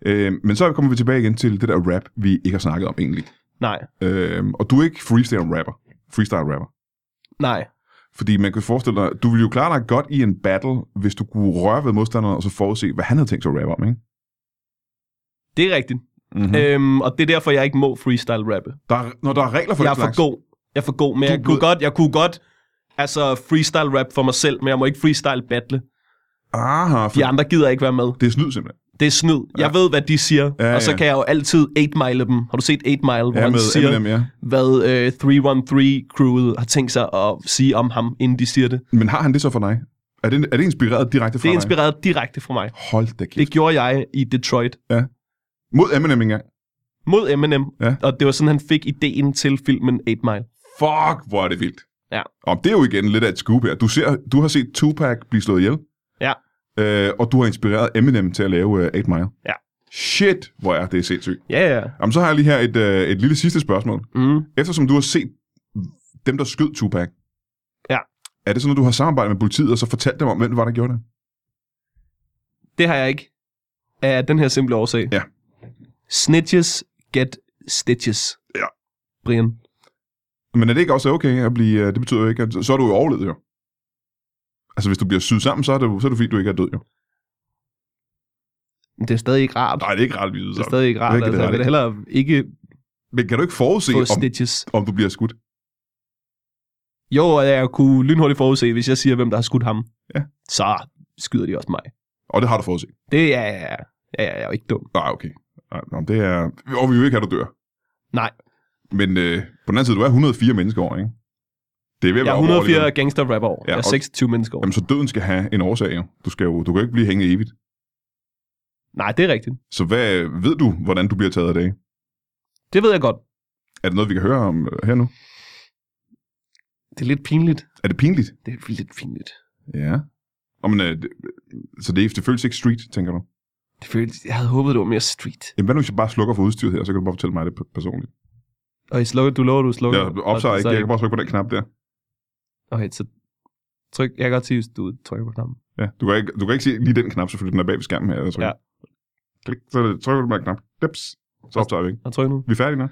[SPEAKER 1] Øh, men så kommer vi tilbage igen til det der rap, vi ikke har snakket om egentlig.
[SPEAKER 2] Nej,
[SPEAKER 1] Øh, og du er ikke freestyle-rapper. Freestyle-rapper.
[SPEAKER 2] nej.
[SPEAKER 1] Fordi man kan forestille dig, du ville jo klare dig godt i en battle, hvis du kunne røre ved modstanderen, og så forudse, hvad han havde tænkt sig at rappe om, ikke?
[SPEAKER 2] Det er rigtigt.
[SPEAKER 1] Mm-hmm.
[SPEAKER 2] Mm. Øhm, og det er derfor, jeg ikke må freestyle-rappe.
[SPEAKER 1] Der er, når der er regler for
[SPEAKER 2] Jeg er
[SPEAKER 1] den slags.
[SPEAKER 2] for god. Jeg er for god, men
[SPEAKER 1] Du er
[SPEAKER 2] jeg kunne,
[SPEAKER 1] god.
[SPEAKER 2] godt, jeg kunne godt altså freestyle-rap for mig selv, men jeg må ikke freestyle-battle.
[SPEAKER 1] Aha, for
[SPEAKER 2] De andre gider ikke være med.
[SPEAKER 1] det er snyd simpelthen.
[SPEAKER 2] Det er snyd. Jeg ved, hvad de siger.
[SPEAKER 1] Ja,
[SPEAKER 2] og så
[SPEAKER 1] ja.
[SPEAKER 2] kan jeg jo altid 8-mile dem. Har du set 8-mile, hvor
[SPEAKER 1] Ja,
[SPEAKER 2] han
[SPEAKER 1] med
[SPEAKER 2] siger,
[SPEAKER 1] Eminem, ja.
[SPEAKER 2] hvad øh, 313-crewet har tænkt sig at sige om ham, inden de siger det?
[SPEAKER 1] Men har han det så for dig? Er det, er det inspireret direkte fra
[SPEAKER 2] Det er
[SPEAKER 1] dig?
[SPEAKER 2] inspireret direkte fra mig.
[SPEAKER 1] Hold da kæft.
[SPEAKER 2] Det gjorde jeg i Detroit
[SPEAKER 1] Mod Eminem engang.
[SPEAKER 2] mod Eminem.
[SPEAKER 1] Ja.
[SPEAKER 2] Og det var sådan, han fik ideen til filmen 8 Mile.
[SPEAKER 1] Fuck, hvor er det vildt.
[SPEAKER 2] Ja.
[SPEAKER 1] Og det er jo igen lidt af et scoop her. Du, ser, du har set Tupac blive slået ihjel.
[SPEAKER 2] Ja.
[SPEAKER 1] Øh, og du har inspireret Eminem til at lave øh, 8 Mile.
[SPEAKER 2] Ja.
[SPEAKER 1] Shit, hvor er det sindssygt.
[SPEAKER 2] Ja, ja.
[SPEAKER 1] Jamen, så har jeg lige her et, øh, et lille sidste spørgsmål.
[SPEAKER 2] Mm.
[SPEAKER 1] Eftersom du har set dem, der skød Tupac.
[SPEAKER 2] Ja.
[SPEAKER 1] Er det sådan, at du har samarbejdet med politiet, og så fortalt dem om, hvem det var, der gjorde det?
[SPEAKER 2] Det har jeg ikke. Af den her simple årsag.
[SPEAKER 1] Ja.
[SPEAKER 2] Snitches get stitches.
[SPEAKER 1] Ja.
[SPEAKER 2] Brian.
[SPEAKER 1] Men er det ikke også okay at blive... øh, Det betyder jo ikke, at så er du jo overlevet, jo. Altså, hvis du bliver syet sammen, så er det, jo- så er det fordi, du ikke er død, jo.
[SPEAKER 2] Men det er stadig ikke rart.
[SPEAKER 1] Nej, det er ikke ret, vi
[SPEAKER 2] det er
[SPEAKER 1] yder
[SPEAKER 2] stadig ikke rart.
[SPEAKER 1] Det er ikke
[SPEAKER 2] Altså,
[SPEAKER 1] det
[SPEAKER 2] jeg vil
[SPEAKER 1] rette.
[SPEAKER 2] hellere ikke
[SPEAKER 1] Men kan du ikke forudse,
[SPEAKER 2] få
[SPEAKER 1] om,
[SPEAKER 2] snitches.
[SPEAKER 1] om du bliver skudt?
[SPEAKER 2] Jo, og jeg kunne lynhurtigt forudse, hvis jeg siger, hvem der har skudt ham.
[SPEAKER 1] Ja.
[SPEAKER 2] Så skyder de også mig.
[SPEAKER 1] Og det har du forudset.
[SPEAKER 2] Det er jeg, jeg, jeg er jo ikke dum.
[SPEAKER 1] Nej, okay. Nej, nå, det er... Og vi vil ikke have, at du dør.
[SPEAKER 2] Nej.
[SPEAKER 1] Men øh, på den anden side, du er 104 mennesker over, ikke? Det er ved at
[SPEAKER 2] Jeg
[SPEAKER 1] være
[SPEAKER 2] er
[SPEAKER 1] over,
[SPEAKER 2] 104
[SPEAKER 1] alligevel.
[SPEAKER 2] gangster rapper over.
[SPEAKER 1] Ja,
[SPEAKER 2] jeg er
[SPEAKER 1] og-
[SPEAKER 2] 26 mennesker over.
[SPEAKER 1] Jamen, så døden skal have en årsag, jo. Du, skal jo, du kan jo ikke blive hængende evigt.
[SPEAKER 2] Nej, det er rigtigt.
[SPEAKER 1] Så hvad, ved du, hvordan du bliver taget af dag?
[SPEAKER 2] Det ved jeg godt.
[SPEAKER 1] Er det noget, vi kan høre om øh, her nu?
[SPEAKER 2] Det er lidt pinligt.
[SPEAKER 1] Er det pinligt?
[SPEAKER 2] Det er lidt pinligt.
[SPEAKER 1] Ja. Og, men, øh, det, så det, er- det føles ikke street, tænker du?
[SPEAKER 2] Det føles, jeg havde håbet, det var mere street.
[SPEAKER 1] Jamen, hvad nu, hvis jeg bare slukker for udstyret her, så kan du bare fortælle mig det p- personligt.
[SPEAKER 2] Og I slukker, du lover, du slukker.
[SPEAKER 1] Jeg optager
[SPEAKER 2] Og
[SPEAKER 1] ikke,
[SPEAKER 2] så-
[SPEAKER 1] jeg kan bare trykke på den knap der.
[SPEAKER 2] Okay, så tryk, jeg kan godt sige, hvis du trykker på knappen.
[SPEAKER 1] Ja, du kan ikke, du kan ikke se lige den knap, selvfølgelig, den er bag ved skærmen her. Jeg trykker.
[SPEAKER 2] Ja.
[SPEAKER 1] Klik, så er det- trykker du på den knap. Dips. Så optager vi ikke.
[SPEAKER 2] Og tryk nu.
[SPEAKER 1] Vi er færdige nu.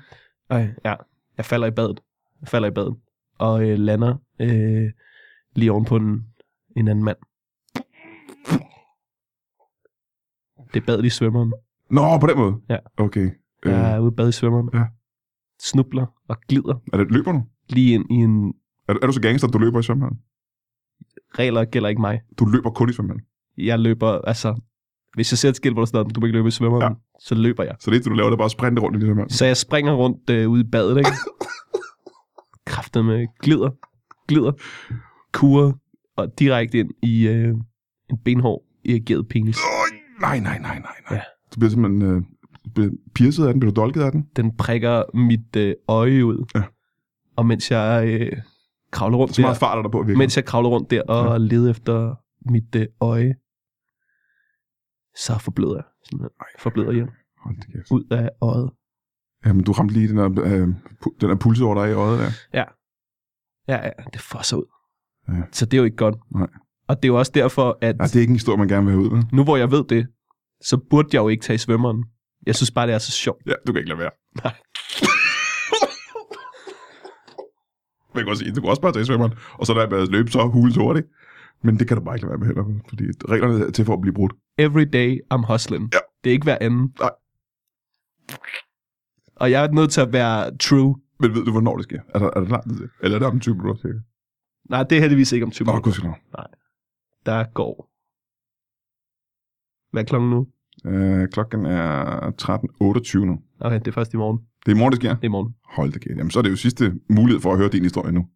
[SPEAKER 2] Okay, ja. Jeg falder i badet. Jeg falder i badet. Og øh, lander øh, lige ovenpå en, en anden mand. Det er badet i svømmeren.
[SPEAKER 1] Nå, på den måde?
[SPEAKER 2] Ja.
[SPEAKER 1] Okay. Øh,
[SPEAKER 2] Jeg er ude i bad i svømmeren.
[SPEAKER 1] Ja.
[SPEAKER 2] Snubler og glider
[SPEAKER 1] er det, løber du?
[SPEAKER 2] lige ind i en...
[SPEAKER 1] Er, du- er du så gangster, at du løber i svømmehallen?
[SPEAKER 2] Regler gælder ikke mig.
[SPEAKER 1] Du løber kun i svømmehallen.
[SPEAKER 2] Jeg løber, altså... Hvis jeg ser et skilt, hvor der står, du må ikke løbe i svømmeren, ja. så løber jeg.
[SPEAKER 1] Så det eneste, du laver, det er bare at sprinte rundt i svømmehallen.
[SPEAKER 2] Så jeg springer rundt øh, ude i badet, ikke? Kræftet med glider, glider, kurer og direkte ind i øh, en benhård irrigeret penis.
[SPEAKER 1] Øj, Nej, nej, nej, nej, nej.
[SPEAKER 2] Ja.
[SPEAKER 1] Du bliver simpelthen øh, bliver pierced af den, bliver du dolket af den?
[SPEAKER 2] Den prikker mit øh, øje ud.
[SPEAKER 1] Ja.
[SPEAKER 2] Og mens jeg øh, kravler rundt
[SPEAKER 1] Så meget
[SPEAKER 2] der,
[SPEAKER 1] fart er der på virkelig.
[SPEAKER 2] mens jeg kravler rundt der og leder efter mit øh, øje, så forbløder jeg. Simpelthen. Forbløder jeg
[SPEAKER 1] Hold da kæft.
[SPEAKER 2] ud af øjet.
[SPEAKER 1] Jamen, du ramte lige den der, øh, pu- den der puls over dig i øjet der.
[SPEAKER 2] Ja, ja, det fosser ud.
[SPEAKER 1] Ja.
[SPEAKER 2] Så det er jo ikke godt.
[SPEAKER 1] Nej.
[SPEAKER 2] Og det er jo også derfor, at...
[SPEAKER 1] Nej, det er ikke en historie, man gerne vil have ud med.
[SPEAKER 2] nu hvor jeg ved det, så burde jeg jo ikke tage i svømmeren. Jeg synes bare, det er så sjovt.
[SPEAKER 1] Ja, du kan ikke lade være.
[SPEAKER 2] Nej.
[SPEAKER 1] Men jeg kan også sige, du kan også bare tage i svømmeren, og så der med at løbe så hulens hurtigt. Men det kan du bare ikke lade være med heller, fordi reglerne er til for at blive brudt.
[SPEAKER 2] Every day I'm hustling.
[SPEAKER 1] Ja.
[SPEAKER 2] Det er ikke hver anden.
[SPEAKER 1] Nej.
[SPEAKER 2] Og jeg er nødt til at være true.
[SPEAKER 1] Men ved du, hvornår det sker? Er der, er der lang tid til? Eller er der om 20 minutter, cirka?
[SPEAKER 2] Nej, det er heldigvis ikke om 20
[SPEAKER 1] Nå,
[SPEAKER 2] minutter.
[SPEAKER 1] gudskelov.
[SPEAKER 2] Der går. Hvad er klokken nu?
[SPEAKER 1] Øh, klokken er 13.28 nu.
[SPEAKER 2] Okay, det er først i morgen.
[SPEAKER 1] Det er i morgen, det sker.
[SPEAKER 2] Det er i morgen.
[SPEAKER 1] Hold da kæft. Jamen, så er det jo sidste mulighed for at høre din historie nu.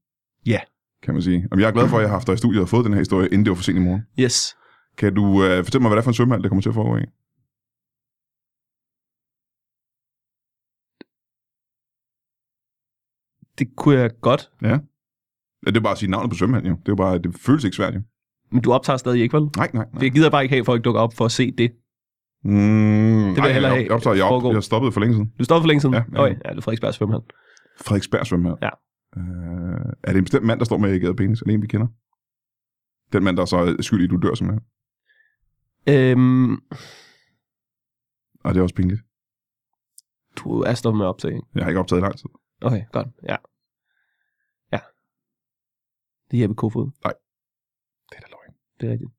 [SPEAKER 2] Ja.
[SPEAKER 1] Kan man sige. Jamen, jeg er glad for, at jeg har haft dig i studiet og fået den her historie, inden det var for sent i morgen.
[SPEAKER 2] Yes.
[SPEAKER 1] Kan du øh, fortælle mig, hvad det er for en svømmehal, der kommer til at foregå i?
[SPEAKER 2] Det kunne jeg godt.
[SPEAKER 1] Ja, det er bare at sige navnet på svømmehallen, jo. Det, er jo bare, det føles ikke svært, jo.
[SPEAKER 2] Men du optager stadig ikke, vel?
[SPEAKER 1] Nej, nej, nej.
[SPEAKER 2] Det gider jeg bare ikke have, at folk dukker op for at se det.
[SPEAKER 1] Mm,
[SPEAKER 2] vil jeg hellere
[SPEAKER 1] jeg,
[SPEAKER 2] have,
[SPEAKER 1] jeg, optager, jeg, op,
[SPEAKER 2] foregår.
[SPEAKER 1] jeg stoppede for længe siden.
[SPEAKER 2] Du står for længe siden?
[SPEAKER 1] Ja, ja.
[SPEAKER 2] ja. Okay, ja det er Frederiksberg svømmehal.
[SPEAKER 1] Frederiksberg svømmehal.
[SPEAKER 2] Ja.
[SPEAKER 1] Øh, er det en bestemt mand, der står med ægget penis? Er det en, vi kender? Den mand, der er så er skyldig, du dør simpelthen.
[SPEAKER 2] Øhm,
[SPEAKER 1] Og Ah, det er også pinligt.
[SPEAKER 2] du er stoppet med at optage, ikke?
[SPEAKER 1] Jeg har ikke optaget i lang tid.
[SPEAKER 2] Okay, godt. Ja. Ja. Det er Jeppe Kofod.
[SPEAKER 1] Det er da løgn.
[SPEAKER 2] Det er rigtigt.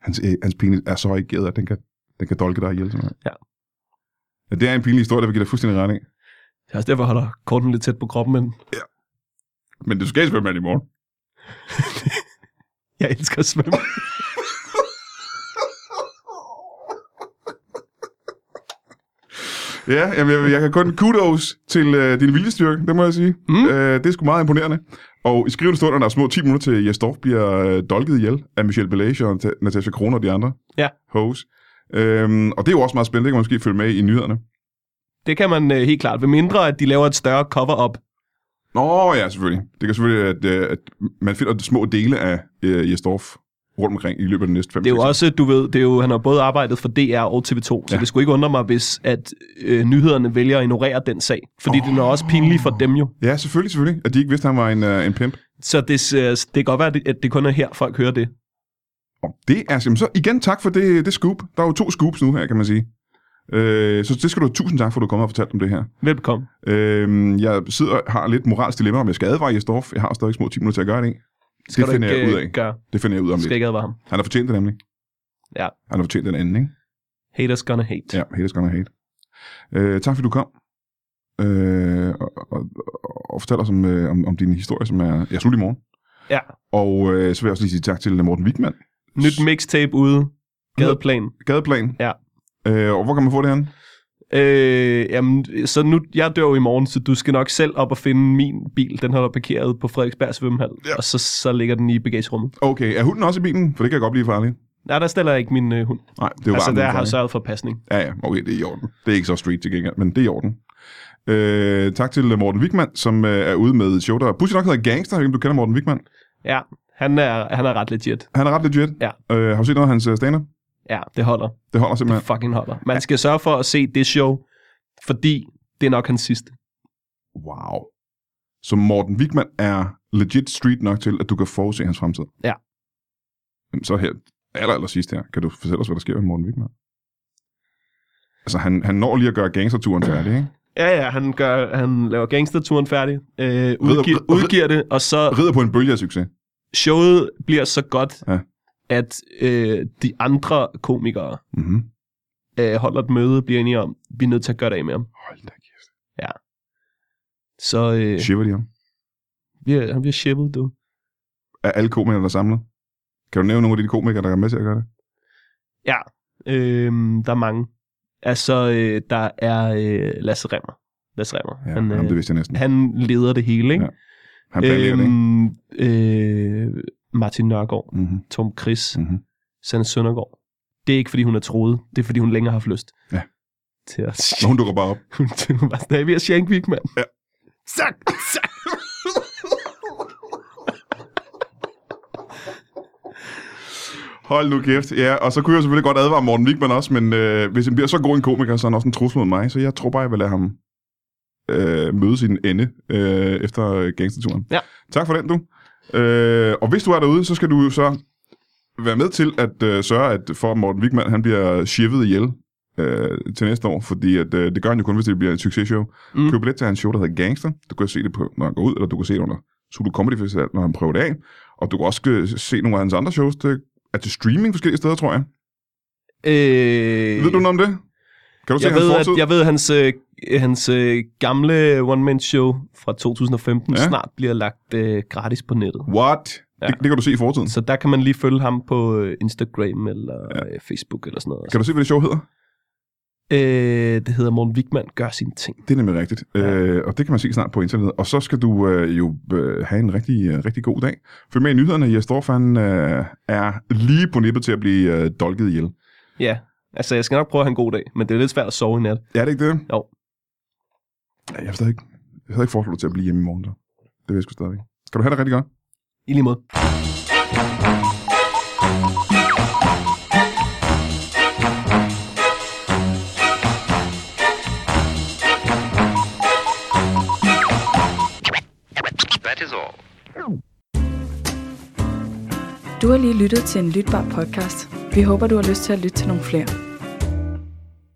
[SPEAKER 1] Hans, æg- hans penis er så ikke at den kan, den kan dolke dig ihjel simpelthen.
[SPEAKER 2] Ja.
[SPEAKER 1] ja. det er en pinlig historie, der vil give dig fuldstændig ret i.
[SPEAKER 2] Det er også derfor, jeg holder korten lidt tæt på kroppen, men
[SPEAKER 1] Men du skal i svømmehal i morgen.
[SPEAKER 2] jeg elsker at svømme.
[SPEAKER 1] Ja, jamen, jeg, jeg kan kun kudos til øh, din viljestyrke, det må jeg sige.
[SPEAKER 2] Mm.
[SPEAKER 1] Øh, det er sgu meget imponerende. Og i skrivende stund, når der er små 10 minutter til Jes Dorf bliver øh, dolket ihjel af Michelle Bellage og Nat- Natasha Kroner og de andre
[SPEAKER 2] Ja.
[SPEAKER 1] hoes. Øhm, og det er jo også meget spændende, det kan man måske følge med i nyhederne.
[SPEAKER 2] Det kan man øh, helt klart. Ved mindre, at de laver et større cover-up.
[SPEAKER 1] Nå ja, selvfølgelig. Det kan selvfølgelig, at, øh, at man finder små dele af øh, Jes Dorf rundt omkring i løbet af de næste 5
[SPEAKER 2] Det er jo også, du ved, det er jo, han har både arbejdet for DR og TV2, så
[SPEAKER 1] Ja.
[SPEAKER 2] ja. det skulle ikke undre mig, hvis at øh, nyhederne vælger at ignorere den sag. Fordi oh. den er også pinlig for dem jo.
[SPEAKER 1] Ja, selvfølgelig, selvfølgelig. At de ikke vidste, at han var en, øh, en pimp.
[SPEAKER 2] Så det, øh, det kan godt være, at det- at det kun er her, folk hører det.
[SPEAKER 1] Og det er simpelthen så igen tak for det, det scoop. Der er jo to scoops nu her, kan man sige. Øh, så det skal du have tusind tak for, at du kommer og fortalte om det her.
[SPEAKER 2] Velbekomme.
[SPEAKER 1] Øh, jeg sidder og har lidt moralsk dilemma, om jeg skal advare Jesdorf. Jeg har stadig små 10 minutter til at gøre det. i.
[SPEAKER 2] Skal
[SPEAKER 1] det
[SPEAKER 2] du
[SPEAKER 1] finder
[SPEAKER 2] ikke,
[SPEAKER 1] jeg ud
[SPEAKER 2] øh,
[SPEAKER 1] af.
[SPEAKER 2] Gøre.
[SPEAKER 1] Det finder jeg ud af om
[SPEAKER 2] Skal
[SPEAKER 1] lidt.
[SPEAKER 2] ikke advare ham.
[SPEAKER 1] Han har fortjent det nemlig.
[SPEAKER 2] Ja.
[SPEAKER 1] Han har fortjent den anden, ikke?
[SPEAKER 2] Haters gonna hate.
[SPEAKER 1] Ja, hate is gonna hate. Øh, tak fordi du kom. Øh, og, og, og, og fortæl os om, øh, om, om din historie, som er ja, slut i morgen.
[SPEAKER 2] Ja.
[SPEAKER 1] Og øh, så vil jeg også lige sige tak til Morten Wigman.
[SPEAKER 2] Nyt mixtape ude. Gadeplan.
[SPEAKER 1] Gadeplan.
[SPEAKER 2] Ja.
[SPEAKER 1] Øh, og hvor kan man få det henne?
[SPEAKER 2] Øh, jamen, så nu, jeg dør jo i morgen, så du skal nok selv op og finde min bil. Den holder parkeret på Frederiksberg svømmehal,
[SPEAKER 1] Ja.
[SPEAKER 2] ja. og så, så ligger den i bagagerummet.
[SPEAKER 1] Okay, Øh, er hunden også i bilen? For det kan godt blive farligt.
[SPEAKER 2] Nej, der stiller jeg ikke min øh, hund.
[SPEAKER 1] Nej, det er jo
[SPEAKER 2] altså,
[SPEAKER 1] varmt
[SPEAKER 2] der har
[SPEAKER 1] udenfor,
[SPEAKER 2] jeg
[SPEAKER 1] ikke?
[SPEAKER 2] sørget for pasning.
[SPEAKER 1] Ja, ja, okay, det er i orden. Det er ikke så street til gengæld, men det er i orden. Øh, tak til Morten Wigman, som øh, er ude med et show, der pludselig nok hedder Gangster. Jeg ved ikke, om du kender Morten Wigman.
[SPEAKER 2] Ja, han er, han er ret legit.
[SPEAKER 1] Han er ret legit.
[SPEAKER 2] Ja.
[SPEAKER 1] Øh, har du set noget af hans øh, stand-up?
[SPEAKER 2] Ja, det holder.
[SPEAKER 1] Det holder
[SPEAKER 2] Det
[SPEAKER 1] simpelthen.
[SPEAKER 2] fucking holder. Man skal sørge for at se det show, fordi det er nok hans sidste.
[SPEAKER 1] Wow. Så Morten Wigman er legit street nok til, at du kan forudse hans fremtid?
[SPEAKER 2] Ja.
[SPEAKER 1] Jamen, så her, aller, aller sidst her, kan du fortælle os, hvad der sker med Morten Wigman? Altså, han, han når lige at gøre gangsterturen færdig, ikke?
[SPEAKER 2] Ja, ja, han, gør, han laver gangsterturen færdig, øh, udgiver,
[SPEAKER 1] ridder-
[SPEAKER 2] udgiver det, og så
[SPEAKER 1] Rider på en bølge af succes.
[SPEAKER 2] showet bliver så godt,
[SPEAKER 1] Ja.
[SPEAKER 2] ja. at øh, de andre komikere
[SPEAKER 1] Mm-hmm.
[SPEAKER 2] øh, holder et møde, bliver enige om, vi er nødt til at gøre det af med ham.
[SPEAKER 1] Hold da kæft.
[SPEAKER 2] Så øh,
[SPEAKER 1] Shiver de ham?
[SPEAKER 2] vi er, han bliver shippet, du.
[SPEAKER 1] af alle komikere, der samler? Kan du nævne nogle af de komikere, der er med til at gøre det?
[SPEAKER 2] Øh, der er mange. Altså, øh, der er øh, Lasse Remmer. Lasse Remmer.
[SPEAKER 1] Ja,
[SPEAKER 2] han, øh,
[SPEAKER 1] han, jamen, det vidste jeg næsten. Han,
[SPEAKER 2] han leder det hele, ikke?
[SPEAKER 1] Ja, han planlægger
[SPEAKER 2] Øhm,
[SPEAKER 1] det, ikke?
[SPEAKER 2] øh, Martin Nørgaard,
[SPEAKER 1] Mm-hmm.
[SPEAKER 2] Tom Chris, mm.
[SPEAKER 1] Mm-hmm.
[SPEAKER 2] Sanne Søndergaard. Det er ikke, fordi hun er troet. Det er, fordi hun længere har haft lyst.
[SPEAKER 1] Ja.
[SPEAKER 2] Til at...
[SPEAKER 1] Men hun dukker bare op.
[SPEAKER 2] Hun hun var sådan, vi er Shankvik, mand.
[SPEAKER 1] Ja.
[SPEAKER 2] Sak, sak.
[SPEAKER 1] Hold nu kæft. Ja, og så kunne jeg selvfølgelig godt advare Morten Wigman også, men øh, hvis han bliver så god en komiker, så er han også en trussel mod mig, så jeg tror bare, jeg vil lade ham øh, møde sin ende øh, efter øh, gangsterturen.
[SPEAKER 2] Ja.
[SPEAKER 1] Tak for den, du. Øh, og hvis du er derude, så skal du jo så være med til at øh, sørge at for, at Morten Wigman han bliver shivet ihjel øh, til næste år, fordi at, øh, det gør han jo kun, hvis det bliver et successhow. Mm.
[SPEAKER 2] Mm.
[SPEAKER 1] Køb billet til hans show, der hedder Gangster. Du kan se det, på, når han går ud, eller du kan se det under Zulu Comedy Festival, når han prøver det af. Og du kan også øh, se nogle af hans andre shows, der er til streaming forskellige steder, tror jeg.
[SPEAKER 2] Øh,
[SPEAKER 1] Ved du noget om det? Kan du se
[SPEAKER 2] jeg
[SPEAKER 1] hans
[SPEAKER 2] ved,
[SPEAKER 1] fortid?
[SPEAKER 2] at, jeg ved, at hans, øh, hans øh, gamle one-man-show fra 2015
[SPEAKER 1] Ja.
[SPEAKER 2] ja. snart bliver lagt øh, gratis på nettet.
[SPEAKER 1] What? Ja.
[SPEAKER 2] Ja.
[SPEAKER 1] Det, det, kan du se i fortiden.
[SPEAKER 2] Så der kan man lige følge ham på øh, Instagram eller ja. øh, Facebook eller sådan noget.
[SPEAKER 1] Kan du se, hvad det show hedder?
[SPEAKER 2] øh, det hedder Morten Wigman gør sine ting.
[SPEAKER 1] Det er nemlig rigtigt, ja. øh, og det kan man se snart på internettet. Og så skal du øh, jo øh, have en rigtig, øh, rigtig god dag. Følg med i nyhederne. Jes Dorf, han øh, er lige på nippet til at blive øh, dolket ihjel.
[SPEAKER 2] Ja, altså jeg skal nok prøve at have en god dag, men det er lidt svært at sove i nat.
[SPEAKER 1] Er det ikke det?
[SPEAKER 2] Jo.
[SPEAKER 1] Ja, Jeg havde ikke, jeg havde ikke foreslået dig til at blive hjemme i morgen, så. Det vil jeg sgu stadigvæk. Skal du have det rigtig godt?
[SPEAKER 2] I lige måde.
[SPEAKER 4] That is all.
[SPEAKER 5] Du har lige lyttet til en lytbar podcast. Vi håber, du har lyst til at lytte til nogle flere.